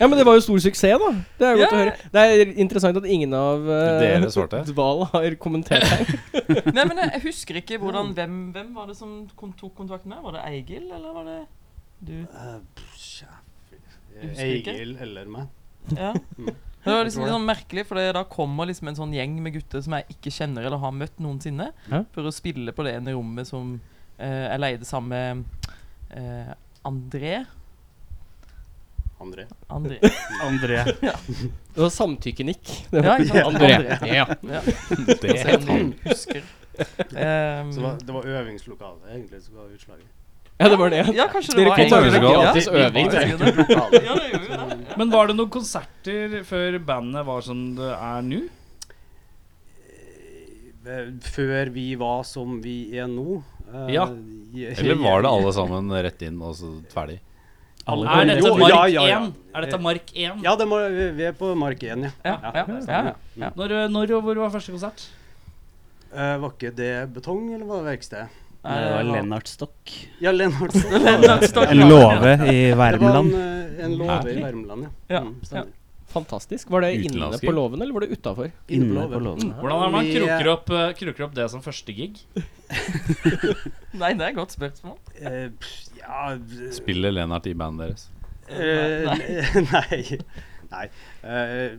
S3: Ja, men det var jo stor suksess, da. Det er jo godt å høre. Det er interessant at ingen av eh,
S4: Dere svarte.
S3: Dval har kommentert her.
S6: Nei, men eh, jeg, jeg husker ikke hvordan hvem, hvem var det som kon tok kontakt med? Var det Eigil, eller var
S3: <laughs>
S6: det du?
S5: Eh, pff, ja,
S6: Jeg husker ikke.
S5: eh, Egil eller meg.
S6: Ja. Det var liksom litt sånn merkelig, for det- da kommer liksom en sånn gjeng med gutter som jeg ikke kjenner eller har møtt noensinne,
S3: Ja.
S6: for å spille på det ene rommet som eh, jeg leide sammen med eh, André.
S5: André.
S3: <laughs>
S6: André.
S7: André.
S3: <laughs> Det var samtykkenikk. <laughs> Det var-
S6: Ja, ikke sant?
S3: André.
S6: André.
S3: Ja.
S5: <laughs>
S6: Ja.
S4: Det
S6: Se
S4: het
S6: om
S4: han.
S6: de husker. Ehm,
S5: Så det var, det var øvingslokalet egentlig som ga utslaget.
S3: ja, det var det.
S6: ja, kanskje det
S3: Dere
S6: var
S3: fikk
S6: Eigil.
S4: øvelse,
S6: Ja.
S3: gratis øving.
S6: Ja,
S5: Det er lokalet.
S6: Ja, det gjorde jo det.
S2: Men var det noen konserter før bandet var som det er nå?
S5: Eh, Før vi var som vi er nå. eh,
S2: Ja.
S5: i-
S4: Eller var det alle sammen rett inn og så ferdig?
S2: Er dette
S5: Jo,
S2: mark
S5: ja, ja, ja.
S2: 1? Er dette mark 1?
S5: Ja, det må, vi vi er på mark 1, ja.
S6: Ja, ja, ja, ja.
S2: Når, eh, når og hvor var første konsert?
S5: Eh, var ikke det betong, eller var det verksted?
S6: Nei,
S5: Eh,
S7: Det var
S6: det var-
S7: Lennart Stokk. <laughs>
S5: Ja, Lennart.
S7: En låve i
S5: Det var en,
S7: Värmland.
S5: eh, en låve i Värmland, ja.
S6: Ja,
S5: Mm, stemmer.
S3: Fantastisk. Var det inne
S4: Utenlandske.
S3: på låven, eller var det utafor?
S7: Inne
S5: Inne på
S7: på låven.
S2: Hvordan er det man
S5: Vi-
S2: kroker opp, eh, kroker opp det som første gig?
S6: Nei, det er et godt spørsmål.
S5: Eh, pff, ja eh,
S4: Spiller Lennart i bandet deres?
S5: eh, <laughs> Nei. Nei. eh,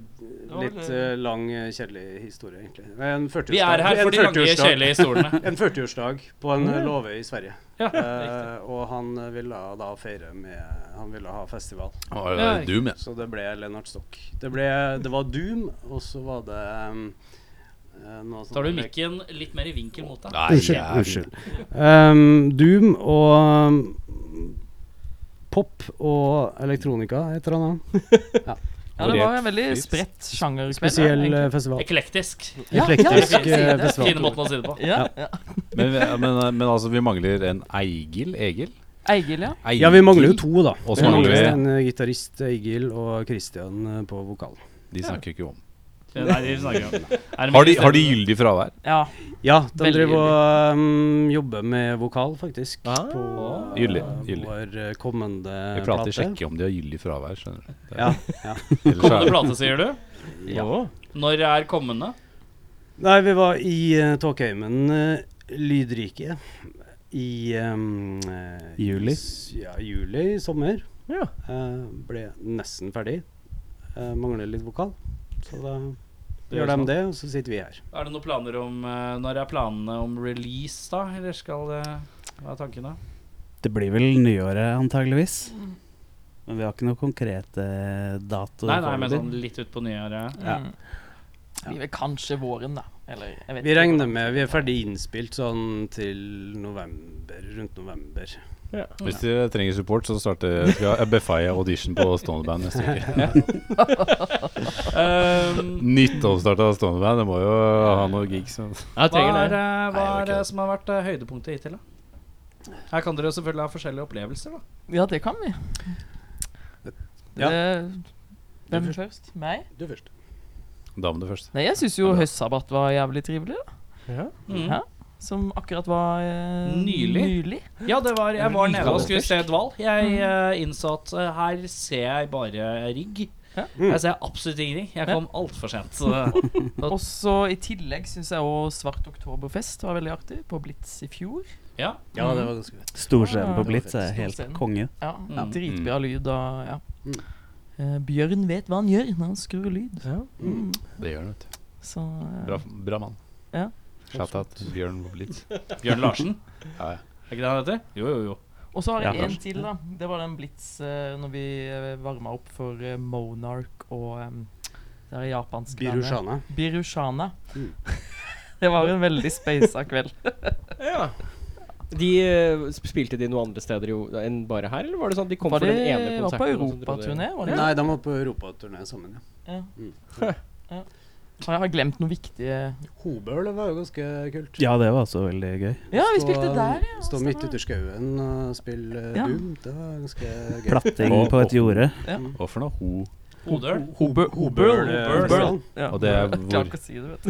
S2: var
S5: litt
S2: det-
S5: eh, lang, eh, kjedelig historie, egentlig. En 40-årsdag.
S2: Vi er her
S5: en
S2: for de lange,
S5: 40-årsdag.
S2: kjedelige
S5: <laughs>
S2: historiene.
S5: En 40-årsdag på en eh, låve i Sverige.
S2: Ja, riktig.
S5: Eh, og han eh, ville da feire med Han ville ha festival.
S4: Å, det
S2: Ja,
S4: er Doom, ja.
S5: Så det ble Lennart Stokk. Det, ble, det var Doom, og så var det um, eh, noe sånt-
S2: Tar du mikken litt mer i vinkel mot deg?
S4: Nei,
S5: Unnskyld.
S4: jævlig.
S5: unnskyld. Um, Doom og um, pop og elektronika, heter han
S4: eh,
S5: da.
S6: Ja, det var en veldig
S4: Variert
S6: spredt sjangerkveld.
S5: Spesiell
S6: egentlig.
S5: eh, festival.
S2: Eklektisk.
S6: Ja,
S5: Eklektisk
S6: ja, ja,
S5: eh,
S6: ja.
S2: Fine
S5: festival.
S2: måten å si det på.
S6: Ja, ja.
S4: <laughs> Men, men, men altså, vi mangler en Eigil? Egil?
S6: Eigil, ja.
S4: Eigil?
S5: Ja, vi mangler jo to, da.
S4: Og så
S5: Vi
S4: mangler
S5: mangler
S4: vi-
S5: en eh, gitarist, Egil, og Christian eh, på vokal.
S4: De snakker ikke om.
S2: Nei, de snakker om Er det
S4: Har de,
S2: mye
S4: har de
S2: stemning?
S4: gyldig fravær?
S6: ja.
S5: Ja, de
S6: Veldig
S5: driver og um, jobber med vokal, faktisk.
S4: Ah.
S5: på eh,
S4: Gyldig, gyldig.
S5: vår eh, kommende
S4: Vi prater sjekke om de har gyldig fravær, skjønner du. Det er-
S5: Ja,
S4: <laughs> Ellers er
S2: Kommende
S4: det-
S2: plate, sier du? Når er kommende?
S5: Nei, vi var i uh, Tåkeheimen, eh, Lydriket, i um, eh,
S7: Juli.
S5: s- Ja, juli i sommer.
S3: Ja.
S5: Eh, ble nesten ferdig. Eh, mangler litt vokal. Så da
S2: Det
S5: gjør
S2: gjør
S5: de
S2: sånn.
S5: det, og så sitter vi her.
S2: Er det noen planer om eh, Når er planene om release, da? Eller skal det Hva er tankene?
S7: Det blir vel nyåret, antageligvis. Men vi har ikke noe konkrete eh, dato.
S2: Nei, nei, men
S7: foreløpig.
S2: sånn litt utpå nyåret.
S7: Ja.
S6: Mm. Blir vel kanskje våren, da. Eller jeg vet
S5: Vi
S6: ikke
S5: regner
S6: hvordan.
S5: med vi er ferdig innspilt sånn til november, rundt november.
S4: Hvis de trenger support, så starter skal Befaya audition på Stoneband neste <laughs> uke.
S3: <laughs>
S2: Um,
S4: Nytt oppstarta Stoneband, det må jo ha noe gigs. men-
S3: Jeg
S2: hva
S3: trenger
S2: er,
S3: det.
S4: Nei,
S2: eh, hva er
S4: det var
S2: det
S4: ikke det.
S2: som har vært eh, høydepunktet hittil, da? Her kan dere jo selvfølgelig ha forskjellige opplevelser, da.
S6: Ja, det kan vi.
S5: Ja.
S6: Det, hvem først? Meg?
S2: sånn-
S5: Du først.
S4: Damene først.
S6: Nei, jeg syns jo høstsabbat var jævlig trivelig, da.
S2: Mm.
S6: Ja. Som akkurat var eh,
S2: Nylig.
S6: nylig.
S2: Ja, det var Jeg var nede og skulle se
S3: Fantastisk.
S2: Dval. Jeg
S3: Mm.
S2: eh, innså at eh, her ser jeg bare rigg.
S6: Ja.
S4: Mm.
S2: Her ser jeg absolutt ingenting. Jeg
S6: Ja.
S2: kom altfor sent. Så eh, det
S6: Og så i tillegg syns jeg òg Svart oktoberfest var veldig artig, på Blitz i fjor.
S5: Ja, det var ganske greit.
S7: Storscenen
S6: Ah,
S7: på Blitz er helt
S6: Storscenen.
S7: konge.
S6: Ja,
S2: Ja.
S6: Dritbra lyd og ja.
S5: Mm.
S6: Eh, Bjørn vet hva han gjør når han skrur lyd. Mm.
S4: Det gjør han, vet du.
S6: Så eh,
S4: Bra, bra mann.
S6: Ja.
S4: Shout-out Bjørn <laughs> Blitz.
S2: Bjørn Larsen,
S4: Ja, ja.
S2: er ikke det han heter? Jo, jo, jo.
S6: Og så har jeg
S7: Ja,
S6: en til, da. Det var den Blitz eh, når vi eh, varma opp for eh, Monarch og um, det her japanske navnet.
S5: Birushana.
S6: Birushana.
S5: Mm.
S6: <laughs> det var en veldig speisa kveld.
S3: Ja. De eh, sp- Spilte de noe andre steder jo, enn bare her, eller var det sånn at de kom
S6: Var
S3: for den
S6: det-
S3: ene konserten?
S6: var på
S3: og så dro de-
S6: europaturné, var det?
S5: Nei, de var på europaturné sammen, ja.
S6: Ja.
S5: Mm.
S6: <laughs> ja. Så jeg har glemt noe viktig eh? Ja,
S5: Hobøl var jo ganske kult.
S7: Ja, det var også veldig gøy.
S6: vi
S5: Stå-
S6: spilte der, ja.
S5: Stå
S6: stemmer
S5: midt
S6: det.
S5: ute i skauen og spille eh,
S6: Ja.
S5: Doom. Det var ganske gøy.
S7: Platting
S4: Og-
S7: på et
S4: og-
S7: jorde.
S4: Hva for noe? Ho.
S2: Hodøl.
S6: Hobøl.
S5: Hobøl, eh, festival.
S6: Ja.
S4: Og det er
S6: Jeg
S4: hvor?
S6: Klarer ikke å si det, vet du.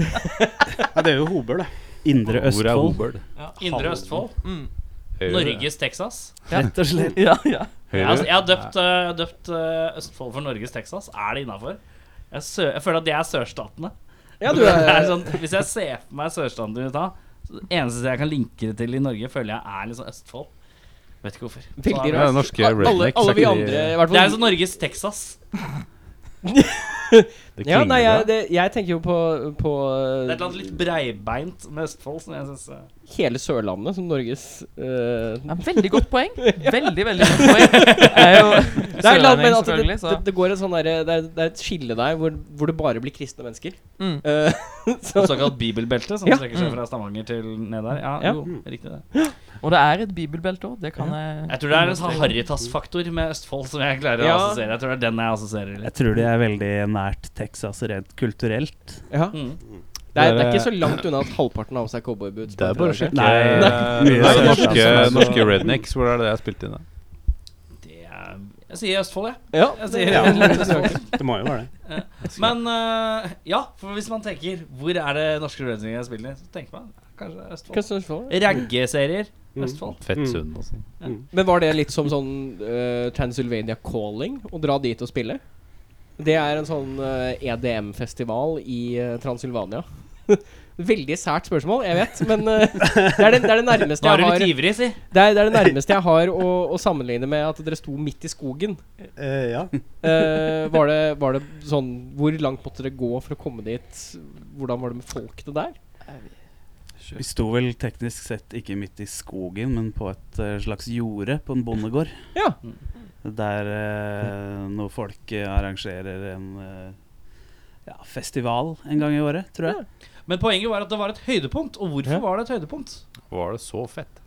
S5: Ja, det er jo Hobøl, da.
S7: Indre
S4: Hvor er
S7: Østfold,
S4: Hobøl?
S6: Ja.
S2: Indre Østfold.
S6: Mm.
S3: <laughs>
S4: Høyre-
S2: Norges Texas.
S7: rett og slett.
S6: Ja, ja.
S2: Jeg,
S4: Høyre.
S2: altså, jeg har døpt, eh, jeg har døpt eh, Østfold for Norges Texas. Er det innafor? Jeg, sø- jeg føler at jeg er sørstatene.
S3: Ja, du er,
S2: <laughs> Det er sånn, hvis jeg ser for meg sørstaten i USA, så det eneste jeg kan linke det til i Norge, føler jeg er liksom Østfold. Vet ikke hvorfor. Så
S3: Veldig
S2: er det-
S4: Ja, norske rednecks.
S3: alle,
S4: er
S3: alle vi
S4: ikke de-
S3: andre, i hvert
S2: Det er
S3: fall
S2: liksom Norges Texas.
S4: sånn- Det
S3: ja,
S4: klinger
S3: nei,
S4: bra.
S3: jeg, det, jeg tenker jo på, på
S2: Det er et eller annet litt breibeint med Østfold som jeg eh, syns
S3: hele Sørlandet som Norges eh,
S6: Ja, veldig godt
S3: <laughs>
S6: poeng. Veldig, veldig godt poeng. Jeg er jo
S3: Det er et eller annet med at det,
S6: selvfølgelig,
S3: det,
S6: så
S3: det går et sånn derre det, er- det er et skille der hvor, hvor det bare blir kristne mennesker.
S6: Mm.
S3: Eh, så,
S2: Såkalt bibelbelte, som
S3: Ja. Mm.
S2: strekker seg fra Stavanger til ned der. Ja,
S3: Ja.
S2: jo, riktig det.
S6: Og det er et bibelbelte òg, det kan jeg
S2: Jeg tror det er en sånn Haritas-faktor med Østfold som jeg klarer å
S3: Ja.
S2: assosiere. Jeg tror det er den jeg assosierer litt.
S7: Jeg tror de er veldig nært Texas rent kulturelt.
S3: ja.
S2: Mm.
S3: det, er, det er
S4: Det er-
S3: ikke så langt unna at halvparten har på seg cowboyboots.
S4: Det er bare å sjekke
S7: Nei,
S4: eh, <laughs> det
S7: nei.
S4: er jo
S7: Mye
S4: norske,
S7: sørstatshus.
S4: norske rednecks. Hvor er det det er spilt inn, da?
S2: Det er, jeg sier Østfold, jeg.
S3: Ja,
S2: jeg
S3: det-
S2: sier,
S5: Ja.
S2: Østfold.
S5: Det må jo være det.
S2: <laughs> Men eh, ja, for hvis man tenker Hvor er det norske løsninger jeg spiller i? Så tenker man kanskje det er Østfold.
S3: Kanskje Østfold, ja.
S2: Raggeserier.
S5: Mm.
S2: Østfold.
S4: Fettsund og
S5: altså.
S4: sånn.
S3: Men var det litt som sånn eh, Transylvania Calling? Å dra dit og spille? E Det er en sånn eh, EDM-festival i eh, Transylvania. <laughs> Veldig sært spørsmål, jeg vet, men eh, det, er det, det er det nærmeste
S2: Da er
S3: jeg
S2: du
S3: har
S2: litt ivrig, si.
S3: Det er det, er det nærmeste jeg har å, å sammenligne med at dere sto midt i skogen.
S5: Eh, ja.
S3: Eh, var, det, var det sånn Hvor langt måtte dere gå for å komme dit? Hvordan var det med folket der?
S7: Vi sto vel teknisk sett ikke midt i skogen, men på et eh, slags jorde på en bondegård.
S3: Ja.
S7: Mm. Der eh, når folk eh, arrangerer en eh, ja, festival en gang i året, tror jeg.
S2: Men poenget var at det var et høydepunkt. Og hvorfor
S7: Ja.
S2: var det et høydepunkt?
S4: Var det så fett?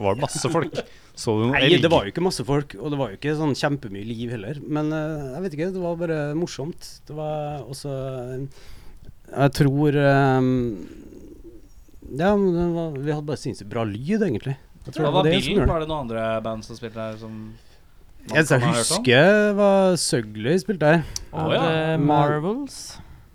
S4: Var det masse folk? Så du noen
S5: Nei, det var jo ikke masse folk, og det var jo ikke sånn kjempemye liv heller. Men eh, jeg vet ikke, det var bare morsomt. Det var også eh, Jeg tror eh, Ja, men det var, vi hadde bare sinnssykt bra lyd, egentlig. Jeg tror
S2: Hva var
S5: det var det som
S2: bilen?
S5: gjorde det.
S2: Var det noen andre band som spilte her som man
S5: Jeg,
S2: kan
S5: jeg
S2: ha hørt om?
S5: husker var Søgløy spilte her.
S6: Og
S2: Å, ja.
S6: The Marvels.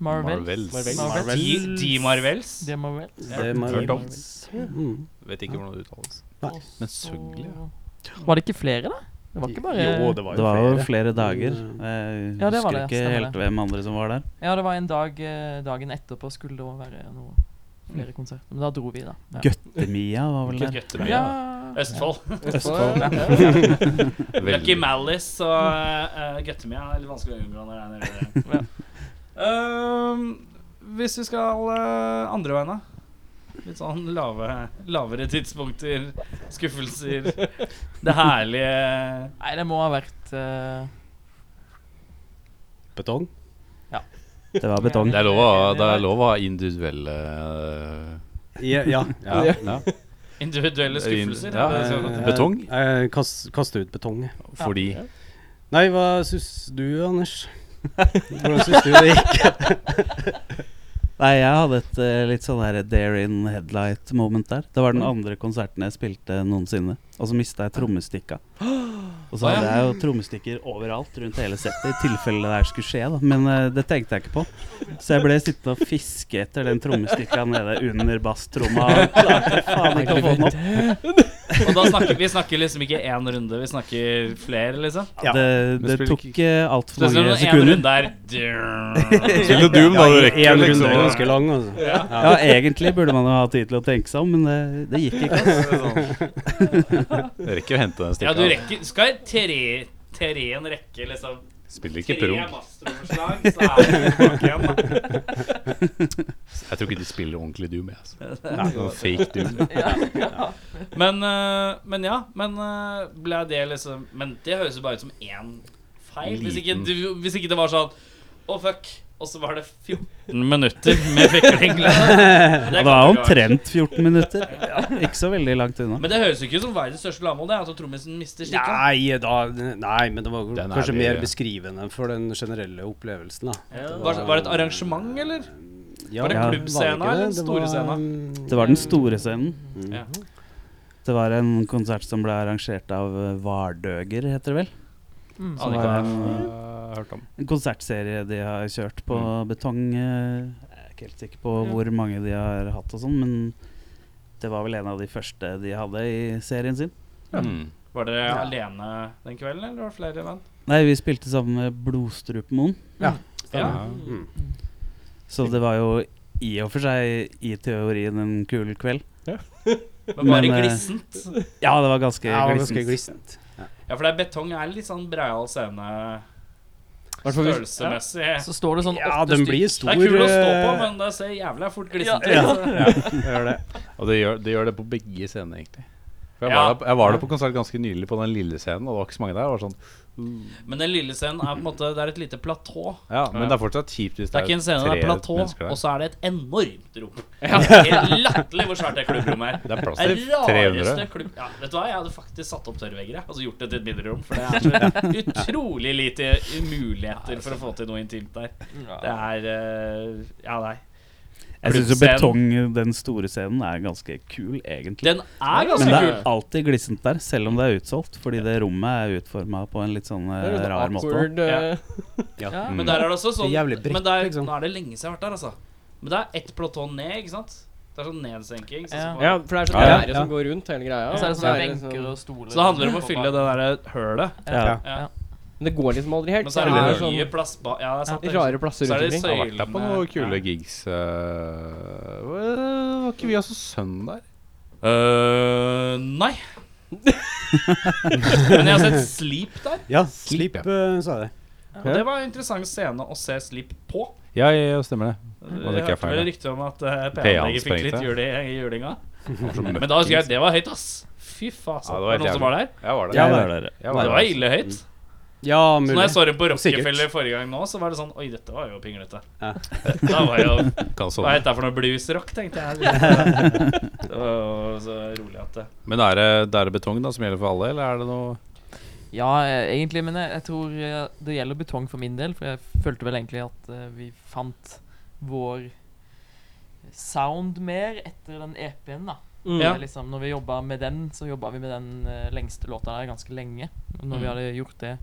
S6: Marvels.
S4: Marvels.
S6: Marvels.
S5: Marvels.
S2: De, de Marvels?
S6: The Marvels.
S5: Det
S4: har hørt om.
S5: Mm.
S4: Vet ikke hvordan det uttales.
S5: Nei.
S6: Og
S4: Men
S6: så-
S4: søgle, ja.
S6: Var det ikke flere, da? Det var ikke bare
S5: Jo, det var
S7: Det
S5: jo
S7: var jo
S5: flere.
S7: flere dager.
S5: Mm.
S7: Jeg
S6: Ja, det
S7: husker
S6: var det,
S7: ikke
S6: stemmer
S7: helt
S6: det.
S7: hvem andre som var der.
S6: Ja, det var en dag eh, dagen etterpå skulle det òg være noe flere konserter. Men da dro vi, da. Ja.
S7: Gøttemia var vel der.
S2: Gøttemøy,
S6: Ja.
S2: ja. Østfold.
S3: Østfold.
S2: Lucky Malice og uh, Guttemia er litt vanskelig å unngå når det er nede i det. Ehm, Hvis vi skal eh, andre veien, da? Litt sånn lave, lavere tidspunkter, skuffelser Det herlige
S6: Nei, det må ha vært eh,
S5: Betong.
S7: Det var betong.
S4: Det er lov å- det er lov å ha individuelle eh,
S5: Ja. ja.
S4: ja,
S3: Ja.
S4: ja.
S2: individuelle skuffelser.
S4: Ja.
S2: er <laughs> det sånn?
S5: Eh,
S4: Betong?
S5: Jeg, jeg kast, kaster ut betong. jeg.
S4: Fordi
S5: Nei, hva syns du, <laughs> Anders? Hvordan syns du det gikk?
S7: Nei, jeg hadde et eh, litt sånn her dare in headlight moment der. Det var den andre konserten jeg spilte noensinne, og så mista jeg trommestikka. Og så hadde jeg jo trommestikker overalt rundt hele settet, i tilfelle det her skulle skje, da. Men eh, det tenkte jeg ikke på. Så jeg ble sittende og fiske etter den trommestikka nede under basstromma. og klarte Faen ikke å få den opp.
S2: Og da snakker vi snakker liksom ikke én runde, vi snakker flere, liksom.
S5: Ja.
S7: Det,
S4: Men
S7: det
S4: spiller
S7: tok eh, altfor
S2: Spesielt
S7: mange
S2: når én
S7: sekunder.
S2: runde er
S4: Spille Doom, da. Du rekker
S5: En
S4: det,
S5: runde
S4: liksom.
S5: er ganske lang, altså.
S7: Ja, egentlig burde man jo ha tid til å tenke seg om, men det, det gikk ikke.
S4: Jeg rekker å hente den
S2: <laughs> Ja, du
S4: stikka.
S2: rekker Skal tre, treen rekke liksom
S4: Spiller ikke
S2: tre
S4: prog.
S2: masteromslag, så er det tilbake igjen, da.
S4: Jeg tror ikke de spiller ordentlig Doom. Jeg, altså. Noe fake Doom.
S2: <laughs> Men, eh, men ja, men eh, ble det liksom Men det høres jo bare ut som én feil. Hvis ikke,
S4: Liten.
S2: du, hvis ikke det var sånn Å, fuck. Og så var det 14 minutter med fikling. liksom.
S7: Det
S2: Det
S7: var
S2: kan ikke være.
S7: omtrent 14 minutter. Ikke så veldig langt unna.
S2: Men det høres jo ikke ut som verdens største lavmål, det. At trommisen mister stikka.
S5: Nei, da, nei, men det var
S4: Den er
S5: kanskje
S4: vi-
S5: mer beskrivende for den generelle opplevelsen. da.
S2: Var, var det et arrangement, eller?
S5: Ja,
S2: Var det
S5: ja,
S2: klubbscena
S5: var
S2: eller
S5: det ikke det?
S2: den
S5: Det var,
S2: store scena?
S5: mm,
S7: Det var den store scenen.
S6: Mm.
S2: Ja.
S7: Det var en konsert som ble arrangert av eh, Vardøger, heter det vel.
S6: mm.
S2: Aner ikke hva det er.
S4: Hørt om.
S7: En konsertserie de har kjørt på
S5: Mm.
S7: betong. eh, Jeg er ikke helt sikker på hvor mange de har hatt og sånn, men det var vel en av de første de hadde i serien sin.
S4: Mm.
S2: Var dere alene den kvelden, eller var det flere venn?
S7: Nei, vi spilte sammen med Blodstrupemoen,
S2: Ja.
S5: Mm.
S7: så det var jo i og for seg i teorien en kul kveld.
S2: Men var det
S7: Men, eh,
S2: glissent?
S7: Ja, det var ganske
S5: Ja, det var ganske
S7: glissent.
S5: glissent.
S2: Ja, for det er betong er litt sånn breial scene
S3: Hvertfall hvis-
S2: størrelsemessig.
S6: Så står det sånn
S5: Ja,
S6: åtte
S5: den
S6: stykker
S5: blir
S2: Det
S5: stor.
S2: er kul å stå på,
S5: eh,
S2: men det ser jævla fort glissent ut.
S6: Ja.
S2: <laughs> så-
S5: gjør det.
S4: Og det gjør, det gjør det på begge scener, egentlig. For jeg,
S2: Ja.
S4: var der, jeg var der på konsert ganske nylig, på den lille scenen, og det var ikke så mange der. Det Var sånn,
S2: Men den lille scenen er på en måte Det er et lite platå.
S4: ja, men det er fortsatt kjipt hvis
S2: Det er ikke en scene, det er
S4: tre
S2: platå,
S4: mennesker der.
S2: og så er det et enormt rom. Helt latterlig hvor svært det klubbrommet er.
S4: Det er plass
S2: Det er
S4: til
S2: rareste
S4: 300.
S2: klubb... Ja, vet du hva, jeg hadde faktisk satt opp tørrvegger, jeg. Altså gjort det til et mindre rom. For det er så utrolig lite muligheter for å få til noe intimt der. Det er eh, Ja, nei.
S7: Jeg syns jo betong,
S4: Klubbscenen.
S7: den store scenen, er ganske kul, egentlig.
S2: Den er ganske
S7: Men det
S2: kul.
S7: er alltid glissent der, selv om det er utsolgt. Fordi det rommet er utforma på en litt sånn eh,
S3: Det er litt
S7: rar måte.
S3: awkward, eh,
S6: Ja.
S4: Mm.
S2: Men der er det også sånn
S5: Det er jævlig bredt,
S2: men der,
S5: liksom.
S2: Nå er det lenge siden jeg har vært der, altså. Men det er ett platå ned, ikke sant? Det er sånn nedsenking. Så,
S6: Ja.
S2: så,
S3: Ja, for det er så
S4: Ja, ja,
S3: gjerdet
S5: ja.
S3: som går rundt hele greia.
S6: Og så er det sånn
S3: Ja,
S6: sånne benker
S3: liksom-
S6: og stoler
S2: så det handler om å fylle det der hølet.
S7: Ja.
S2: Ja.
S3: Men det går liksom aldri helt.
S2: Men så er
S3: Det
S2: det
S3: er
S2: mye plassba... Ja, det er sant.
S3: sånn
S2: det er-
S3: rare plasser
S2: Så er
S3: rundt
S2: det
S3: omkring.
S4: Jeg har vært der på noen
S2: Søylene-
S4: kule
S2: ja.
S4: gigs. eh, hva- var ikke vi også sønnen der?
S2: Øh, nei. Men jeg har sett Sleep der,
S5: Ja,
S4: Sleep,
S5: Sleep,
S4: ja.
S5: eh, sa jeg.
S2: og det var en interessant scene å se Sleep på.
S4: Ja, ja, ja, stemmer det.
S2: Jeg
S4: det ikke er
S2: hørte
S4: feil,
S2: vel
S4: ja.
S2: rykte om at uh,
S4: P-han
S2: PA-anlegget fikk litt
S4: sprengte.
S2: jul i i julinga.
S4: Han var så
S2: Men
S4: mørk.
S2: da husker jeg at det var høyt, ass. Fy faen.
S4: Ja, det var
S2: det var
S4: helt
S2: noen som var der?
S4: Jeg var der.
S7: Jeg var der.
S4: Jeg var
S2: Det
S4: der,
S2: var
S4: altså.
S2: ille høyt.
S5: Ja,
S2: Så
S5: mulig.
S2: når jeg så dem på
S5: Sikkert.
S2: Rockefeller forrige gang nå, så var det sånn Oi, dette var jo pinglete.
S5: Ja.
S2: Dette var
S5: <laughs>
S2: jo
S4: Kan
S2: Hva
S4: sånn.
S2: heter det for noe bluesrock, tenkte jeg. Det var jo så rolig at det
S4: Men er det, det er det betong da som gjelder for alle, eller er det noe
S6: Ja, eh, egentlig, men jeg, jeg tror eh, det gjelder betong for min del. For jeg følte vel egentlig at eh, vi fant vår sound mer etter den EP-en, da.
S3: Mm.
S6: Det er Liksom, når vi jobba med den, så jobba vi med den eh, lengste låta der ganske lenge. Og når
S2: Mm.
S6: vi hadde gjort det,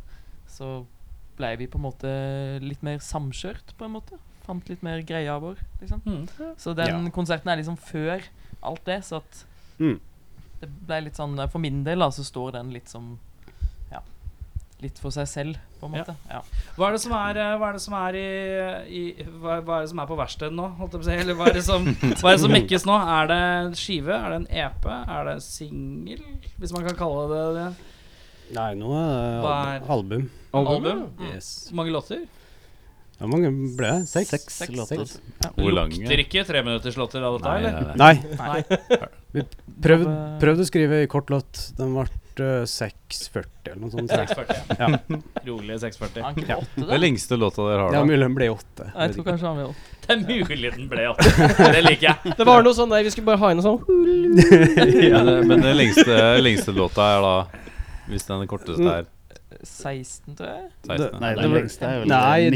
S6: så blei vi på en måte litt mer samkjørt, på en måte. Fant litt mer greia vår, liksom. Så den konserten er liksom før alt det, så at
S5: Mm.
S6: Det ble litt sånn For min del, da, så står den litt som Ja. Litt for seg selv, på en
S2: Ja.
S6: måte. Ja.
S2: Hva er det som er, eh, hva er, det som er i, i hva, hva er det som er på verkstedet nå? Holdt jeg på å si? Eller hva er det som, hva er det som mekkes nå? Er det en skive? Er det en EP? Er det en singel? Hvis man kan kalle det det.
S5: Nei, nå er det
S2: Hva er-
S5: al- album.
S2: Album? Mm.
S5: Yes.
S2: Så mange låter?
S5: Hvor mange ble det? Seks?
S7: Seks låter.
S5: Seks.
S4: Hvor lang?
S2: Lukter ikke treminutterslåter av dette,
S4: Nei,
S2: eller?
S4: nei, nei.
S5: Nei,
S6: Nei.
S5: prøvd, prøvd å skrive ei kort låt. Den ble eh, 6,40 eller noe sånt. tror jeg.
S2: 640. Rolige 640.
S6: Han kunne åtte,
S4: Det er
S6: da.
S4: lengste låta dere har,
S5: Ja,
S4: da.
S5: mulig den ble åtte.
S6: Jeg tror kanskje han ble åtte.
S2: Det er mulig den ble 8. Det liker jeg.
S3: Det var noe sånn der, vi skulle bare ha inn noe sånn
S4: Men, det- men den lengste, lengste låta er da Hvis den korteste er
S6: 16, tror jeg.
S4: 16.
S7: Nei,
S4: Mm. Nei,
S7: den lengste er vel
S5: Nei,
S7: 19
S5: den-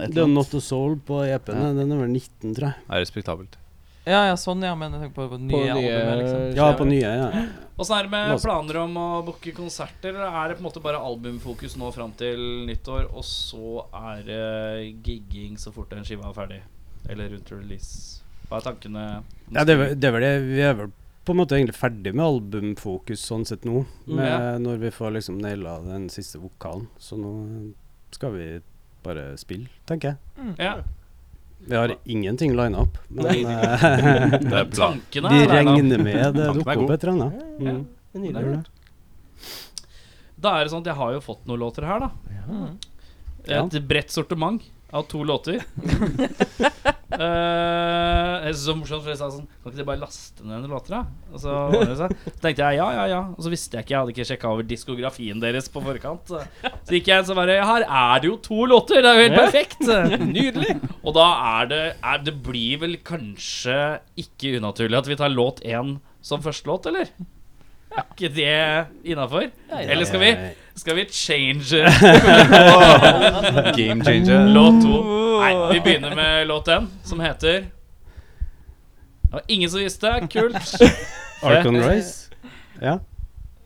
S7: et eller
S5: Den
S7: annet.
S5: Not a Soul på EP-en,
S7: Ja.
S5: den er vel 19, tror jeg.
S4: Det er respektabelt.
S6: Ja, ja, sånn, ja. Men jeg tenker på, på nye,
S3: på
S6: albumet, liksom.
S3: nye
S5: Ja, på nye, ja.
S2: Åssen er det med
S5: Låst.
S2: planer om å booke konserter? Eller er det på en måte bare albumfokus nå fram til nyttår, og så er det gigging så fort den skiva er ferdig? Eller rundt release? Hva er tankene?
S5: ja det, er, vel- det er vel det Vi er vel på en måte egentlig ferdig med albumfokus sånn sett nå.
S2: Mm.
S5: Med,
S2: Ja.
S5: Når vi får liksom naila den siste vokalen. Så nå skal vi bare spille, tenker jeg.
S2: ja.
S5: Vi har ingenting lina opp, men
S2: Nei.
S5: eh,
S4: Det er bla.
S2: Tankene
S5: de
S2: er der, da.
S5: regner med det
S4: Tanken er
S5: dukker
S4: god.
S5: opp et eller annet. Mm.
S3: Nydelig.
S5: Det gjør det.
S2: Da er det sånn at jeg har jo fått noen låter her, da.
S6: Mm.
S2: Et bredt sortiment av to låter. Eh, jeg synes det var morsomt, for jeg sa sånn Kan ikke dere bare laste ned noen låter, da? Og så ordner det seg. Så tenkte jeg ja, ja, ja. Og så visste jeg ikke, jeg hadde ikke sjekka over diskografien deres på forkant. Så gikk jeg inn så bare Her er det jo to låter! Det er jo helt perfekt! Nydelig! Og da er det er, Det blir vel kanskje ikke unaturlig at vi tar låt én som første låt, eller? Er ikke det innafor? Eller skal vi skal vi change
S4: Game changer.
S2: låt to? Nei, vi begynner med låt én, som heter Det var ingen som visste. Kult.
S5: Arcon Race? Ja.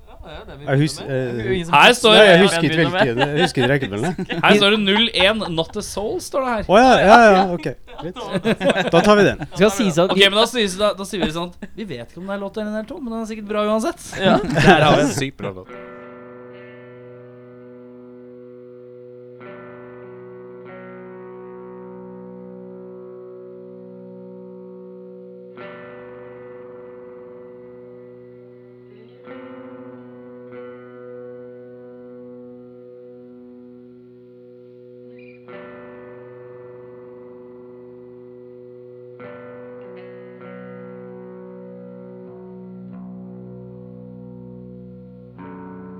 S6: Ja, det er det vi
S5: Eh, Jeg
S6: begynner
S5: husker-
S6: med. Det er jo ingen som-
S2: Her står,
S5: Nei, jeg
S6: hvem
S5: husker ikke
S6: begynner med?
S5: hvilken- jeg husker ikke rekkefølgen. jeg.
S2: her står det 01 Not a Soul. står det her
S5: Å ja, ja, ja, ok. Greit. Da tar vi den.
S3: Skal sies at
S2: Ok, men da sier, da, da sier vi sånn at Vi vet ikke om det er låt én eller to, men den er sikkert bra uansett.
S6: Ja.
S2: Der har vi den.
S4: Sykt bra låt.
S8: Thank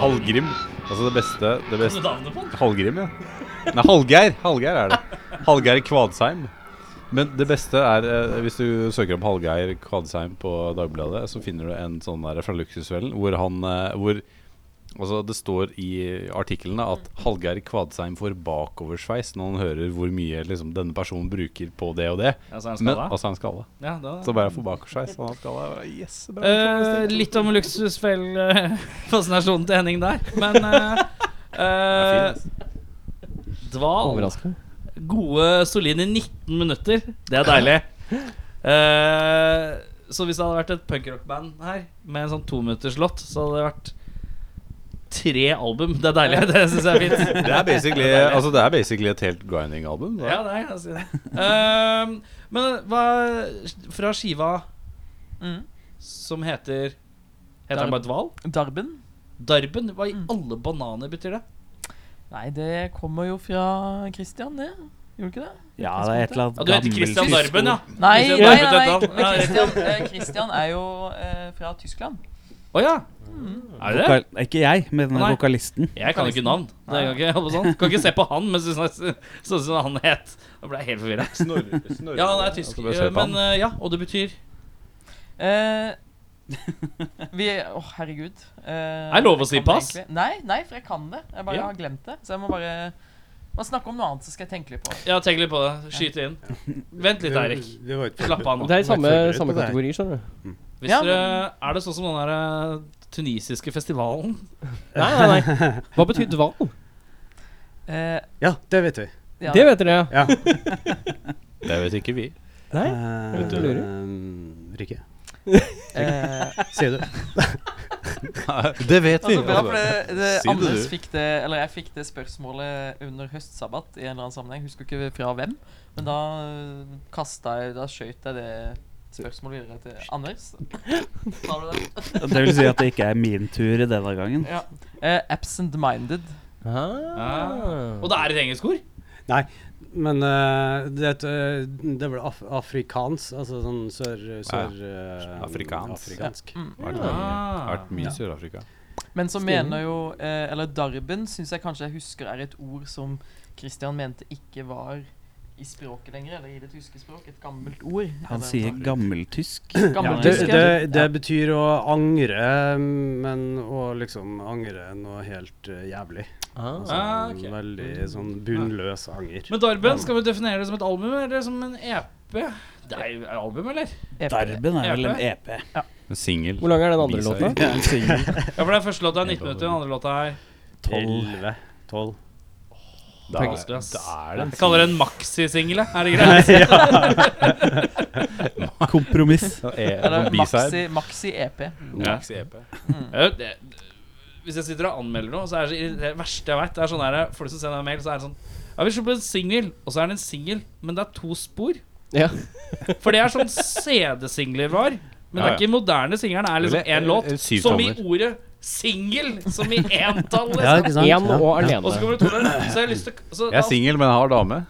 S4: Halgrim. Altså det beste, det
S2: Kan
S4: beste
S2: du navnet på den?
S4: Halgrim, ja. Nei, Hallgeir. Hallgeir er det. Hallgeir Kvadsheim. Men det beste er eh, hvis du søker opp Hallgeir Kvadsheim på Dagbladet, så finner du en sånn der fra Luksusfellen hvor han eh, hvor, Altså, det står i artiklene at Hallgeir Kvadsheim får bakoversveis når han hører hvor mye liksom, denne personen bruker på det og det.
S2: Ja, så er han
S4: Men,
S2: skada?
S4: altså en skalla.
S2: Ja, da.
S4: Så bare jeg får bakoversveis. Han har skalla. Yes, bra.
S2: Eh, litt om luksusfell-fascinasjonen til Henning der, men eh, eh, Dval.
S3: Overraskende.
S2: Gode, solide 19 minutter. Det er deilig. Eh, så hvis det hadde vært et punkrockband her med en sånn tominutterslått, så hadde det vært tre album. Det er deilig. Det syns jeg er fint.
S4: Det er basically, altså, det er basically et helt grinding-album. da.
S2: Ja, det er ganske det. Ehm, men hva Fra skiva
S6: Mm.
S2: som heter Heter den bare Dval?
S6: Darben?
S2: Darben? Hva i
S6: Mm.
S2: alle bananer betyr det?
S6: Nei, det kommer jo fra Christian, det. Gjorde ikke det?
S7: Ja, det er et eller annet
S2: Ja, du heter Christian
S7: gammelt-
S2: Darben, ja?
S6: Nei,
S2: Christian
S6: nei,
S2: Darben heter han.
S6: nei, men Christian, eh, Christian er jo eh, fra Tyskland.
S2: Å ja. Er det det?
S7: Vokal, ikke jeg, men
S2: Nei.
S7: vokalisten.
S2: Jeg kan jo ikke navn. Det kan, ikke, jeg holder på sånn. kan ikke se på han mens du snakker sånn som han het. Da ble jeg helt forvirra. Ja, han er tysk.
S4: Altså, bare se på
S2: Men eh, ja, og det betyr
S6: Eh, vi Å, herregud. Eh,
S2: Er det lov å si
S6: jeg kan
S2: pass?
S6: egentlig- Nei, nei, for jeg kan det. Jeg bare
S2: Ja.
S6: har glemt det. Så jeg må bare Bare snakke om noe annet, så skal jeg tenke litt på det.
S2: Ja, tenk litt på det. Skyt inn. Vent litt, Eirik.
S5: Det var ikke
S2: Slapp av nå.
S3: Det er i samme,
S5: Forberedt på
S3: samme
S5: det her.
S3: kategori, skjønner du.
S2: Hvis
S6: Ja,
S2: dere, er det sånn som den der eh, tunisiske festivalen?
S3: Nei, nei, nei. Hva <laughs> betyr dval?
S6: Eh,
S5: Ja, det vet vi.
S6: ja.
S3: Det vet dere, ja.
S5: Ja.
S4: Det vet ikke vi.
S3: Nei?
S5: Eh,
S3: vet du lurer.
S5: ehm, Rikke,
S6: Eh,
S5: sier du.
S4: Det vet
S6: altså, bra, for det, det
S4: Si det,
S6: Anders
S4: du.
S6: fikk det Eller jeg fikk det spørsmålet under høstsabbat i en eller annen sammenheng. Husker ikke fra hvem. Men da eh, kasta jeg Da skjøt jeg det spørsmålet videre til Anders. <laughs> Tar du det?
S7: Det vil si at det ikke er min tur i denne gangen.
S6: Ja. Eh, Absent-minded.
S2: Ah. Og det er et engelsk ord?
S5: Men eh, det, er et, eh, det er vel af afrikansk, altså sånn sør... sør eh,
S4: Afrikansk.
S5: Afrikansk.
S6: Mm.
S4: Vært mye,
S2: Ah.
S4: vært mye i Sør-Afrika.
S6: Men så
S3: Stilig.
S6: mener jo eh, Eller darben syns jeg kanskje jeg husker er et ord som Christian mente ikke var i språket lenger, eller i det tyske språk. Et gammelt ord.
S7: Han
S6: Eller-
S7: sier gammeltysk.
S5: Ja,
S6: Gammeltysk,
S5: det,
S6: ja.
S5: det, det betyr å angre, men å liksom angre noe helt eh, jævlig. Altså,
S2: Ah, ok.
S5: Veldig sånn bunnløs anger.
S2: Men Darben, skal vi definere det som et album eller som en EP? Det er jo et album, eller?
S6: EP.
S7: Darben er vel en
S2: E
S7: E EP.
S4: En singel.
S3: Hvor lang er den andre
S4: Viser.
S3: låta?
S2: Ja, for det er første låta er 19 minutter, den andre låta er
S5: Elleve. Tolv.
S4: Da
S2: Tenk-
S4: er det- da er det
S2: Jeg kaller det en maxisingel, jeg.
S3: <laughs>
S2: er det greit?
S7: Kompromiss.
S6: Eller
S4: en E
S6: maxi, maxi E EP.
S2: Ja.
S4: EP.
S2: Ja, det- Hvis jeg sitter og anmelder noe, så er det, så irri- det verste jeg vet, det er sånn der folk som sender meg mail, så er det sånn Ja, vi slår på en singel, og så er det en singel, men det er to spor.
S3: Ja.
S2: <laughs> For det er sånn CD-singler var. Men
S4: Ja,
S2: det er
S4: ja.
S2: ikke moderne singelen, det er liksom
S4: Eller-
S2: én
S4: eller
S2: låt.
S4: syv
S2: Som i
S4: tommer.
S2: ordet singel! Som i entall,
S5: Ja,
S2: liksom.
S5: ikke
S3: Én og
S5: sant? Ja.
S2: Og så
S3: alene.
S2: kommer det to der. Så jeg har lyst til å- så,
S4: Jeg er singel, men jeg har dame.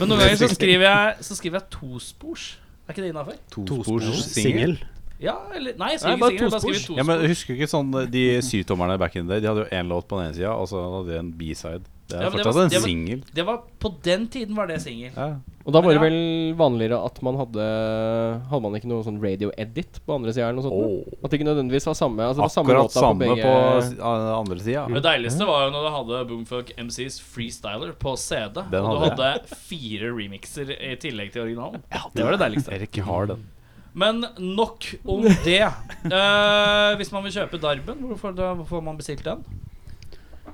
S2: Men noen
S4: <laughs>
S2: ganger så skriver jeg Så skriver jeg tospors. Er ikke det innafor?
S4: Tospors
S5: Singel.
S2: Ja, eller Nei, jeg
S4: Nei,
S2: skriver
S4: bare
S2: ikke singel, jeg bare skriver
S4: tospors. Ja, men
S2: tospors.
S4: husker du ikke sånn De syvtommerne back in the day, de hadde jo én låt på den ene sida, og så hadde de en B-side. Det er
S2: Ja, men det
S4: fortsatt
S2: var-
S4: en
S2: det var-
S4: singel.
S2: Det var På den tiden var det singel.
S4: Ja.
S3: Og da var det vel vanligere at man hadde Hadde man ikke noe sånn radio-edit på andre sida eller noe sånt? da?
S4: Åh.
S3: At det ikke nødvendigvis var samme altså det var samme
S4: Akkurat
S3: låta
S4: samme
S3: på
S4: på,
S3: begge
S4: s- a- andre sida.
S2: Det deiligste var jo når du hadde Boomfuck MCs Freestyler på CD. Og
S4: Den
S2: du
S4: hadde
S2: hadde fire remixer i tillegg til originalen. Det var det deiligste.
S4: Erik har den.
S2: Men nok om det. Eh, hvis man vil kjøpe Darben, hvorfor da får man bestilt den?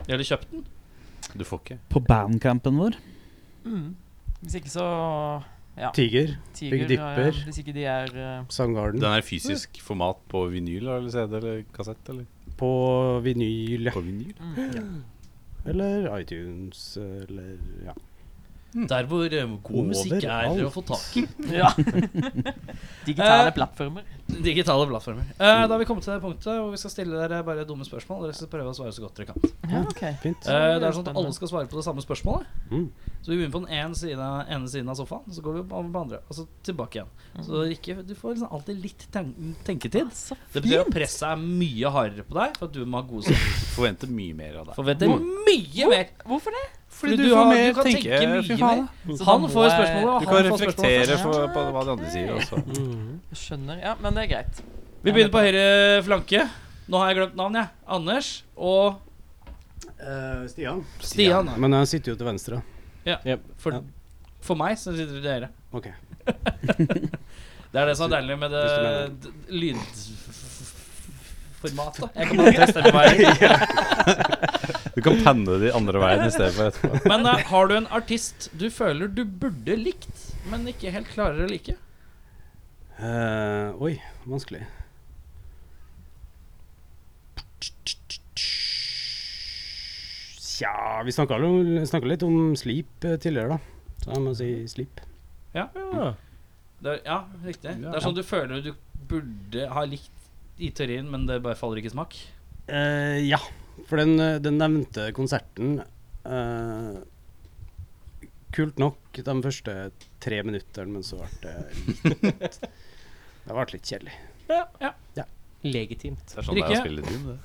S2: Eller kjøpt den?
S4: Du får ikke.
S7: På bandcampen vår.
S6: Mm. Hvis ikke så Ja.
S5: Tiger.
S6: Tiger,
S5: Big
S6: ja, ja.
S5: Dipper.
S6: Hvis ikke de er eh,
S5: Soundgarden.
S4: Den er fysisk format på vinyl eller CD eller kassett eller
S5: På vinyl, ja.
S4: på vinyl.
S5: Eller iTunes, eller ja.
S2: Der hvor eh, god musikk er å få tak i.
S6: Ja. <laughs> Digitale
S2: Eh,
S6: plattformer.
S2: Digitale plattformer. Eh, da har vi kommet til det punktet hvor vi skal stille dere bare dumme spørsmål. Dere skal prøve å svare så godt dere kan.
S6: Ja, ok.
S5: Fint.
S2: Eh, det er sånn at Alle skal svare på det samme spørsmålet.
S5: Mm.
S2: Så vi begynner på den ene siden, ene siden av sofaen, så går vi over på andre, og så tilbake igjen. Så ikke, Du får liksom alltid litt ten tenketid.
S6: Så
S2: Det betyr at presset er mye hardere på deg, for at du må ha gode svar.
S4: Forventer mye mer av deg.
S2: Forventer mye mer.
S6: Hvorfor det?
S2: Fordi du, har, du kan tenke,
S4: fy
S2: mye
S4: faen.
S2: mer.
S6: Så da
S2: Han
S6: må
S2: får
S6: jeg-
S2: spørsmålet, og
S4: Du kan
S2: han får spørsmålet.
S4: reflektere
S6: først.
S4: for, på hva de andre sier. Også.
S6: Jeg skjønner. Ja, men det er <laughs> greit.
S2: Vi begynner på høyre flanke. Nå har jeg glemt navn, jeg. Anders og
S5: Stian.
S2: Eh, Stian.
S5: Men jeg sitter jo til venstre.
S2: For, for meg så sitter du til høyre.
S5: Ok.
S2: <laughs> Det er det som er deilig med det
S5: Hvis
S2: d- lydformatet. Jeg kan alltid bestemme
S6: <laughs>
S2: meg.
S4: Du kan penne de andre veien i stedet for etterpå.
S2: Men eh, har du en artist du føler du burde likt, men ikke helt klarer å like?
S5: Eh, oi, vanskelig. Tja Vi snakka litt om Sleep eh, tidligere, da. Så jeg må si Sleep.
S2: Det er, ja, riktig.
S4: Ja.
S2: Det er sånn du føler du burde ha likt i teorien, men det bare faller ikke i smak.
S5: Eh, ja, for den, eh, den nevnte konserten eh, Kult nok de første tre minuttene, men så ble det litt <laughs> Det ble litt kjedelig.
S2: Ja, ja.
S3: Legitimt.
S4: Det er sånn det er
S2: Rikke?
S4: å spille Doom,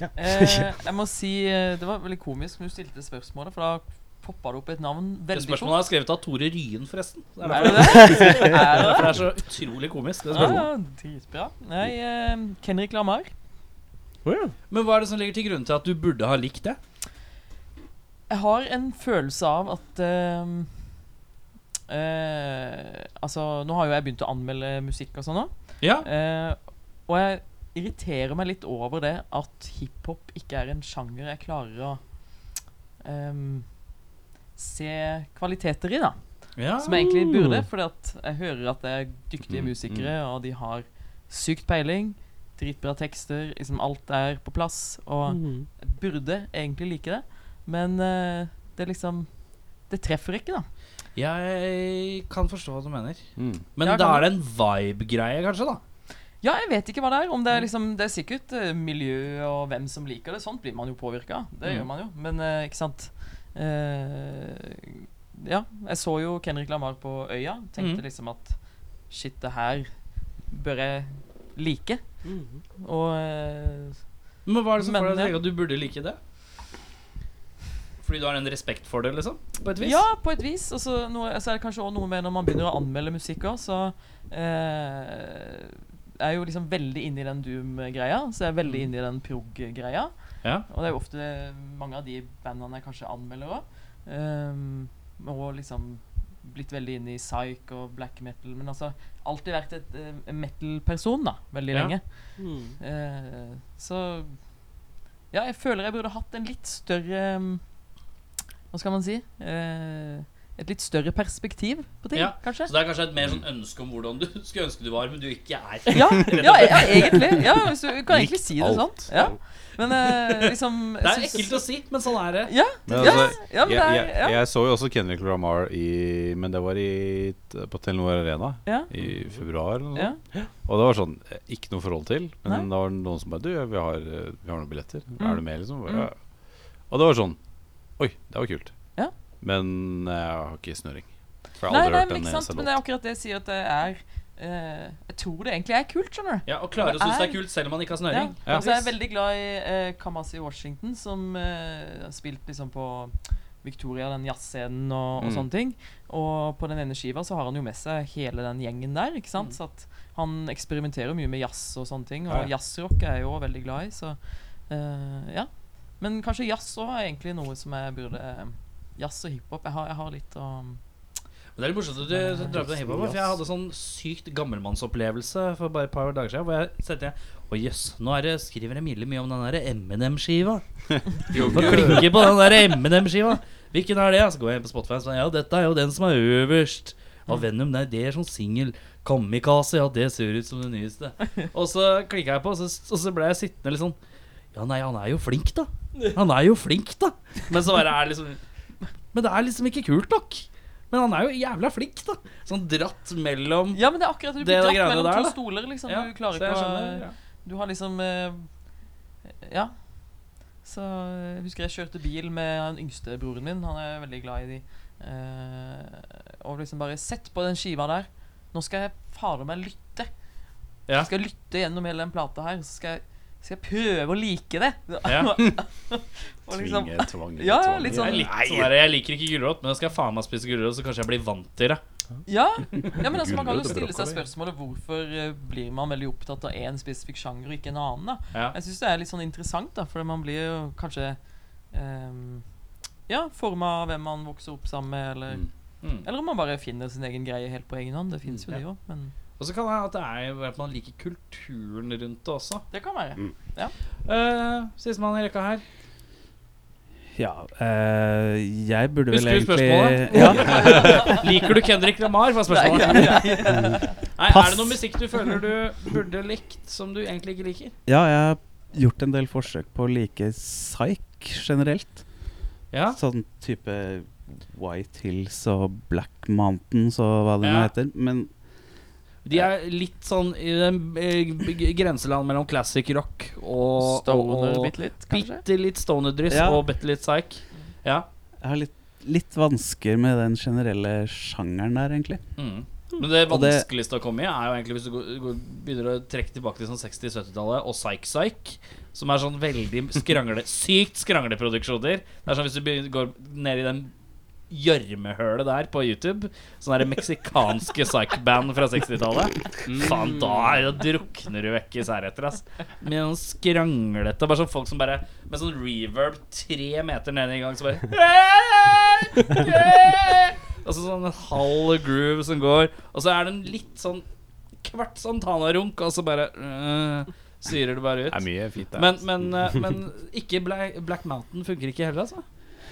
S4: det.
S6: Eh, jeg må si eh, Det var veldig komisk når du stilte spørsmålet, for da poppa det opp et navn
S2: Det
S6: veldig
S2: spørsmålet er skrevet av Tore Ryen, forresten. Det er
S6: Er
S2: derfor
S6: det
S2: <laughs>
S6: det? Er det
S2: derfor
S6: det?
S2: det er så utrolig komisk. Det
S6: Ja,
S2: spørsmålet.
S6: ja, dritbra. Nei, eh, Kenrik Lamar.
S2: Men hva er det som ligger til grunn til at du burde ha likt det?
S6: Jeg har en følelse av at ehm, eh, Altså, nå har jo jeg begynt å anmelde musikk og sånn òg.
S2: Ja,
S6: Eh, og jeg irriterer meg litt over det at hiphop ikke er en sjanger jeg klarer å ehm, se kvaliteter i, da.
S2: ja.
S6: Som jeg egentlig burde, fordi at jeg hører at det er dyktige musikere, og de har sykt peiling. Dritbra tekster. Liksom alt er på plass. Og
S3: Mm.
S6: jeg burde egentlig like det, men eh, det er liksom Det treffer ikke, da.
S2: Jeg kan forstå hva du mener.
S4: Mm.
S2: Men
S6: Ja,
S2: da
S6: kan
S2: er det en vibe-greie, kanskje? da
S6: Ja, jeg vet ikke hva det er. Om det
S2: Mm.
S6: er liksom Det er sikkert eh, miljø og hvem som liker det. Sånt blir man jo påvirka. Det
S2: Mm.
S6: gjør man jo. Men eh, ikke sant Eh, Ja, jeg så jo Kendrick Lamar på Øya. Tenkte
S2: Mm.
S6: liksom at Shit, det her bør jeg like.
S3: Mm-hmm.
S6: Og eh,
S2: Men hva er det som
S6: Men, eh,
S2: får deg til å
S6: ja.
S2: tenke at du burde like det? Fordi du har en respekt for det, liksom? På et vis?
S6: Ja, på et vis. Og så noe- så er det kanskje også noe med når man begynner å anmelde musikk òg, så eh, Jeg er jo liksom veldig inne i den doom-greia, så jeg er veldig inne i den prog-greia.
S2: Mm. Ja.
S6: Og det er jo ofte mange av de bandene jeg kanskje anmelder òg. og liksom blitt veldig inne i psych og black metal, men altså alltid vært et eh, metal-person, da, veldig
S2: Ja.
S6: lenge. Eh, så Ja, jeg føler jeg burde hatt en litt større mm, Hva skal man si? Eh, et litt større perspektiv på ting,
S2: Ja,
S6: kanskje?
S2: Så det er kanskje et mer sånn ønske om hvordan du <laughs> skulle ønske du var, men du ikke er.
S6: Ja,
S2: <laughs>
S6: ja, ja, egentlig. Ja, hvis du kan egentlig
S4: Likt
S6: si det sånn.
S4: alt.
S6: Ja. Men eh, liksom jeg
S2: Det er
S6: syns-
S2: ekkelt å si, men sånn er det.
S4: Men
S6: Ja,
S4: altså,
S6: ja,
S4: jeg,
S6: men det er
S4: jeg,
S6: ja.
S4: jeg så jo også Kendrick Lamar i Men det var i, t- på Telenor Arena
S6: Ja.
S4: i februar. Eller noe
S6: Ja.
S4: sånt. Og det var sånn eh, Ikke noe forhold til. Men
S6: Nei.
S4: det var noen som bare Du, vi har, eh, vi har noen billetter.
S6: Mm.
S4: Er du med, liksom?
S6: Mm.
S4: Ja. Og det var sånn Oi, det var kult.
S6: Ja.
S4: Men eh, jeg har ikke snøring. For jeg har
S6: Nei,
S4: aldri
S6: nei,
S4: hørt
S6: men
S4: en
S6: ikke sant.
S4: eneste
S6: Men det er
S4: låt.
S6: akkurat det jeg sier, at det er eh, Jeg tror det egentlig er kult, skjønner du.
S2: Ja, Og klare å
S6: Det
S2: synes det er
S6: er-
S2: kult selv om man ikke har
S6: Ja.
S2: snøring.
S4: Ja.
S6: Altså, jeg er veldig glad i eh, Kamasi Washington, som eh, har spilt liksom på Victoria, den jazzscenen og, og
S4: Mm.
S6: sånne ting. Og på den ene skiva så har han jo med seg hele den gjengen der. ikke sant? Så at han eksperimenterer mye med jazz og sånne ting.
S4: Ja,
S6: Og
S4: ja.
S6: jazzrock er jeg jo også veldig glad i, så eh, ja. Men kanskje jazz òg er egentlig noe som jeg burde eh, Jazz og hiphop. Jeg har, jeg har litt å
S2: Men det er litt morsomt at du drar på den hiphop, for jeg hadde sånn sykt gammelmannsopplevelse for bare et par dager siden. Hvor jeg tenkte Å jøss, nå er det, skriver Emilie mye om den der M&M-skiva. På klikke på den der M&M-skiva. Hvilken er det? Så går jeg inn på Spotify og sier ja, dette er jo den som er øverst. Av Venom, nei, det er sånn singel. Kamikaze, ja, det ser ut som det nyeste. Og så klikka jeg på, og så, og så ble jeg sittende litt sånn Ja, nei, han er jo flink, da. Han er jo flink, da. Men så bare er det liksom Men det er liksom ikke kult nok. Men han er jo jævla flink, da. Sånn dratt mellom
S6: Ja, men det er akkurat det. Du
S2: Det
S6: blir
S2: er
S6: dratt
S2: greiene
S6: mellom
S2: der,
S6: to
S2: da.
S6: stoler, liksom.
S2: Ja,
S6: du klarer
S2: så jeg
S6: ikke
S2: skjønner,
S6: å
S2: ja.
S6: Du har liksom eh, Ja. Så jeg husker jeg kjørte bil med den yngste broren min. Han er veldig glad i de. Eh, og liksom bare Sett på den skiva der. Nå skal jeg fader meg lytte.
S2: Ja.
S6: Jeg skal lytte gjennom hele den plata her, så skal jeg, skal jeg prøve å like det.
S2: Ja.
S6: <laughs> og liksom
S4: Tvinge, tvang
S6: Ja,
S4: tvang.
S6: litt
S2: Jeg, er
S6: sånn
S2: litt sånn der, jeg liker ikke gulrot, men jeg skal faen meg spise gulrot, så kanskje jeg blir vant til det.
S6: <laughs> Ja, ja men altså, man kan jo
S4: Gulrøtter og
S6: stille seg
S4: brokkoli.
S6: spørsmålet hvorfor eh, blir man veldig opptatt av én spesifikk sjanger og ikke en annen. da
S2: Ja.
S6: Jeg syns det er litt sånn interessant, da, for man blir jo kanskje ehm, Ja, forma av hvem man vokser opp sammen med, eller
S4: Mm.
S2: Mm.
S6: Eller om man bare finner sin egen greie helt på egen hånd. Det fins jo
S2: Ja.
S6: det òg, men
S2: Og så kan det hende at det er at man liker kulturen rundt det også.
S6: det kan være.
S2: Uh, Sistemann i rekka her.
S7: Ja, eh, jeg burde vel
S2: Husker du spørsmålet?
S7: egentlig Ja,
S2: Liker du Kendrick Lamar? var spørsmålet.
S6: Nei, ja, ja, ja.
S2: Nei,
S7: Pass.
S2: er det noe musikk du føler du burde likt, som du egentlig ikke liker?
S7: ja, jeg har gjort en del forsøk på å like psych generelt.
S2: Ja.
S7: Sånn type White Hills og Black Mountains og hva det nå
S2: Ja.
S7: heter. Men
S2: De er litt sånn i den eh, g- g- grenseland mellom classic rock og
S6: Stoner
S2: og-
S6: bitte litt, kanskje?
S2: Bitte litt stoner-dryss
S7: Ja.
S2: og bitte litt psych. Ja.
S7: jeg har litt, litt vansker med den generelle sjangeren der, egentlig.
S2: Mm. Men det
S7: Og det-
S2: vanskeligste å komme i er jo egentlig hvis du går, går, begynner å trekke tilbake til sånn 60-70-tallet og psych-psych, som er sånn veldig skrangle, sykt skrangleproduksjoner. Det er sånn hvis du begynner, går ned i den gjørmehølet der på YouTube, sånn der meksikanske psych-band fra 60-tallet, faen, da er det- drukner du vekk i særheter, ass. Med sånn skranglete Bare sånn folk som bare Med sånn reverb tre meter ned i gang, så bare Altså sånn en halv groove som går, og så er det en litt sånn kvart sånn Tana-runk, og så bare øh, syrer det bare
S4: Det altså. er
S2: ut.
S4: mye fint der.
S2: Men, men, øh, men ikke Bla Black Mountain funker ikke heller, altså.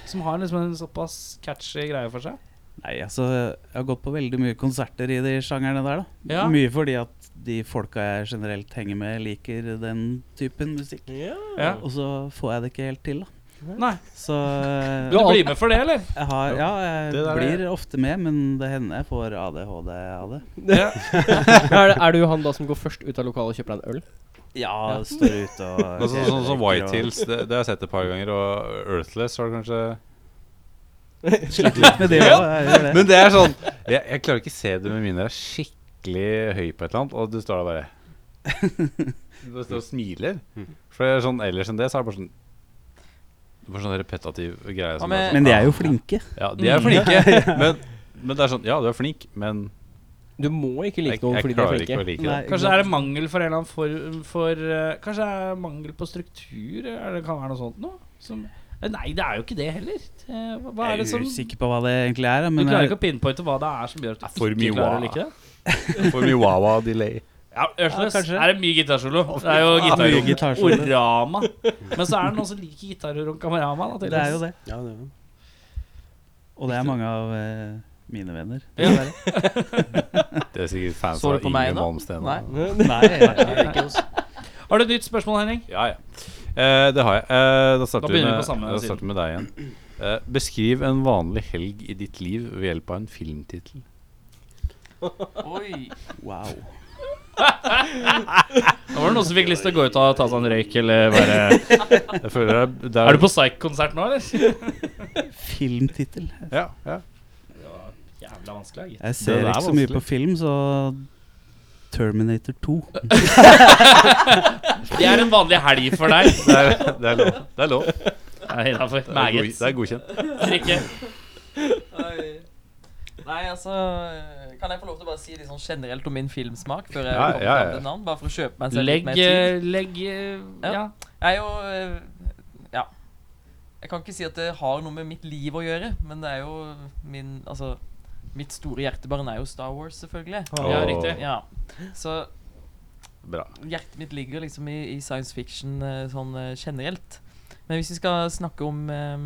S2: Som har liksom en såpass catchy greie for seg.
S7: Nei, altså, jeg har gått på veldig mye konserter i de sjangerne der, da.
S2: Ja.
S7: Mye fordi at de folka jeg generelt henger med, liker den typen musikk.
S2: Ja.
S7: Og så får jeg det ikke helt til, da.
S2: Nei.
S7: Så
S2: <laughs>
S7: eh,
S2: Du blir med for det, eller?
S7: jeg har Ja, jeg
S4: Det der er-
S7: blir ofte med, men det hender jeg får ADHD av det.
S2: Ja.
S3: Mm-hmm. <laughs> er, det, er du han da som går først ut av lokalet og kjøper deg en øl?
S7: Ja, står ute
S4: <laughs>
S7: og
S4: Men så- sånn som White
S7: <laughs>
S4: Hills, det, det har jeg sett et par ganger, og Earthless har du kanskje
S7: Sliter litt med det òg, jeg gjør det.
S4: <laughs> Men det er sånn Jeg, jeg klarer ikke se det med mindre jeg er skikkelig høy på et eller annet, og du står der bare Du bare står og smiler. For det er sånn, ellers enn det, så er det bare sånn det er bare sånn repetativ greie.
S6: Hva
S4: Som
S6: med-
S4: er sånn,
S7: Men de er jo flinke.
S4: ja, de er flinke. Men, men det er sånn Ja, du er flink, men
S3: Du må ikke
S4: jeg,
S3: like noen
S4: jeg
S3: fordi de er
S4: klarer ikke
S3: flinke.
S4: å like det.
S2: Kanskje det er mangel for en eller annen form for eh, Kanskje det er mangel på struktur? Eller det kan være noe sånt noe? Som, eh, nei, det er jo ikke det heller. Eh, Hva hva er det
S7: Jeg
S2: som Du
S7: er usikker på hva det egentlig er, da, men
S2: klarer
S7: jeg-
S2: ikke å pinpointe hva det er som gjør at
S4: Det er
S2: du
S4: for mye
S2: ikke klarer
S4: wah.
S2: å like det?
S4: For mye wawa-delay.
S2: Ja, Ørsløs
S7: Ja, kanskje.
S2: er det mye gitarsolo. Det er jo
S7: Ja, mye
S2: gitarrom
S7: gitarsolo.
S2: orama. Men så er det noen som liker gitarrorunk amarama. Da,
S7: det er jo
S2: tydeligvis.
S7: det.
S5: Ja, det er.
S7: Og det er mange av eh, mine venner.
S2: Ja.
S4: Det er sikkert fans
S6: Så du
S4: av
S6: på meg
S4: Inge
S6: nå?
S4: Malmsten.
S6: Nei. <laughs>
S7: Nei, jeg,
S2: Har du et nytt spørsmål, Henning?
S4: Ja, ja. Eh, det har jeg. Eh, da starter
S2: Da
S4: vi
S2: begynner vi
S4: med,
S2: på samme
S4: da
S2: siden.
S4: starter vi med deg igjen. Eh, beskriv en vanlig helg i ditt liv ved hjelp av en filmtittel.
S6: Oi.
S7: wow.
S2: Da var det noen som fikk lyst til å gå ut og ta seg en røyk, eller bare
S4: Jeg føler det er, det
S2: Er du på Psych-konsert nå, eller?
S7: Filmtittel.
S4: Ja, ja.
S2: Jævla vanskelig. gitt.
S7: Jeg
S4: Det
S7: ser
S4: er
S7: ikke så mye
S4: vanskelig.
S7: på film, så Terminator
S4: <laughs>
S7: 2.
S2: Det er en vanlig helg for deg.
S4: Det er, det er lov. Det er lov.
S2: Nei, derfor.
S4: Det er, god,
S2: Meget.
S4: det er godkjent.
S2: Rikke.
S6: Oi. Nei, altså Kan jeg få lov til å bare si litt sånn generelt om min filmsmak før jeg
S4: Ja,
S6: kommer
S4: ja, ja.
S6: fram til et navn? Bare for å kjøpe meg selv
S2: Legg,
S6: litt mer tid.
S2: eh, legg eh,
S6: Ja.
S2: Ja.
S6: Jeg er jo eh, Ja. Jeg kan ikke si at det har noe med mitt liv å gjøre, men det er jo min Altså, mitt store hjertebarn er jo Star Wars, selvfølgelig.
S2: Ja, riktig.
S6: Ja. Så
S4: Bra.
S6: hjertet mitt ligger liksom i, i science fiction eh, sånn eh, generelt. Men hvis vi skal snakke om eh,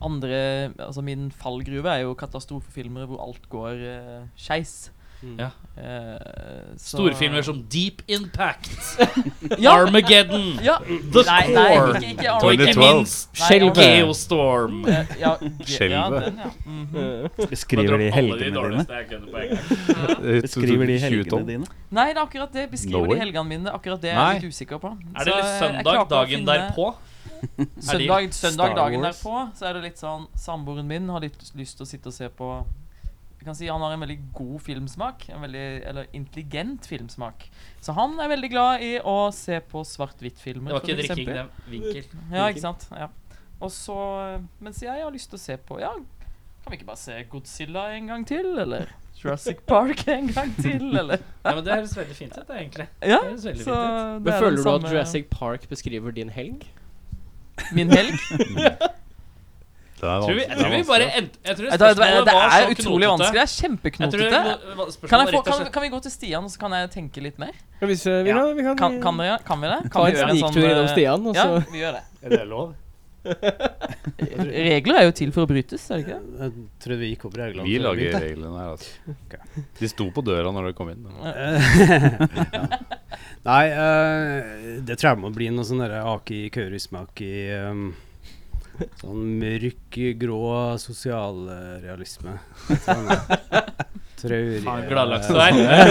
S6: andre Altså, min fallgruve er jo katastrofefilmer hvor alt går uh, eh, skeis. Eh, så-
S2: Mm. Storfilmer som Deep Impact, <laughs>
S6: ja,
S2: Armageddon
S6: ja.
S2: The
S6: Nei, nei,
S2: Score.
S6: ikke, ikke
S2: og ikke
S4: 2012.
S2: minst
S6: Skjelvet.
S2: Geostorm.
S6: Eh, ja, ja,
S4: Skjelvet.
S6: den, ja. Mhm.
S7: Beskriver de helgene dine? Beskriver de helgene dine?
S6: Nei, det er akkurat det. Beskriver
S4: Norway?
S6: de helgene mine. Akkurat det er
S4: Nei.
S6: jeg litt usikker på.
S2: Er det
S6: Så
S2: litt
S6: jeg- jeg klarer
S2: søndag
S6: ikke å
S2: dagen
S6: finne- <laughs>
S2: derpå? Er de-
S6: Søndag, søndag
S7: Star
S6: dagen
S7: Wars?
S6: derpå så er det litt sånn Samboeren min har litt lyst til å sitte og se på Jeg kan si Han har en veldig god filmsmak. En veldig, eller intelligent filmsmak. Så han er veldig glad i å se på svart-hvitt-filmer.
S2: Det var ikke
S6: for
S2: drikking,
S6: eksempel.
S2: det er vinkel.
S6: Ja, ikke sant? Ja. Og så eh, Mens jeg har lyst til å se på Ja, kan vi ikke bare se Godzilla en gang til? Eller Jurassic Park en gang til? Eller
S2: Ja, men Det høres veldig fint ut, det, egentlig.
S6: Ja.
S2: Det høres veldig
S6: Så
S2: fint ut.
S6: det
S3: Men
S6: er
S3: føler
S6: den
S3: du at
S6: samme-
S3: Jurassic Park beskriver din helg?
S6: Min <laughs> helg?
S2: Tror vi, jeg tror vi bare endte Jeg tror
S6: Det, det, det,
S2: spørsmålet var
S6: er
S2: så
S6: utrolig
S2: knotete.
S6: vanskelig. Det er
S2: Jeg tror
S6: kjempeknotete.
S2: det var- spørsmålet
S6: Kan, jeg
S2: var
S6: få,
S2: rett og
S6: kan,
S2: slett-
S6: kan vi gå til Stian, og så kan jeg tenke litt mer?
S3: Ja, hvis, eh, vi,
S5: Ja.
S3: kan, vi kan,
S6: Kan, kan, dere, kan vi det? Kan
S3: ta
S6: vi
S3: en
S6: gjøre
S3: sniktur
S6: eh,
S3: innom Stian, og
S6: Ja,
S3: så
S6: vi gjør det.
S5: Er det lov?
S6: <laughs> Regler er jo til for å brytes, er det ikke det?
S5: Jeg trodde vi gikk over reglene.
S4: Vi
S5: til å
S4: lager
S5: begynne.
S4: reglene her, altså. De sto på døra når de kom inn.
S5: Eh, <laughs> Nei, eh, det tror jeg må bli noe sånn derre aki kaurismaki um, Sånn mørk, grå sosialrealisme. Sånn, Traurig
S2: Faen, gladlaks du
S5: eh,
S2: <laughs> er.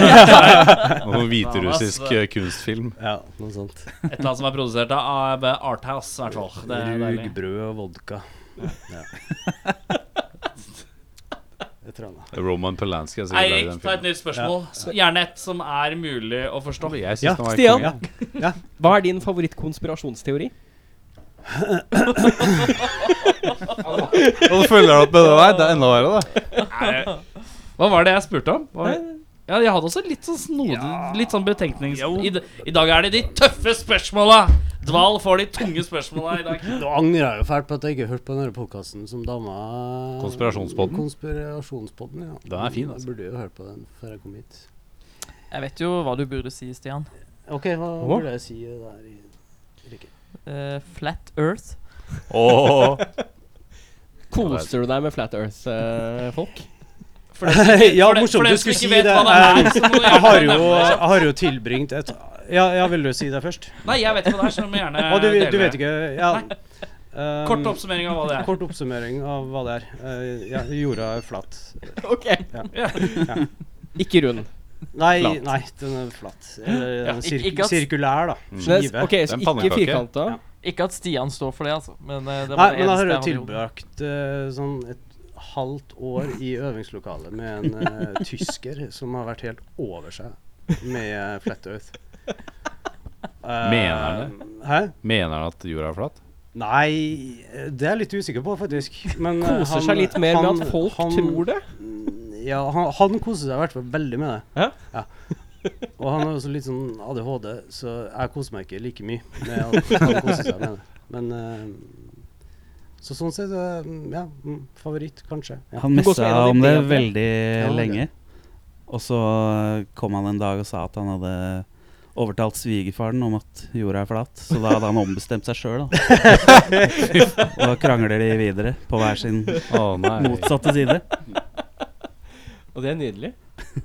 S4: Og hviterussisk eh, kunstfilm.
S5: Ja, noe sånt.
S2: Et eller annet som er produsert av eh, Arthouse, i hvert fall. Det er deilig.
S5: Rugbrød og vodka. Ja. Jeg tror han er.
S4: Roman Polanski har sikkert
S2: Eirik,
S4: lagd den
S2: ta et
S4: filmen.
S2: nytt spørsmål. S- Gjerne et som er mulig å forstå.
S4: Jeg synes
S5: Ja,
S4: den var
S3: Stian.
S4: konge.
S3: Hva er din favorittkonspirasjonsteori?
S4: Og du følger deg opp med det der? Det er enda verre, da.
S2: Hva var det jeg spurte om? Hva var- Ja, jeg hadde også litt sånn snodig Litt sånn betenknings... I, d- I dag er det de tøffe spørsmåla! Dval får de tunge spørsmåla i dag.
S5: Nå angrer jeg jo fælt på at jeg ikke hørte på denne podkasten som dama
S4: Konspirasjonspodden?
S5: Konspirasjonspodden, ja.
S4: Den er fin, altså.
S5: Jeg burde jo hørt på den før jeg kom hit.
S6: Jeg vet jo hva du burde si, Stian.
S5: OK, hva
S3: Hva?
S5: burde jeg si der i Rikke?
S6: Eh, flat Earth.
S4: Åh.
S3: Koser du deg med Flat eh,
S6: <laughs>
S3: Earth-folk?
S5: <laughs> <laughs> ja,
S2: For den- for
S5: morsomt
S2: den
S5: du
S2: som
S5: skulle
S2: ikke
S5: si
S2: vet
S5: det.
S2: hva det er,
S5: Eh,
S2: så må du
S5: <laughs> Jeg
S2: gjerne <laughs>
S5: har jo,
S2: nevne det.
S5: jeg har jo tilbringt et Ja, jeg vil jo si det først.
S2: Nei, jeg vet ikke hva Eh, det er, så du må gjerne
S5: Og du, du
S2: dele.
S5: vet ikke Ja. Um,
S2: Kort oppsummering av hva det er.
S5: Kort oppsummering av hva det er. Eh, ja, jorda er flat.
S3: Ok.
S2: Ja.
S3: Ikke rund.
S5: Nei,
S3: Flat.
S5: nei, den er flat. Eller
S2: Ja,
S5: den er
S6: ikke-
S5: sirk
S6: ikke at-
S5: sirkulær, da.
S4: Mm.
S3: Så det
S5: Skive.
S3: er- Ok, så
S4: Den
S3: ikke
S4: pannekake.
S3: firkanta.
S5: Ja.
S6: Ikke at Stian står for det, altså. Men eh, det var
S5: Nei,
S6: det
S5: men jeg
S6: eneste
S5: har jo
S6: hadde gjort.
S5: tilbrakt eh, sånn et halvt år i øvingslokalet med en eh,
S6: <laughs>
S5: tysker som har vært helt over seg med eh, Flat
S6: <laughs>
S5: Earth. Eh,
S4: Mener han
S5: Hæ?
S4: <laughs> Mener han at jorda er flat?
S5: Nei, eh, det er jeg litt usikker på, faktisk. Men, eh,
S3: Koser seg
S5: han-
S3: litt mer med
S5: han-
S3: at folk
S5: han-
S3: tror det.
S5: Ja, han, han koser seg i hvert fall veldig med det.
S3: Ja?
S5: Og han har også litt sånn ADHD, så jeg koser meg ikke like mye med at han koser seg med det. Men eh, Så sånn sett, eh, ja. mm, Favoritt, kanskje. Ja.
S7: Han
S3: Du går som
S7: messa
S3: en av de
S7: om det
S3: bedre.
S7: veldig
S5: Ja, ok.
S7: lenge. Og så eh, kom han en dag og sa at han hadde overtalt svigerfaren om at jorda er flat. Så da hadde han ombestemt seg sjøl, da.
S3: <laughs>
S7: og da krangler de videre på hver sin
S4: Å <laughs> nei.
S7: motsatte side.
S3: Og det er nydelig.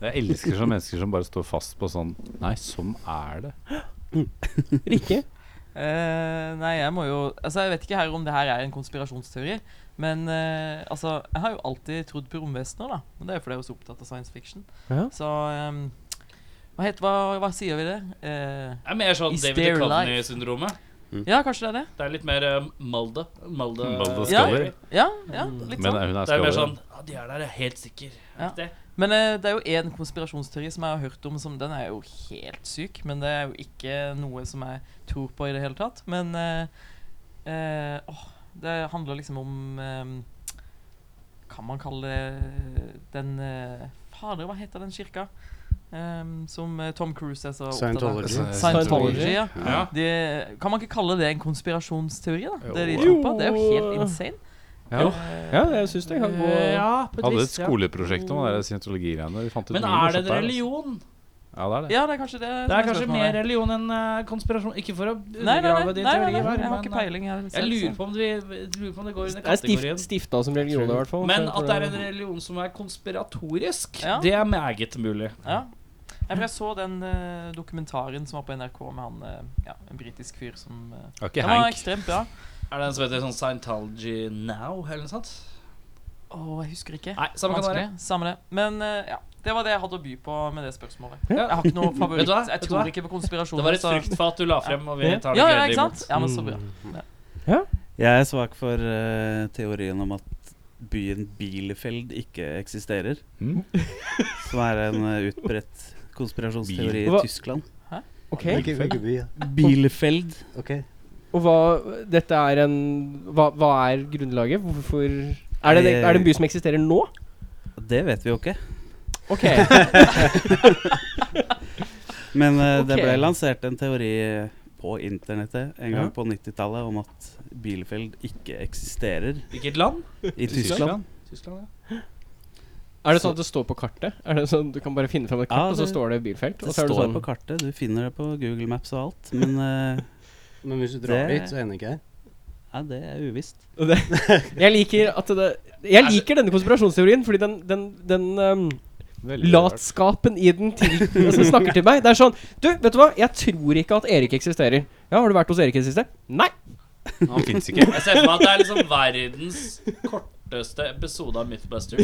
S4: Jeg elsker sånne mennesker som bare står fast på sånn Nei, sånn er det.
S3: Rikke.
S6: Eh, nei, jeg må jo Altså, jeg vet ikke her om det her er en konspirasjonsteori. Men eh, altså, jeg har jo alltid trodd på romvesener, da. Men det er jo fordi jeg er så opptatt av science fiction.
S3: Ja.
S6: Så ehm, hva, heter, hva, hva sier vi det? Eh,
S2: Det er mer sånn
S6: Is
S2: David
S6: there
S2: Duchovny-syndromet.
S6: ja, kanskje det er det?
S2: Det er litt mer eh, Malde. Malde,
S4: Malde
S6: Ja.
S4: skaller.
S6: Ja, ja litt
S4: Men eh,
S6: sånn.
S4: hun er
S2: Det er mer
S4: skaller.
S2: eh, sånn Ja, de er der, jeg er helt sikker.
S6: Ja.
S2: Det.
S6: Men eh, det er jo én konspirasjonsteori som jeg har hørt om, som den er jo helt syk. Men det er jo ikke noe som jeg tror på i det hele tatt. Men eh, eh, åh, det handler liksom om eh, Kan man kalle det den eh, Fader, hva heter den kirka? Eh, som eh, Tom Cruise er så opptatt av.
S5: Scientology.
S6: Scientology. ja.
S2: Ja.
S6: Det, kan man ikke kalle det en konspirasjonsteori, da? Det de
S4: Jo.
S6: tror på? Det er jo
S3: Jo.
S6: helt insane.
S4: Ja.
S3: Ja, jeg syns det kan gå
S2: Eh, ja, på et
S4: Hadde et
S2: vis. ja.
S4: skoleprosjekt om det der scientologigreiene. Vi fant ut
S2: Men
S4: mye
S2: er
S4: morsomt
S2: det en
S4: der, altså.
S2: religion?
S4: Ja, det er det.
S6: Ja, det er kanskje det.
S2: Det
S6: som
S2: er kanskje mer
S6: spørsmålet.
S2: religion enn eh, konspirasjon. Ikke for å
S6: Nei, nei, nei,
S2: undergrave
S6: nei,
S2: de
S6: nei,
S2: teorier,
S6: nei, jeg har ikke
S2: men eh,
S6: peiling. Jeg,
S2: jeg lurer på om, vi, lurer på om det går under
S3: Det er
S2: kategorien.
S3: stift, stifta som religion, i hvert fall.
S2: Men
S3: så jeg
S2: at
S3: tror
S2: det er en religion som er konspiratorisk,
S6: Ja.
S2: det er meget mulig.
S6: Ja. Jeg, for jeg så den eh, dokumentaren som var på NRK med han eh, ja, en britisk fyr som eh,
S4: Det er ikke
S6: Han var
S4: Hank.
S6: ekstremt bra.
S2: Er det en som heter sånn Scientology Now, eller noe sånt?
S6: Å, jeg husker ikke.
S2: Nei, samme kan det være.
S6: Vanskelig. Samme det. Men eh, ja, det var det jeg hadde å by på med det spørsmålet.
S2: Ja.
S6: Jeg har ikke noe
S2: <laughs> Vet du
S6: favoritt.
S2: hva?
S6: Jeg
S2: Vet du hva?
S6: tror ikke på konspirasjoner.
S2: Det var et
S6: så-
S2: fruktfat du la frem, og vi
S3: Ja.
S2: tar det
S6: Ja, ja,
S2: gledelig
S6: ikke sant?
S2: imot.
S6: Ja, men så
S2: Mm.
S6: bra.
S7: Jeg er svak for eh, teorien om at byen Bielefeld ikke eksisterer.
S4: Mm.
S7: Som er en eh, utbredt konspirasjonsteori
S3: Hva-
S7: i Tyskland.
S3: Ok,
S5: Hvilken- hvilken by, ja.
S7: Bielefeld.
S5: Ok.
S3: Og hva Dette er en Hva, hva er grunnlaget? Hvorfor er det, er det en by som eksisterer nå?
S7: Det vet vi jo ikke.
S3: Ok. <laughs>
S7: Men eh, det
S3: Ok.
S7: ble lansert en teori eh, på internettet en gang på 90-tallet om at Bielefeld ikke eksisterer
S2: Hvilket land? <laughs>
S7: i Tyskland.
S2: Tyskland, ja.
S3: Er det sånn at det står på kartet? Er det sånn Du kan bare finne fram et kart,
S7: Ja,
S3: og så
S7: det-
S3: står det bilfelt?
S7: Det
S3: Og så er
S7: står
S3: det sånn
S7: på kartet, du finner det på Google Maps og alt. Men eh,
S5: Men hvis du drar
S7: Det-
S5: dit, så er den ikke her.
S7: nei, det er uvisst.
S3: Jeg liker at det Jeg liker denne konspirasjonsteorien, fordi den, den, den um, latskapen i den til, altså, snakker til meg. Det er sånn Du, vet du hva? Jeg tror ikke at Erik eksisterer. Ja, har du vært hos Erik i det siste? Nei.
S4: Han fins ikke.
S2: Jeg ser for meg at det er liksom verdens korteste episode av
S6: <laughs>
S2: Mythbusters.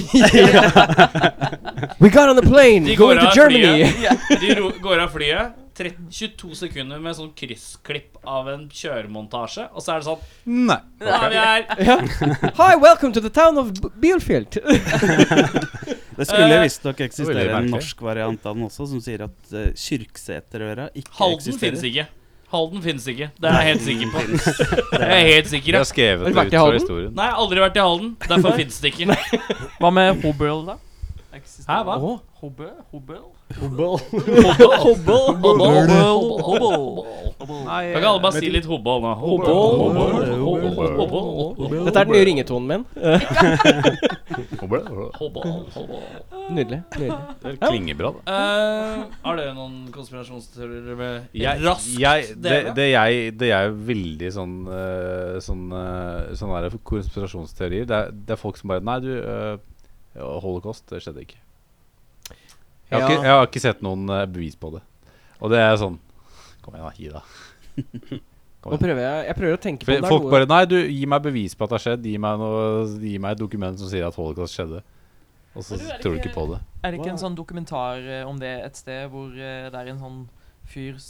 S3: We got on a plane
S2: De går
S3: going to
S2: av
S3: Germany.
S6: <laughs>
S2: flyet. De ro, går av flyet. tre- 22 sekunder med sånn kryssklipp av en kjøremontasje, og så er det sånn
S4: Nei.
S2: Ja, vi er
S3: Ja. Hi, welcome to the town of B- Bielefeld.
S7: Det skulle
S2: Eh,
S7: visstnok
S4: det
S7: eksistere
S4: var
S7: en
S4: veldig merkelig.
S7: norsk variant av den også, som sier at uh, Kyrksæterøra ikke
S2: Halden finnes
S7: eksisterer.
S2: ikke. Halden finnes ikke. Det er jeg helt sikker på. <laughs> Det er jeg helt
S4: Vi
S2: sikker
S4: har
S2: på.
S4: skrevet
S3: Har
S4: det
S3: du
S4: ut
S3: vært i
S4: fra
S3: Halden?
S4: historien.
S2: Nei, aldri vært i Halden. Derfor fins det ikke.
S6: Hva med Hobøl, da? Eksisterer-
S2: Hæ, hva?
S3: Åh.
S6: Hobø? Hobøl?
S2: Hobble, hobble, hobble, hobble, hobble.
S4: Nei,
S2: Kan ikke alle bare si litt hobble nå? Hobble, hobble, hobble, hobble, hobble,
S3: Dette er den nye ringetonen min.
S2: hobble, hobble.
S3: Nydelig. nydelig.
S4: Det klinger bra, da.
S2: Eh, Har dere noen konspirasjonsteorier med
S4: Jeg,
S2: raskt
S4: jeg, det,
S2: dele?
S4: det, jeg, det jeg er veldig sånn eh, Sånn, eh, sånn der konspirasjonsteorier det er, det er folk som bare Nei, du, eh, holocaust, det skjedde ikke. Jeg har,
S3: Ja.
S4: ikke, jeg har ikke sett noen eh, bevis på det. Og det er sånn Kom igjen, da. Gi deg.
S3: Nå prøver jeg Jeg prøver å tenke på
S4: For
S3: om det er
S4: Folk
S3: noe
S4: bare Nei, du, gi meg bevis på at det har skjedd. Gi meg, noe, gi meg et dokument som sier at holocaust skjedde. Og så
S6: Men du, er det
S4: tror du
S6: ikke-
S4: ikke på det.
S6: Er det ikke
S5: Wow.
S6: en sånn dokumentar eh, om det et sted hvor eh, det er en sånn fyrs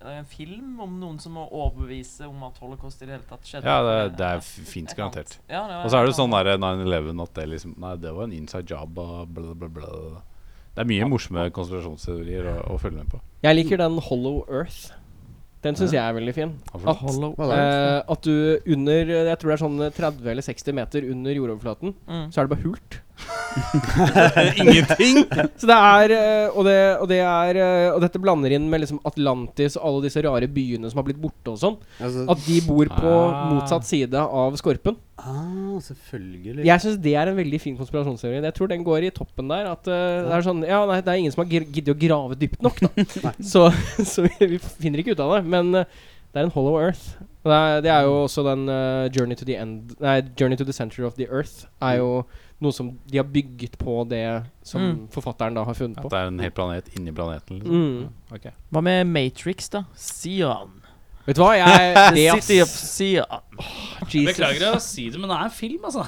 S6: det er en film om noen som må overbevise om at holocaust i det hele tatt skjedde.
S4: Ja, det, det er fint
S6: Et eller annet.
S4: garantert.
S6: Ja, det
S4: Og så er det
S6: et
S4: sånn der
S6: eller
S4: 9-11 at det liksom Nei, det var en inside job og bla, bla, bla. Det er mye morsomme konspirasjonsteorier å, å følge med på.
S3: Jeg liker den Hollow Earth. Den syns jeg er veldig fin.
S4: Hvorfor?
S5: Hva da?
S3: Eh, at du under eh, Jeg tror det er sånn eh, 30 eller 60 meter under jordoverflaten,
S6: annet.
S3: så er det bare hult.
S7: <laughs>
S4: Ingenting!
S3: Så det er eh, Og, det, og, det er, eh, og dette blander inn med liksom Atlantis og alle disse rare byene som har blitt borte og sånn.
S5: Altså,
S3: At de bor på
S4: Ah.
S3: motsatt side av skorpen.
S5: ah, selvfølgelig.
S3: Jeg syns det er en veldig fin konspirasjonsteori. Jeg tror den går i toppen der. At eh, det er sånn Ja, nei, det er ingen som har gir- giddet å grave dypt nok, da. så <laughs> så vi, vi finner ikke ut av det. Men eh, det er en Hollow Earth. Og Det er, det er jo også den eh, Journey to the End Nei, Journey to the Center of the Earth er jo noe som de har bygget på det som
S6: Mm.
S3: forfatteren da har funnet
S4: At
S3: på.
S4: det er en hel planet inni planeten, liksom.
S3: Mm.
S4: Ok.
S6: Hva med Matrix, da? Sion.
S3: Vet du hva, jeg
S6: <laughs>
S3: det, ass.
S6: City of Sion.
S3: Jesus.
S2: Beklager å si det, men det er en film, altså.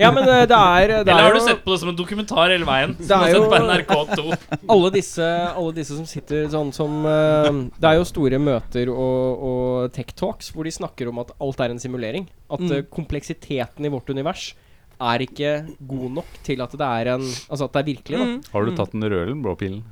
S3: Ja, men eh, det er, det
S2: Eller
S3: er
S2: har du
S3: jo-
S2: sett på det som en dokumentar hele veien?
S3: Det
S2: Som
S3: er
S2: du har sett
S3: jo-
S2: på NRK2.
S3: alle disse, alle disse som sitter sånn som eh, Det er jo store møter og, og tech talks hvor de snakker om at alt er en simulering. At
S6: Mm.
S3: eh, kompleksiteten i vårt univers er ikke god nok til at det er en Altså at det er virkelig, da.
S4: Har du tatt den røde eller den blå <laughs> pilen?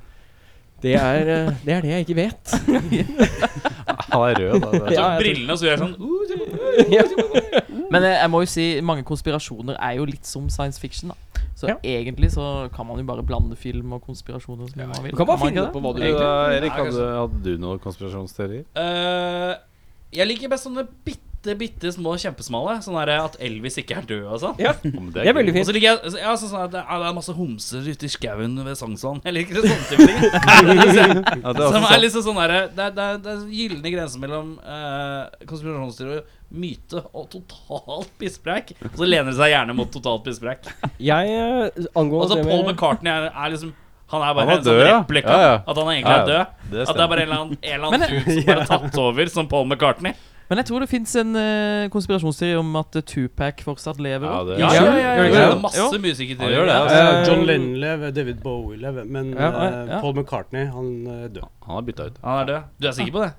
S3: Det er, eh, det er det jeg ikke vet. <laughs>
S4: Han er rød, da. Det er
S3: Ja,
S4: sånn.
S3: jeg
S2: Brillene, så gjør jeg sånn uh, du-
S6: Men eh, jeg må jo si mange konspirasjoner er jo litt som science fiction. da Så
S3: Ja.
S6: egentlig så kan man jo bare blande film og konspirasjoner. Som man vil.
S3: Du kan bare
S6: man
S3: finne
S6: ikke
S3: på hva du
S4: Du
S3: vil.
S4: da, sånn. Erik,
S2: Ja,
S4: hadde, hadde du noen konspirasjonsteorier?
S2: Eh, Jeg liker best sånne bitte bitte, bitte små kjempesmale. Sånn der at Elvis ikke er død og sånn.
S3: Ja,
S4: Ja, men
S3: Mm. det er
S4: gøy.
S3: veldig
S2: Og
S3: fint.
S2: så ligger jeg ja, så sånn at det er, det er masse homser ute i skauen ved Sognsvann. <laughs> Jeg liker sånne type ting.
S4: Ja, det er
S2: Som
S4: også
S2: er
S4: sant.
S2: liksom sånn derre Det er, det er, det er gylne grenser mellom eh, konspirasjonsteori, myte og totalt pisspreik. Og så lener det seg gjerne mot totalt pisspreik.
S3: Jeg eh, angående
S2: Altså,
S3: det
S2: Paul
S3: med-
S2: McCartney er, er liksom Han er bare
S4: Han er
S2: en sånn
S4: død, ja.
S2: replika.
S4: Ja, ja.
S2: At han egentlig er
S4: Ja, ja. Det
S2: død. At det er
S4: stemmer.
S2: bare en eller annen, en <laughs> eller annen dude som bare har tatt over som Paul McCartney.
S6: Men jeg tror det fins en eh, konspirasjonsteori om at eh, Tupac fortsatt lever.
S4: Ja,
S6: også.
S4: det
S2: Ja, ja,
S4: er-
S2: ja, ja, ja,
S3: Ja.
S2: Det er masse
S6: Ja.
S4: Han
S2: musikerteorier.
S4: gjør det. Altså.
S5: Ja, John
S3: Eh,
S5: Lennon lever, David Bowie lever, men
S3: Ja,
S5: eh,
S6: ja.
S5: Paul McCartney, han eh, dør.
S4: Han er bytta ut.
S2: Han er død. Du er sikker på det?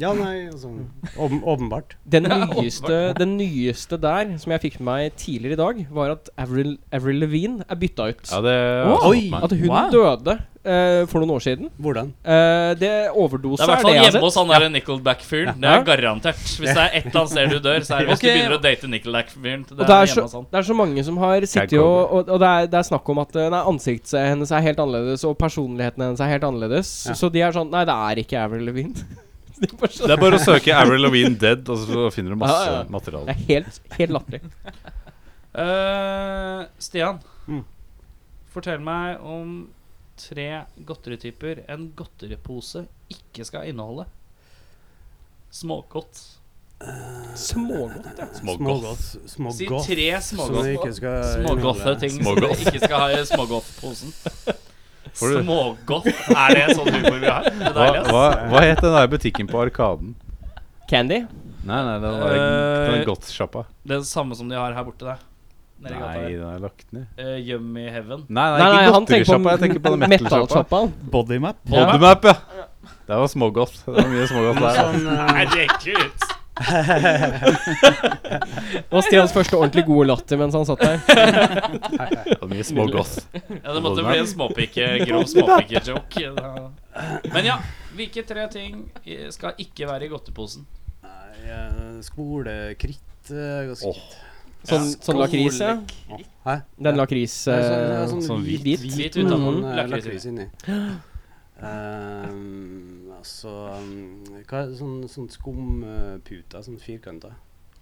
S5: Ja, nei, altså åpen- Åpenbart.
S3: Den
S2: Ja,
S3: nyeste, den nyeste der, som jeg fikk med meg tidligere i dag, var at Avril, Avril Levine er bytta ut.
S4: Ja, det altså
S5: Wow.
S4: har jeg fått
S5: Oi.
S4: med.
S3: At hun
S6: Wow.
S3: døde eh, for noen år siden.
S5: Hvordan?
S3: Eh, det overdose
S2: Det altså- er i
S3: er
S2: hvert
S3: det
S2: fall
S3: jeg har
S2: hjemme
S3: sett.
S2: hos han der Nickelback-fyren. Det
S3: Ja.
S2: er garantert. Hvis det er ett han ser du dør, så er det hvis
S6: Ok,
S2: du begynner å
S6: og-
S2: date Nickelback-fyren. Det
S3: Og det,
S2: er
S3: er så,
S2: hjemme hos han.
S3: det er så mange som har sittet
S4: Gag
S3: og
S4: over.
S3: Og, og det, er, det er snakk om at eh, nei, ansiktet hennes er helt annerledes, og personligheten hennes er helt annerledes.
S5: Ja.
S3: Så de er sånn Nei, det er ikke Avril Levine. <laughs> De bare sånn-
S4: Det er bare å søke Avril Lavigne dead, og så finner du masse
S3: Ja, ja. det
S4: materiale.
S3: er helt, helt latterlig.
S2: Eh, Stian,
S5: Mm.
S2: fortell meg om tre godterityper en godteripose ikke skal inneholde. Smågodt.
S3: Smågodt, ja.
S4: Smågodt.
S2: Si
S5: Smågodt.
S2: tre
S5: Som vi ikke
S2: smågodt.
S5: skal
S2: Smågodte
S5: inneholde.
S2: ting
S4: Smågodt.
S2: som ikke skal ha i smågodtposen. <laughs>
S4: Får du-
S2: Smågodt? Er det sånn humor vi har? Det er
S4: Hva,
S2: deilig, ass.
S4: hva, hva het den der butikken på Arkaden?
S3: Candy?
S4: Nei, nei, den var
S2: Eh,
S4: den godtsjappa.
S2: Det er det samme som de har her borte, der. Nede i gata
S4: Nei,
S2: der.
S4: den er lagt ned.
S2: Eh, Yummy Heaven.
S4: Nei, nei,
S3: Nei, nei,
S4: ikke
S3: han tenker
S4: godterisjappa. Jeg tenker på
S3: på
S4: den metal-sjappa.
S3: metal-sjappa.
S7: Bodymap.
S4: Bodymap, ja. Det var smågodt. Det var mye smågodt der.
S5: Sånn,
S2: Nei,
S5: eh,
S2: det er ikke ut.
S3: Det var Stians første ordentlig gode latter mens han
S4: <laughs>
S3: satt der.
S4: Det var mye smågodt.
S2: Ja, det måtte bli
S4: <laughs>
S2: en småpike, grov småpike-joke. Men ja, hvilke tre ting i- skal ikke være i godteposen?
S5: nei, eh, Skolekritt eh, ganske
S4: Åh.
S5: kritt.
S3: Sånn, sånn lakris, ja.
S5: Hæ?
S3: Den lakris...
S5: Det er sånn, det er
S3: eh,
S5: sånn,
S4: sånn
S5: hvit,
S3: hvit.
S5: hvit,
S2: Hvit
S5: med
S2: utenpå,
S5: sånn, eh,
S2: lakris
S5: lakris inni. Ehm, altså um, hva er det, sånn, sånn skumputer, sånn firkanta.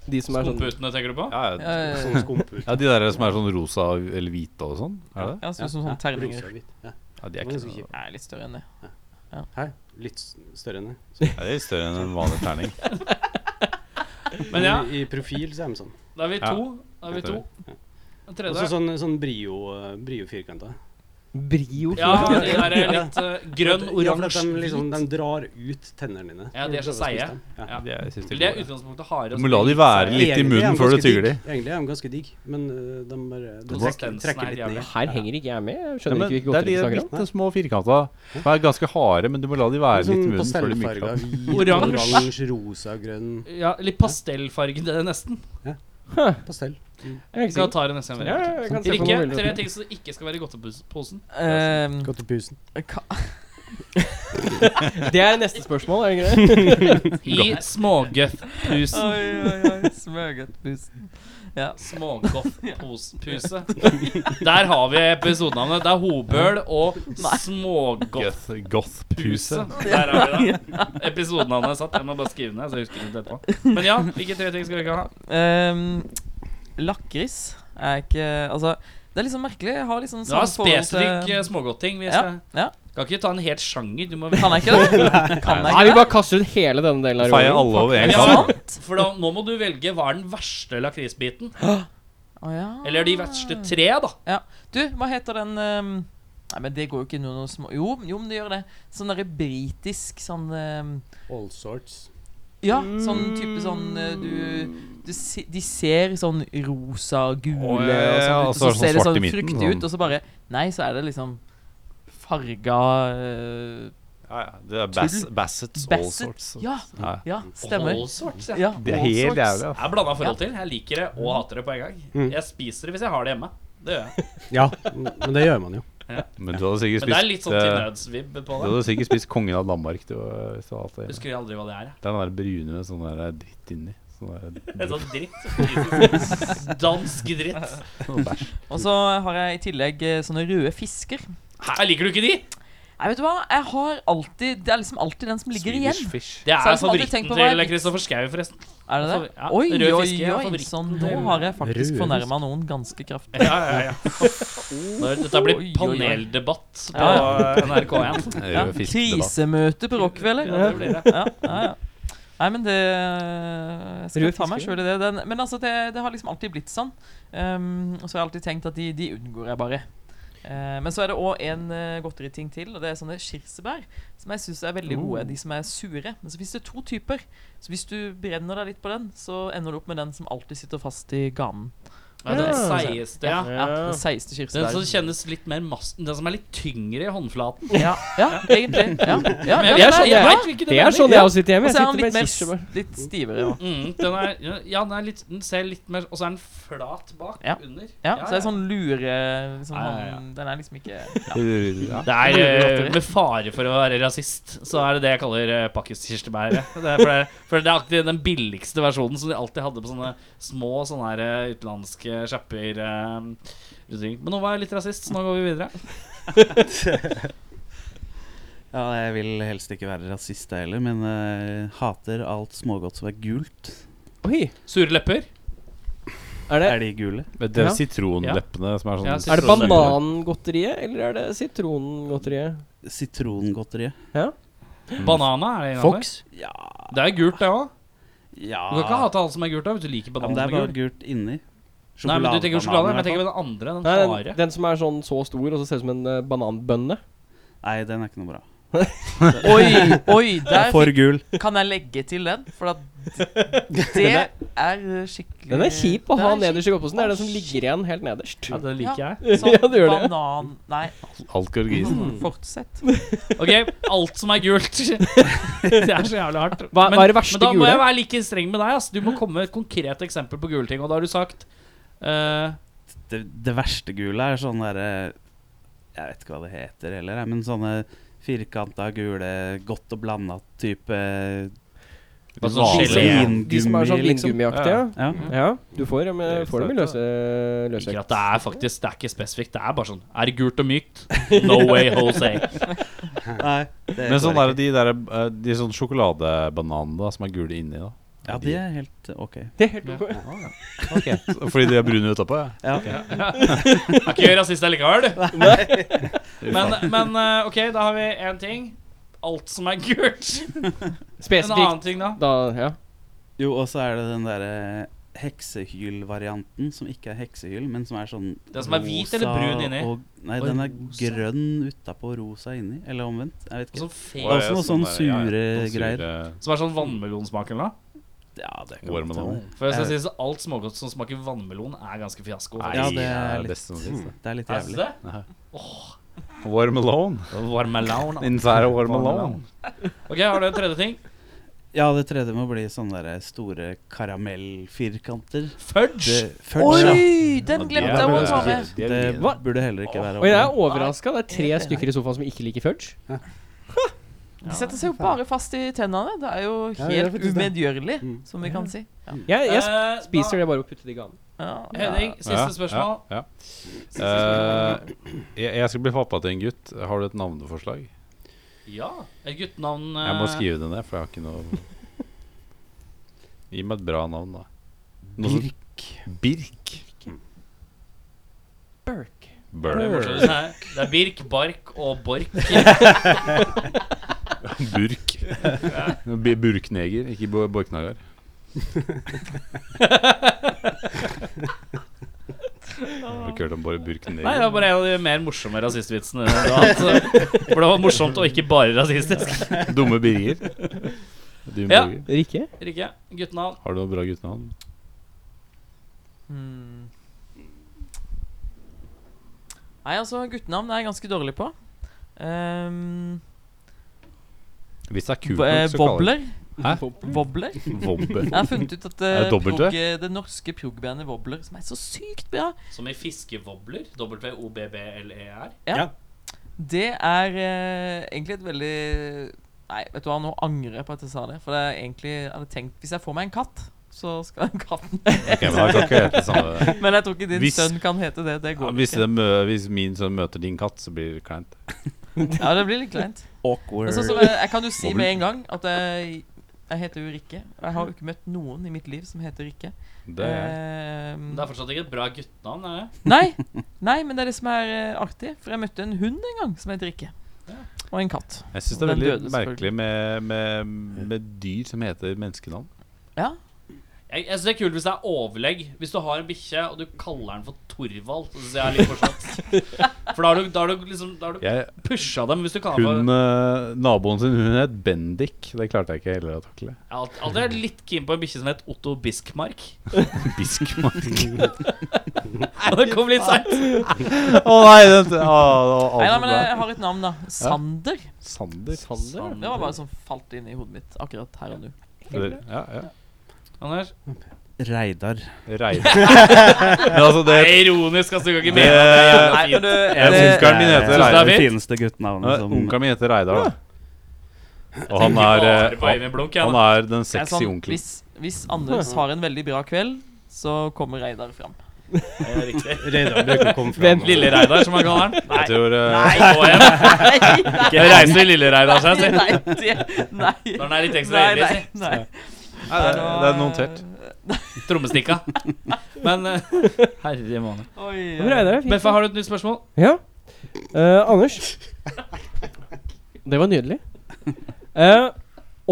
S3: de som er sånn
S2: Skumputene, tenker du på?
S4: Ja, ja.
S6: Ja, ja,
S2: Eh,
S5: Sånn skumputer.
S2: <laughs>
S4: ja, de der som er sånn rosa eller hvite og sånn? Er det det?
S6: Ja, sånn som sånne terninger.
S5: rosa og hvit,
S4: Ja,
S5: Ja.
S4: de er
S5: Det
S4: ikke
S5: var ganske
S4: så
S5: kjipt.
S6: Nei, litt større enn det.
S5: Hæ? Litt s- større enn det.
S4: ja, de er større enn en vanlig terning.
S2: Men ja,
S5: I, I profil så er de sånn.
S2: da er vi to. Da er vi to. En
S5: Også
S2: tredje.
S5: sånn, sånn brio, brio firkanta.
S3: brio.
S2: Ja, de der er litt eh, grønn, oransje,
S5: De, liksom, de
S2: hvit.
S5: drar ut tennene dine.
S2: Ja, de er så
S5: Prøver å spise
S2: seige.
S5: dem. Ja.
S2: Ja.
S4: De er, jeg synes de
S2: Det er
S4: er gode.
S2: utgangspunktet harde.
S4: Du
S2: og
S4: må
S2: så
S4: la de
S2: litt
S4: være
S2: seige.
S4: litt i
S5: Egentlig er
S4: munnen
S5: de
S4: før du
S5: ganske
S4: tygger de.
S5: digg. Egentlig er de ganske digg, men øh, de bare de trekker,
S2: Konsistensen
S5: trekker
S2: er
S5: litt
S2: jævlig.
S5: ned.
S3: Her henger ikke jeg med. Jeg
S4: Ja,
S3: skjønner
S4: men
S3: ikke hvilke
S4: det er
S3: godteri
S4: de
S3: vi snakker om.
S4: bitte små firkanta som er ganske harde, men du må la de være litt i
S5: Sånn
S4: munnen før de myker
S5: pastellfarga
S4: opp.
S5: hvit,
S2: Oransje.
S5: oransje, rosa, grønn
S2: Ja, litt pastellfargede, nesten.
S5: pastell.
S3: Jeg
S2: Så
S3: er ikke
S2: jeg
S3: sikker.
S2: tar det neste gang.
S3: Ja,
S2: vi gjør det.
S3: jeg kan se på
S2: Rikke,
S3: mobilen.
S2: tre ting som ikke skal være i godteposen.
S6: Ehm,
S5: Gå til pusen.
S6: ka
S3: Det er neste spørsmål, er det ikke det?
S2: I smågøffpusen.
S6: oi, oi, oi. Smørgodtbusen. Ja.
S2: Smågodtpose. Der har vi episodenavnet. Det er Hobøl og Smågodtpuse.
S4: Goth- Goth-puse.
S2: Der har vi
S6: <laughs>
S2: det. Episodenavnet er satt. Jeg må bare skrive den ned. Så jeg husker det etterpå Men ja, hvilke tre ting skal vi ikke ha?
S6: Ehm, lakris er ikke Altså, det er liksom merkelig. Jeg har liksom
S2: Det var
S6: samme forhold
S2: spesifikk eh, smågodtting. Vi
S6: Ja,
S2: skal,
S6: ja.
S2: kan ikke ta en helt sjanger. Du må
S6: Kan jeg ikke <laughs> det? Kan
S3: Nei, vi
S6: jeg ikke det?
S3: bare kaster ut hele denne delen av
S4: Feier
S3: rollen.
S4: alle over
S2: Men
S4: én
S2: ja,
S4: kam.
S2: For da, nå må du velge hva er den verste lakrisbiten.
S6: Å ja.
S2: Eller de verste tre, da.
S6: Du, hva heter den ehm, Nei, men det går jo ikke under noe små Jo, jo, men det gjør det. Sånn derre britisk sånn ehm,
S5: All sorts.
S6: Ja, sånn type sånn eh, du, du se, De ser sånn rosa, gule
S4: Å, ja, ja, ja,
S6: og sånn ut, og så,
S4: og så er det sånn
S6: ser
S4: svart
S6: det
S4: i
S6: sånn
S4: midten,
S6: fruktig
S4: sånn.
S6: ut, og så bare Nei, så er det liksom farga eh,
S4: Ja, ja. Det er bass, Bassets all
S6: Basset.
S4: sorts.
S6: Ja,
S4: Ja.
S6: ja, stemmer.
S2: All sorts, ja.
S6: Ja.
S4: Det er helt jævlig. ass.
S2: Jeg har blanda forhold til. Jeg liker det og hater det på en gang.
S5: Mm.
S2: Jeg spiser det hvis jeg har det hjemme. Det gjør jeg.
S5: Ja, men det gjør <laughs> man jo.
S4: Men du hadde sikkert
S2: Men det er litt
S4: spist
S2: sånn til
S4: eh,
S2: nødsvibb på
S4: Du
S2: det.
S4: hadde sikkert spist kongen av Danmark. Du, eh, hvis du hadde hatt det.
S2: Husker aldri hva det er. jeg.
S4: Det er den der brune med sånn der dritt inni. Sånn
S2: Det
S4: der
S2: er <laughs> sånn dritt. <laughs> Dansk dritt.
S4: sånn bæsj.
S6: Og så har jeg i tillegg eh, sånne røde fisker.
S2: Hæ, liker du ikke de?
S6: Nei, vet du hva? Jeg har alltid Det er liksom alltid den som ligger igjen.
S4: fish.
S2: Det er
S6: Så er det sånn som alltid
S2: favoritten
S6: tenkt på hva er
S2: til
S6: vits?
S2: Kristoffer Schou, forresten.
S6: Er det det?
S2: Altså, Ja,
S6: Oi,
S2: rød
S6: oi,
S2: fiske er
S6: oi.
S2: favoritten
S6: Sånn, nå
S2: til-
S6: har jeg faktisk
S5: Rød
S6: fornærma noen ganske kraftig.
S2: <laughs> Ja, ja, ja. Nå er det- Dette blir
S6: Oi, oi, oi.
S2: paneldebatt på
S6: Ja,
S2: <laughs> NRK1.
S6: Ja,
S4: Rød fisk debatt.
S6: krisemøte på Rockefeller.
S2: Ja, det blir det.
S6: ja, ja, ja. Nei, men det Jeg skal
S3: Rød
S6: ta meg
S3: fisker.
S6: selv i det. Den, men altså, det, det har liksom alltid blitt sånn. Um, og så har jeg alltid tenkt at de, de unngår jeg bare. Eh, men så er det òg en eh, godteriting til, og det er sånne kirsebær. Som jeg syns er veldig gode. De som er sure. Men så fins det to typer. Så hvis du brenner deg litt på den, så ender du opp med den som alltid sitter fast i ganen.
S2: Ja, den
S3: Ja.
S2: seigeste, ja.
S6: Ja, det seigeste
S2: Den som
S6: kirsebæret.
S2: kjennes litt mer masten Den som er litt tyngre i håndflaten.
S6: Ja, ja, egentlig. Ja, ja,
S2: <laughs> Men
S6: ja,
S2: jeg
S6: nei,
S2: skjønner-
S6: ja.
S2: jeg vet hvilken du
S3: Det er
S2: mener.
S3: sånn
S6: Ja.
S3: jeg også sitter hjemme.
S6: Og
S3: Jeg
S6: så er han
S3: sitter
S6: litt,
S3: med
S6: mer,
S3: kirsebær.
S6: s- litt stivere. Ja.
S2: Mm, den, er, ja, den, er litt, den ser litt mer Og så er den flat bak
S6: Ja.
S2: under.
S6: Ja, så det er sånn lure liksom,
S2: Ja, ja, ja.
S6: han- Den er liksom ikke
S4: Ja.
S2: Det er eh, med fare for å være rasist, så er det det jeg kaller uh, pakkiskirsebæret. Det er For, det- for det er alltid den billigste versjonen som de alltid hadde på sånne små sånne her, eh, utenlandske sjapper. eh, rundt omkring. Men nå var jeg litt rasist, så nå går vi videre.
S7: Ja, jeg vil helst ikke være rasist jeg heller, men eh, hater alt smågodt som er gult.
S3: Oi,
S2: Sure lepper.
S3: er det
S7: Er de gule?
S4: Men Det
S3: Ja.
S4: er sitronleppene som er sånn
S2: Ja,
S3: er det
S2: Sitron-
S3: banangodteriet, eller er det sitrongodteriet?
S7: Sitrongodteriet.
S2: Banana er det innenfor.
S7: Fox? Ja.
S2: Det er gult, det òg.
S7: ja.
S2: Du kan ikke hate alle som er gult da, hvis du liker
S7: Ja, men
S2: banan
S7: det
S2: som
S7: er
S2: er
S7: bare
S2: gul.
S7: gult inni.
S2: Nei, men du tenker på sjokolade, men jeg tenker på
S7: Sjokoladebananer,
S2: den andre, den
S3: Nei,
S2: harde.
S3: den, den som er sånn så stor og så ser ut som en eh, bananbønne.
S7: i hvert fall. Nei, den er ikke noe bra.
S6: Oi, oi,
S7: Den
S6: der
S7: er for gul.
S6: fikk- kan jeg legge til den, for at det er skikkelig
S3: Den er kjip å ha
S6: Den er
S3: nederst i godtposen. Det er den som ligger igjen helt nederst.
S2: Ja, det liker jeg.
S3: <laughs>
S6: kjip. Sånn
S3: Ja, du gjør det.
S6: banan Nei,
S4: Alt går grisen.
S6: fortsett.
S2: Ok, alt som er gult. <laughs> Det er så jævlig hardt.
S3: Hva- hva er det verste
S2: men da må
S3: gule?
S2: jeg være like streng med deg. Ass. Du må komme med et konkret eksempel på gule ting. Og da har du sagt eh,
S7: Det, det verste gule er sånn derre Jeg vet ikke hva det heter heller, jeg, men sånne firkanta, gule, godt og blanda type
S2: Hva sånn
S4: Vanlig.
S2: gelé?
S3: De som er sånn
S7: vingummi, liksom.
S3: vingummiaktige.
S7: Ja.
S2: Mm.
S3: Ja. ja, du får dem
S4: Det er
S3: får dem i
S4: søte,
S3: løse løsvekt.
S2: Ikke at det er faktisk Det er ikke spesifikt. Det er bare sånn Er det gult og mykt? No way, Jose.
S7: Nei, det
S4: Men sånn
S7: går
S4: er det de der eh, De sånn sjokoladebananene da, som er gule inni, da.
S7: ikke. Ja, de er helt ok.
S3: Det er helt ok.
S4: Fordi de er brune utapå? Ja.
S7: Ja.
S2: Er ikke rasist allikevel, du. Men, men eh, ok, da har vi én ting. Alt som er gult. En
S3: Spesifikt.
S2: annen ting, da?
S3: Da, ja.
S7: Jo, og så er det den derre heksehyl-varianten, som ikke er heksehyl, men som er sånn
S2: Den som er hvit eller
S7: rosa
S2: brun inni?
S7: Og, nei,
S2: Oi,
S7: den er
S2: rosa.
S7: grønn utapå, rosa inni. Eller omvendt. Jeg vet ikke.
S2: Sånn fe
S7: Oi. også noe sånn sure greier.
S2: som er sånn vannmelonsmak eller noe?
S7: Ja, det kan
S4: Warm
S7: godt hende.
S4: banana.
S2: For jeg skal si så alt smågodt som smaker vannmelon, er ganske fiasko.
S4: Nei,
S7: Ja,
S4: det
S7: det er
S4: er det
S7: litt-
S4: beste som finnes.
S7: Hmm. Det er litt
S2: Er det
S7: jævlig.
S2: det?
S4: det. Warm alone.
S2: Varmelon.
S4: Inside warm alone.
S2: Watermelon. Ok, har du en tredje ting?
S7: Ja, det tredje må bli sånne der eh, store karamellfirkanter.
S2: Fudge!
S7: Det- Fudge, ja.
S6: Oi, den
S4: Ja, altså,
S6: glemte
S4: det er
S6: jeg å ta med.
S4: gøy. De er
S7: Det
S4: gøy.
S7: burde heller ikke være
S3: Oi, jeg er
S7: over.
S3: overraska. Det er tre stykker i sofaen som ikke liker fudge.
S6: De setter seg jo bare fast i tennene. Det er jo
S5: Ja, det er
S6: helt
S5: faktisk det.
S6: umedgjørlig,
S5: Mm.
S6: som vi kan si.
S3: Jeg, jeg
S2: Eh,
S3: spiser
S2: da-
S3: det bare å putte det i ganen.
S6: Ja, ja.
S2: Henning,
S4: Ja,
S2: siste spørsmål.
S4: Ja, ja. Eh, jeg, jeg skal bli pappa til en gutt. Har du et navneforslag?
S2: Ja. Et guttenavn eh,
S4: Jeg må skrive det ned, for jeg har ikke noe Gi meg et bra navn, da. Noe sånt- Birk.
S3: Burke.
S2: Det er
S4: Burk.
S2: morsomt.
S4: <laughs>
S2: Det er- det er Birk, Bark og Bork.
S4: Burk. B- Burkneger, ikke bo- Borknagar. Har du ikke hørt om bare
S2: Nei, det
S4: Burkneger?
S2: var bare en av de mer morsomme rasistvitsene du har hatt. så- eh, For det var morsomt og ikke bare rasistisk.
S4: Dumme
S2: <laughs>
S4: Birger. Dumme
S2: Ja.
S4: Birger.
S3: Rikke?
S2: Rikke, guttenavn.
S4: Har du noe bra guttenavn?
S6: Hmm. Nei, altså, guttenavn er jeg ganske dårlig på. Ehm,
S4: Hvis det er kult
S6: bo- eh,
S4: nok, så kaller
S6: Wobbler.
S4: jeg Hæ?
S6: Wobbler.
S4: det Wobble.
S6: Jeg har funnet ut
S4: <laughs>
S6: at
S4: Er det
S6: eh,
S4: dobbelt V?
S6: prog, det norske prog-bandet Wobbler, som er så sykt bra,
S2: Som i fiskevobler. W-o-b-b-l-e-r.
S6: Ja. det er eh, egentlig et veldig Nei, vet du hva, nå angrer jeg på at jeg sa det. For det er egentlig, jeg hadde tenkt Hvis jeg får meg en katt, så skal den
S4: <laughs>
S6: katten
S4: Ok, men da kan ikke jeg hete samme
S6: Men jeg tror ikke din
S4: Hvis-
S6: sønn kan hete <laughs> det. Det
S4: ja,
S6: går
S4: hvis,
S6: ikke.
S4: de, mø- hvis min sønn møter din katt, så blir det kleint.
S6: Ja, det blir litt
S4: <laughs>
S6: kleint.
S7: Awkward.
S6: Men sånn som jeg, jeg kan jo si med en gang at jeg, jeg heter jo Rikke. Og jeg har jo ikke møtt noen i mitt liv som heter Rikke.
S4: Det er
S6: Ehm,
S2: Det er fortsatt ikke et bra guttenavn, er det?
S6: nei, nei, men det er det som er eh, artig. For jeg møtte en hund en gang som het Rikke. Og en katt.
S4: Jeg syns det er
S6: Den
S4: veldig
S6: døde,
S4: merkelig
S6: selvfølgelig.
S4: med, med, med dyr som heter menneskenavn.
S6: Ja,
S2: Jeg, jeg synes det er kult hvis det er overlegg. Hvis du har en bikkje og du kaller den for Torvald, så synes jeg det er litt fortsatt. For da har du, da har du liksom Da har du
S4: Jeg,
S2: pusha dem, hvis du kaller for
S4: hun, eh, naboen sin hun het Bendik. Det klarte jeg ikke heller å takle.
S2: Jeg har alt- aldri vært litt keen på en bikkje som het Otto <laughs> Biskmark.
S6: <laughs>
S4: Biskmark.
S2: Det kom litt seint.
S4: Å nei, den, å, det var altfor
S6: Nei, nei, men eh, jeg
S4: bra.
S6: har et navn, da. Sander.
S4: Sander.
S2: Sander?
S6: Det var bare sånn falt inn i hodet mitt akkurat her og nå.
S4: Ja, ja.
S2: Anders?
S7: Reidar.
S6: <laughs>
S4: Reidar. Men altså, det
S2: Det er ironisk, altså. Du kan ikke
S4: Det-
S2: mene at det er jævla
S6: Nei,
S2: fint.
S6: men du,
S4: Jeg
S6: det,
S4: Onkelen min
S7: Jeg
S4: heter
S7: synes
S4: Reidar.
S7: Det er det fineste guttenavnet som
S4: Onkelen min heter Reidar, da. Og han er,
S2: Jeg tenker bare
S4: eh,
S2: på Øyvind Blunk, jeg,
S4: han
S2: da.
S4: er den
S6: det er
S4: sexy
S6: sånn
S4: onkelen.
S6: hvis, hvis Anders har en veldig bra kveld, så kommer Reidar fram.
S2: Det er riktig.
S5: Reidar bruker å komme
S3: Vent
S5: fram.
S2: Lille Reidar, som han kaller den.
S4: Jeg tror eh,
S2: Nei, gå hjem.
S6: Nei,
S2: <laughs> Jeg reiser til Lille Reidar seg,
S6: nei,
S2: si.
S6: nei, det- nei.
S2: Når den er litt ekstra
S6: Nei,
S2: ivrig,
S6: nei,
S2: si.
S6: nei.
S4: nei, det, det er notert.
S6: <laughs>
S2: Trommestikka. Men eh, herre måne.
S6: Oi,
S3: Men Reidar er fint.
S2: Beffa, har du et nytt spørsmål?
S3: Ja. Eh, Anders. Det var nydelig. Eh,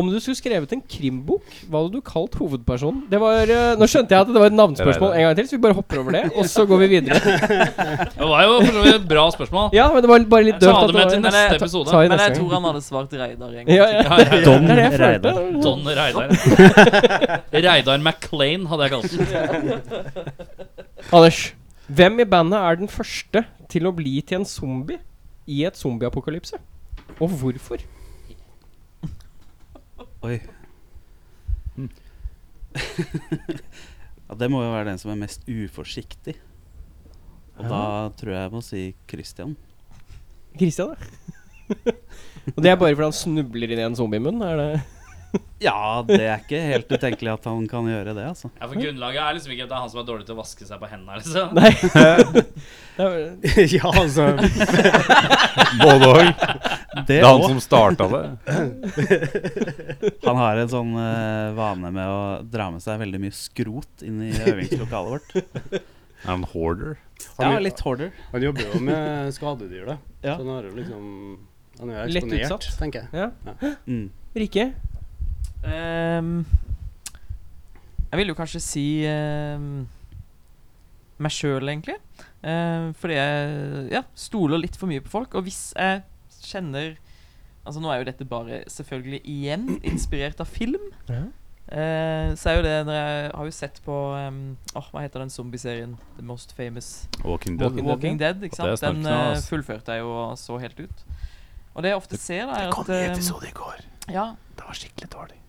S3: om du skulle skrevet en krimbok, hva hadde du kalt hovedpersonen? Det var, eh, nå skjønte jeg at det var et navnspørsmål en gang til, så vi bare hopper over det. Og så går vi videre.
S2: Det var jo for så vidt et bra spørsmål.
S3: Ja, men det var bare litt
S2: Jeg
S3: døvt.
S2: tar
S3: at
S2: det med til
S3: var-
S2: neste
S3: Nei, ta-
S2: episode.
S3: ta i
S6: Men jeg
S3: neste gang.
S6: tror han hadde svart Reidar en gang.
S3: Ja,
S2: Ja,
S3: ja.
S2: ja, ja.
S7: Don
S3: Det er det jeg følte.
S7: Reidar.
S2: Don Reidar. Reidar MacLaine hadde jeg kalt den.
S3: Anders, hvem i bandet er den første til å bli til en zombie i et zombieapokalypse? Og hvorfor?
S7: Oi. <laughs> ja, det må jo være den som er mest uforsiktig. Og da tror jeg jeg må si Christian.
S3: Christian, da? <laughs> Og det er bare fordi han snubler inn i en zombiemunn? Er
S6: <laughs>
S3: det
S7: Ja, det er ikke helt utenkelig at han kan gjøre det, altså.
S2: Ja, for Grunnlaget er liksom ikke at det er han som er dårlig til å vaske seg på hendene. liksom
S3: Nei. Det er-
S5: ja, altså.
S4: Både òg.
S7: Det
S4: <laughs> Det er han
S7: og
S4: som starta det.
S7: Han har en sånn eh, vane med å dra med seg veldig mye skrot inn i øvingslokalet vårt.
S4: Er han hoarder?
S7: Ja,
S5: Han,
S7: litt hoarder.
S5: han jobber jo med skadedyr, da.
S7: Ja.
S5: Så han har jo liksom Han er jo
S3: Lett
S5: eksponert,
S3: utsatt.
S5: tenker jeg.
S3: Ja.
S7: Mm.
S3: Rikke?
S6: Ehm, jeg vil jo kanskje si ehm, meg sjøl, egentlig. Ehm, fordi jeg ja, stoler litt for mye på folk. Og hvis jeg kjenner Altså Nå er jo dette bare selvfølgelig igjen inspirert av film.
S3: Ja.
S6: Eh, så er jo det når jeg har jo sett på ehm, Åh, Hva heter den zombieserien? The Most Famous
S4: Walking Dead.
S3: Walking Dead,
S6: Walking Dead. ikke
S4: Og det er
S6: sant? Den
S4: snorkende,
S6: eh,
S4: ass.
S6: fullførte jeg jo og så helt ut. Og det jeg ofte ser, da, er at eh,
S4: i går.
S6: Ja,
S4: Det var skikkelig dårlig.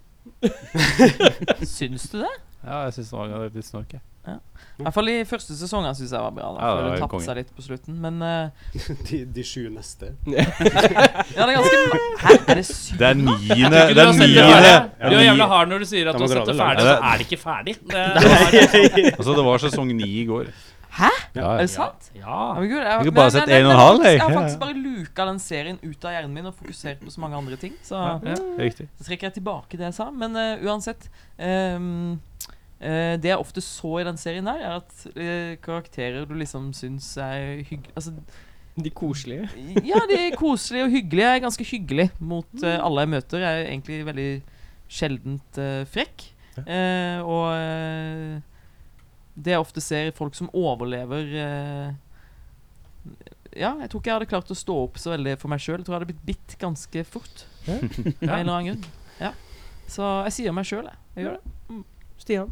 S6: syns du det?
S4: Ja, jeg syns det var litt snork, jeg.
S6: I hvert fall i første sesongen syns jeg var bra. da
S4: Ja, det
S6: For
S4: var
S6: det
S4: jo
S6: tapte
S4: konge.
S6: seg litt på slutten. Men eh,
S5: <laughs> De, de sju neste.
S6: ja, det er
S4: <laughs>
S6: ganske ma- Hæ, er det sykt?
S4: Det er niende.
S2: Ikke du
S4: Det
S2: har
S4: er
S2: sett det ferdig?
S4: niende.
S2: Du er jævla hard når du sier at
S5: Da
S2: du
S5: må
S2: har
S5: dra
S2: sett det
S5: det
S2: ferdig,
S5: langt.
S2: så er det ikke ferdig. Det, det var,
S4: Altså, det var sesong ni i går.
S6: Hæ?
S4: Ja,
S6: Er
S4: ja.
S6: det sant?
S2: ja.
S6: Ja, men Gud, jeg,
S4: Du kan
S6: men-
S4: bare sette en
S6: men-
S4: og en
S6: men
S4: halv,
S6: faktisk-
S4: jeg.
S6: Jeg har
S4: Ja,
S6: faktisk
S4: ja.
S6: bare luka den serien ut av hjernen min og fokusert på så mange andre ting. Så
S2: Ja.
S4: Riktig.
S6: så trekker jeg tilbake det jeg sa. Men eh, uansett ehm, eh, Det jeg ofte så i den serien der, er at eh, karakterer du liksom syns er hyggelige Altså
S3: De koselige.
S6: Ja, de er koselige og hyggelige. Jeg er ganske hyggelig mot eh, alle jeg møter. Jeg er egentlig veldig sjeldent eh, frekk. Eh, og eh, det jeg ofte ser folk som overlever eh, Ja, jeg tror ikke jeg hadde klart å stå opp så veldig for meg sjøl. Jeg tror jeg hadde blitt bitt ganske fort.
S3: Ja.
S6: Av en eller annen grunn. Ja. Så jeg sier meg sjøl, jeg. jeg gjør det.
S3: Stian.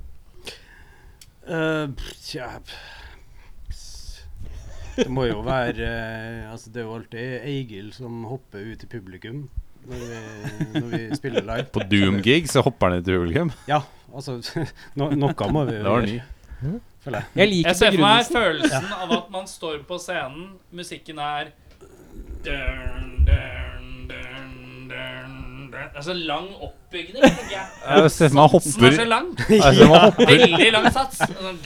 S5: Eh, pff, tja pss. Det må jo være eh, Altså, det er jo alltid Egil som hopper ut i publikum når vi, når vi spiller live.
S4: På Doom-gig så hopper han i Doolgum.
S5: Ja, altså <laughs> no, Noe må vi
S4: Det
S5: jo
S4: var ny.
S5: gjøre, føler jeg.
S3: Jeg liker
S2: Jeg ser for meg
S3: begrunnelsen.
S2: følelsen av at man står på scenen, musikken er dun, dun, dun, dun, dun, Det er så lang oppbygning. tenker jeg.
S4: Jeg ser for meg
S2: Satsen er så
S4: hopper
S2: lang.
S4: Jeg ser for meg hopper
S2: Veldig lang sats. Sånn,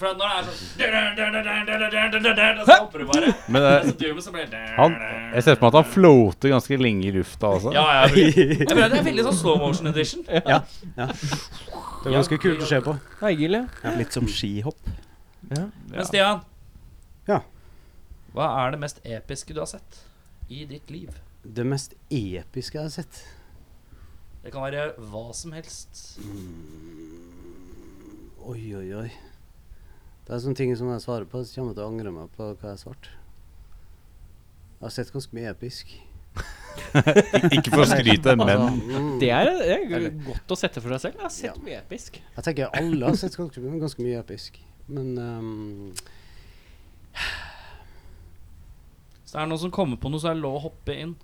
S2: For når det er sånn Og så hopper du bare.
S4: Men
S2: Og
S4: eh,
S2: så duer du, så blir det
S4: han, jeg ser for meg at han floater ganske lenge i lufta, altså.
S2: Ja, ja. Jeg mener, det er veldig sånn slow motion edition.
S5: Det var ganske kult å se på.
S3: Hei, Gilly.
S7: Litt som skihopp.
S2: Men Stian,
S5: Ja.
S2: hva er det mest episke du har sett i ditt liv?
S5: Det mest episke jeg har sett.
S2: Det kan være hva som helst.
S5: Oi, oi, oi. Det er sånne ting som jeg svarer på, så kommer jeg til å angre meg på hva jeg svarte. Jeg har sett ganske mye episk.
S4: Ikke for å skryte, men
S5: Mm.
S3: Det er, det er godt å sette for seg selv. Jeg har sett mye episk.
S5: Jeg tenker alle har sett ganske, ganske mye episk. Men ehm,
S2: Hvis det er noen som kommer på noe, så er det lov å hoppe inn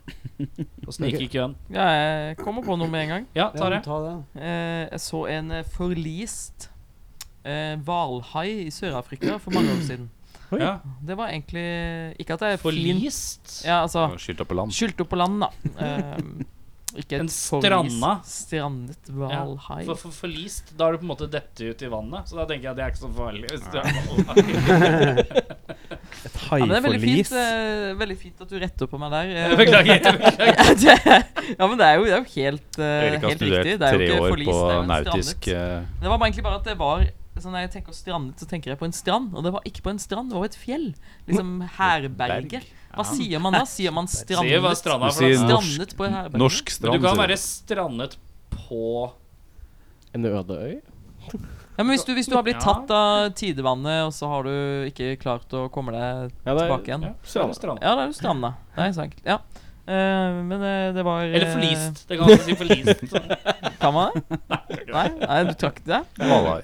S2: og snike i køen.
S6: Ja, jeg kommer på noe med en gang.
S2: Ja,
S5: ja,
S2: Tarjei.
S5: ta det.
S6: Eh, jeg så en eh, forlist eh, hvalhai i Sør-Afrika for mange år siden.
S3: Oi.
S2: Ja.
S6: Det var egentlig Ikke at det er flint
S2: Forlist?
S6: Ja, altså
S4: Skylta på land.
S6: Skylt opp på land, da. Ehm,
S2: En
S6: ikke et forlist-
S2: stranda.
S6: Strandet
S2: Ja,
S6: hvalhai.
S2: For, for forlist, da har du på en måte dette ut i vannet. Så da tenker jeg at det er ikke så farlig. Hvis du er <laughs>
S7: Et
S6: Ja, men det er veldig fint,
S7: haiforlis.
S6: eh, veldig fint at du retter på meg der. eh.
S2: <laughs> Beklager.
S6: <laughs> ja, det, ja, men det er jo, det er jo helt, eh,
S4: Erik har
S6: helt riktig.
S4: studert
S6: Det er jo
S4: tre
S6: ikke
S4: år
S6: forlis,
S4: på
S6: det er jo en
S4: nautisk
S6: strandet.
S4: eh,
S6: Det var bare egentlig bare at det var så Når jeg tenker strandet, så tenker jeg på en strand. Og det var ikke på en strand, det var jo et fjell. Liksom herberget. Hva sier man da? Sier man
S2: Se hva
S6: strandet?
S2: stranda er
S4: Du sier
S2: for noe.
S4: norsk-
S6: Strandet på herberget?
S4: Norsk
S2: Men
S4: strand.
S2: Du kan
S4: sier
S2: være strandet på
S3: En øde øy?
S6: Ja, men hvis du, hvis du har blitt
S2: Ja.
S6: tatt av tidevannet, og så har du ikke klart å komme deg
S3: Ja, det
S6: tilbake igjen
S2: ja, så er det strand.
S6: Ja, da er du stranda. Det er så enkelt. Ja. Eh, men eh, det var
S2: Eller
S6: eh,
S2: forlist. Det kan man si forlist.
S6: <laughs> Kan
S2: <laughs>
S6: man det? Nei, nei du trakk det?
S4: Valhai.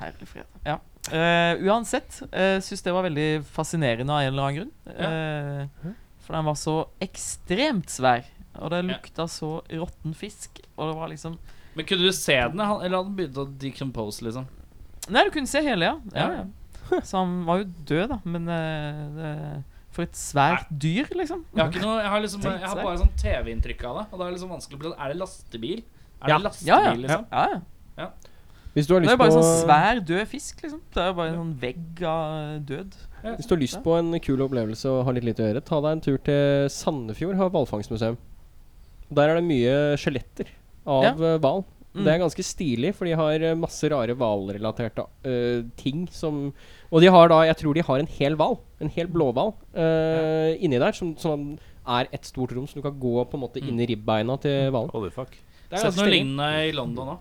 S6: Herre fred. Ja. Eh, uansett uh, syns det var veldig fascinerende av en eller annen grunn. Eh, For den var så ekstremt svær, og det lukta så råtten fisk. Og det var liksom
S2: Men kunne du se den, han- eller hadde den begynt å decompose, liksom?
S6: Nei, du kunne se hele, ja.
S2: Ja,
S6: ja, ja. Så han var jo død, da, men eh, det, For et svært dyr, liksom.
S2: Jeg har, ikke noe, jeg har, liksom, jeg har bare sånn TV-inntrykk av det. Og da er det liksom vanskelig å bli sånn Er det lastebil? Er
S3: Ja.
S2: det lastebil,
S6: Ja, ja.
S2: liksom?
S6: Ja, ja.
S3: Hvis du har
S6: Det
S3: lyst
S6: er jo
S3: på,
S6: bare sånn svær, død fisk, liksom. Det er jo bare en sånn vegg av død.
S3: hvis du har lyst på en kul opplevelse og har litt lite å gjøre, ta deg en tur til Sandefjord har hvalfangstmuseum. Der er det mye skjeletter
S6: Ja.
S3: av eh, hval.
S6: Mm.
S3: Det er ganske stilig, for de har eh, masse rare hvalrelaterte eh, ting som Og de har da Jeg tror de har en hel hval. En hel blåhval eh, inni der, som, som er et stort rom som du kan gå på en måte inn i ribbeina til hvalen.
S4: Holy fuck.
S3: Mm. Det er
S2: Sett
S3: ganske
S2: noe
S3: stilig.
S2: lignende i London òg.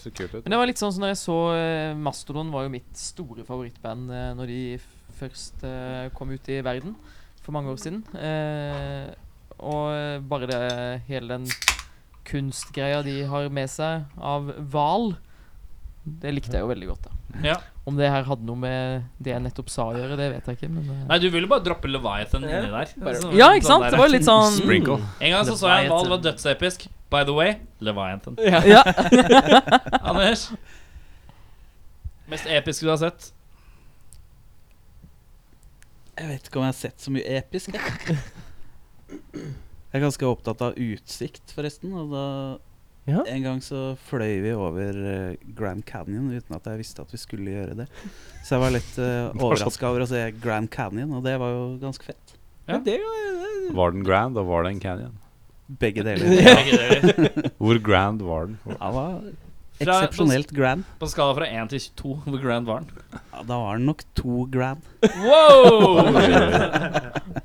S4: Så kult ut.
S6: Men det var litt sånn som når jeg så eh, Mastodon var jo mitt store favorittband eh, når de f- først eh, kom ut i verden for mange år siden. Eh, og eh, bare det hele den kunstgreia de har med seg av hval, det likte jeg jo veldig godt, da.
S2: Ja.
S6: Om det her hadde noe med det jeg nettopp sa å gjøre, det vet jeg ikke, men eh.
S2: Nei, du ville bare droppe Leviathan inni der. Sånn-
S6: Ja, ikke
S2: sånn
S6: sant?
S2: der.
S6: Det var litt sånn
S4: Sprinkle.
S2: En gang så så jeg en hval, det var
S6: Leviathan.
S2: dødsepisk. By the way, Leviathan. <laughs>
S6: Ja.
S2: Anders? Mest episke du har sett?
S7: Jeg vet ikke om jeg har sett så mye episk. Jeg, jeg er ganske opptatt av utsikt, forresten. Og da
S3: Ja.
S7: En gang så fløy vi over eh, Grand Canyon uten at jeg visste at vi skulle gjøre det. Så jeg var litt
S6: <laughs>
S7: uh,
S6: sånn.
S7: overraska over å se Grand Canyon, og det var jo ganske fett.
S2: Ja.
S3: Men det er jo-
S4: Var den grand, og var det en canyon?
S7: Begge
S6: <laughs>
S7: deler.
S4: Hvor grand var den?
S7: Ja, var
S2: Fra-
S7: Eksepsjonelt grand.
S2: På en skala fra 1 til 2, hvor grand var den?
S7: Ja, da var den nok to grand.
S2: Wow!
S6: <laughs>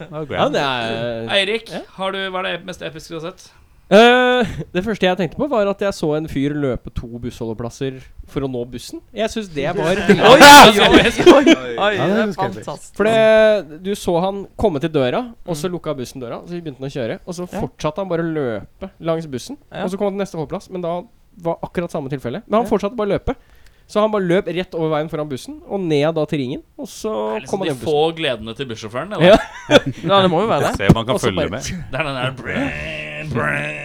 S3: Ja, det er
S2: Eirik, har du, hva er det mest episke du har sett?
S3: Eh, det første jeg tenkte på, var at jeg så en fyr løpe to bussholdeplasser for å nå bussen. Jeg syns det
S6: <laughs>
S3: var
S2: <laughs>
S6: Oi,
S5: Ja, det
S6: det
S5: er
S6: er
S5: ganske episk.
S6: fantastisk.
S3: For det, du så han komme til døra, og så lukka bussen døra. Så begynte han å kjøre, og så
S6: Mm. Ja.
S3: fortsatte han bare å løpe langs bussen.
S6: Ja.
S3: Og så kom han til neste holdeplass, men da var akkurat samme tilfelle. Men han fortsatte bare å løpe. Så han bare løp rett over veien foran bussen, og ned da til ringen. Og så
S2: Er det liksom
S3: kom han
S6: altså,
S2: de
S3: hjem bussen.
S2: få gledene til bussjåføren?
S3: Ja.
S2: Eller?
S6: Ja, det må jo være det.
S4: Se om man kan
S3: Og så
S4: følge
S3: bare-
S4: med.
S2: Det er den der brrrr, brrrr.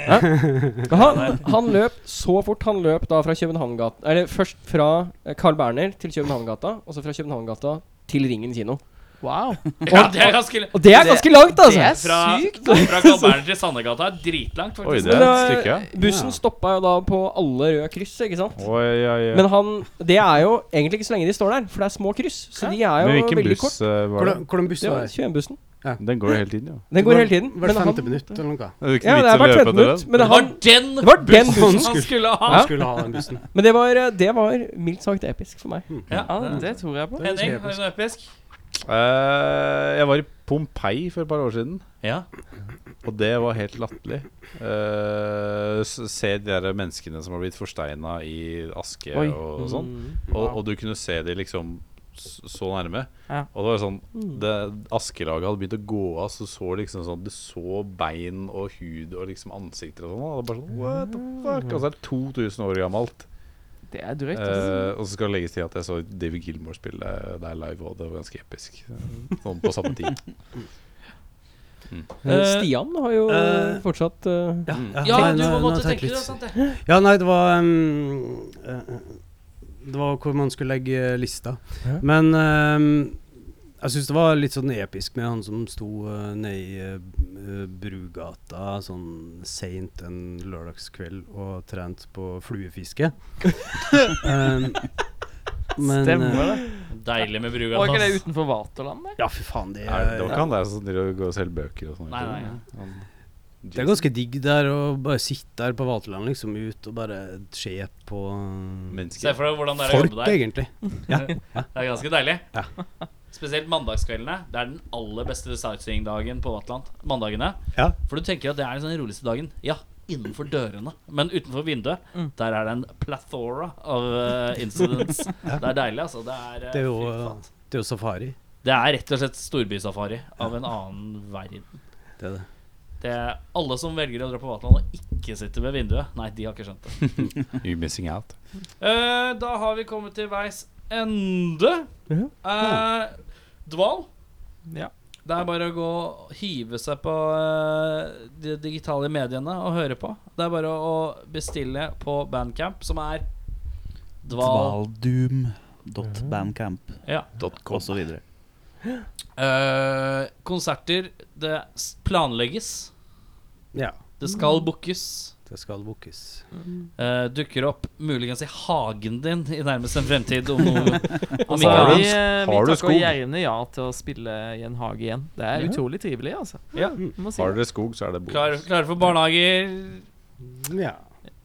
S3: Men han, han løp så fort. Han løp da fra Københavngata Eller først fra eh, Carl Berner til Københavngata, og så fra Københavngata til Ringen kino.
S6: Wow.
S2: Ja, det er ganske
S3: Og det er
S6: Det-
S3: ganske langt, altså!
S6: Det er
S2: Fra,
S6: sykt.
S2: fra Carl Berner til Sandegata er dritlangt,
S4: Oi,
S2: faktisk.
S4: det er
S3: Men,
S4: et
S3: eh,
S4: stykke. ja.
S3: Bussen
S5: Ja.
S3: stoppa jo da på alle røde kryss, ikke sant?
S4: Oi, oi, oi.
S3: Men han Det er jo egentlig ikke så lenge de står der, for det er små kryss. Så de er
S4: Men
S3: jo
S4: hvilken
S3: veldig
S4: buss
S3: kort.
S4: eh, var det?
S5: Hvordan, hvordan buss
S3: Det
S5: var
S3: var
S5: det?
S3: 21-bussen.
S4: Den går jo hele tiden, jo.
S3: Den går hele tiden.
S5: Hvert
S3: han-
S5: femte minutt eller noe.
S4: Det er jo ikke
S3: Ja, det
S4: vits
S3: er
S4: å
S3: hvert
S4: løpe
S3: femte
S4: etter
S3: minutt.
S4: den.
S3: Men
S2: Det var
S3: han,
S2: den
S3: det var den
S2: bussen
S3: bussen!
S2: han skulle ha!
S5: Han skulle ha den bussen.
S3: Men det var, eh, det var mildt sagt episk for meg.
S2: Ja,
S6: Ja, det tror jeg på.
S2: Henning, har du noe episk?
S4: Eh, jeg var i Pompeii for et par år siden,
S2: Ja.
S4: og det var helt latterlig. Eh, s- se de der menneskene som har blitt forsteina i aske
S6: Oi.
S4: og, og sånn. Og, og du kunne se de liksom s- så nærme.
S6: Ja.
S4: Og det var sånn det, Askelaget hadde begynt å gå av, så så liksom sånn Du så bein og hud og liksom ansikter og sånn. Og det er bare sånn What the fuck? Og så er det 2000 år gammelt.
S6: Det er drøyt. altså. ass.
S4: Eh, og så skal det legges til at jeg så David Gilmore spille der live, og det var ganske episk. Sånn på samme tid.
S3: Eh, Stian har jo
S5: eh,
S3: fortsatt eh,
S5: Ja,
S4: Mm.
S2: Ja,
S5: nei,
S2: du altså.
S5: nå-
S2: må
S5: nå
S2: måtte
S5: tar jeg
S2: tenke det,
S5: litt-
S2: sant det.
S5: Ja, nei, det var ehm, eh, Det var hvor man skulle legge eh, lista.
S3: Ja.
S5: Men ehm, jeg syns det var litt sånn episk med han som sto uh, nede i eh, Brugata sånn seint en lørdagskveld og trent på
S4: <laughs>
S5: fluefiske. Ehm, men, eh,
S6: Stemmer det.
S2: Deilig med
S6: Var ikke
S2: Brugata.
S6: det
S2: ass.
S6: utenfor Vaterland? der?
S5: Ja, fy faen, det
S4: Er, det
S5: er,
S4: var ikke han der som driver og går og selger bøker og sånn?
S2: Nei, nei, nei.
S4: Han-
S5: det er ganske digg der å bare sitte der på Vaterland liksom ut og bare se på eh,
S2: Se
S4: Mennesker.
S2: for deg hvordan det er å
S5: folk,
S2: jobbe der.
S5: egentlig.
S2: Det er ganske deilig.
S5: Ja.
S2: Spesielt mandagskveldene. Det er den aller beste sightseeingdagen på Vatland. Mandagene.
S5: Ja.
S2: For du tenker at det er den sånn roligste dagen. Ja, innenfor dørene. Men utenfor vinduet,
S5: Mm.
S2: der er det en plethora av eh, incidents.
S5: <laughs>
S2: Det er deilig, altså. Det er, eh,
S5: Det er jo,
S2: fy faen.
S5: det er jo safari.
S2: det er rett og slett storbysafari av en annen verden.
S5: Det er det.
S2: Det er alle som velger å dra på Vatland og ikke sitter ved vinduet, nei, de har ikke skjønt det.
S4: You missing out.
S2: Eh, da har vi kommet til veis ende.
S3: Ja.
S2: Eh, dval.
S6: Ja.
S2: Det er bare å gå og hive seg på eh, de digitale mediene og høre på. Det er bare å bestille på Bandcamp, som er dval.
S7: Dvaldoom.bandcamp
S2: Ja.
S7: og så videre.
S2: Eh, konserter. Det s- planlegges.
S5: Ja,
S2: Det skal bookes.
S5: det skal bookes.
S2: Eh, dukker opp muligens i hagen din i nærmest en fremtid. Om noe, om
S6: Altså,
S2: ikke
S4: Har du-
S2: annet.
S6: vi, eh,
S4: har du
S6: vi takker
S4: skog?
S6: gjerne ja til å spille i en hage igjen. Det er utrolig trivelig, altså.
S2: Ja.
S6: Må si
S4: Har
S6: det.
S4: dere skog, så er det bonus.
S2: Klare klar for barnehager? Mhm.
S5: Ja.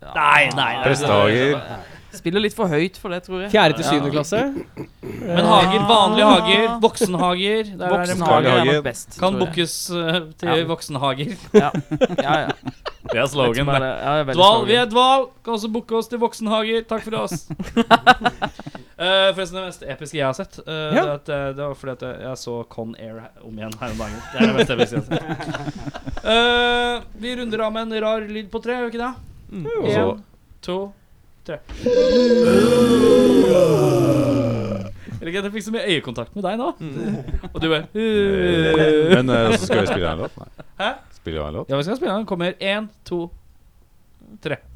S6: Ja.
S2: Nei, nei, nei.
S4: Prestehager.
S6: Spiller litt for høyt for det, tror jeg.
S3: Fjerde til syvende
S2: Ja.
S3: klasse.
S2: Men hager, vanlige hager, voksenhager det er der det
S4: Voksenhager.
S6: Voksenhage er
S4: Barnehage
S6: nok best.
S2: Kan
S6: tror jeg.
S2: bookes eh, til
S6: Ja.
S2: voksenhager.
S6: Ja, ja. ja.
S2: Det er
S6: Vet ikke hva det- ja, det er veldig
S2: Dval,
S6: slogan.
S2: vi er dval! Kan også booke oss til voksenhager. Takk for oss. Eh, forresten, det mest episke jeg har sett, eh, det, er at, eh, det var fordi at jeg- jeg så Con Air om igjen her om dagen. Det er det mest episke jeg har sett. Eh, vi runder av med en rar lyd på tre, gjør vi ikke det?
S4: Og
S2: En,
S4: så
S2: to, tre. Eller ikke, jeg fikk så mye øyekontakt med deg nå. Og du bare
S4: Men eh, så skal vi spille en låt? Nei.
S2: Hæ?
S4: Spiller vi en låt?
S2: Ja, vi skal spille. Den kommer én, to, tre.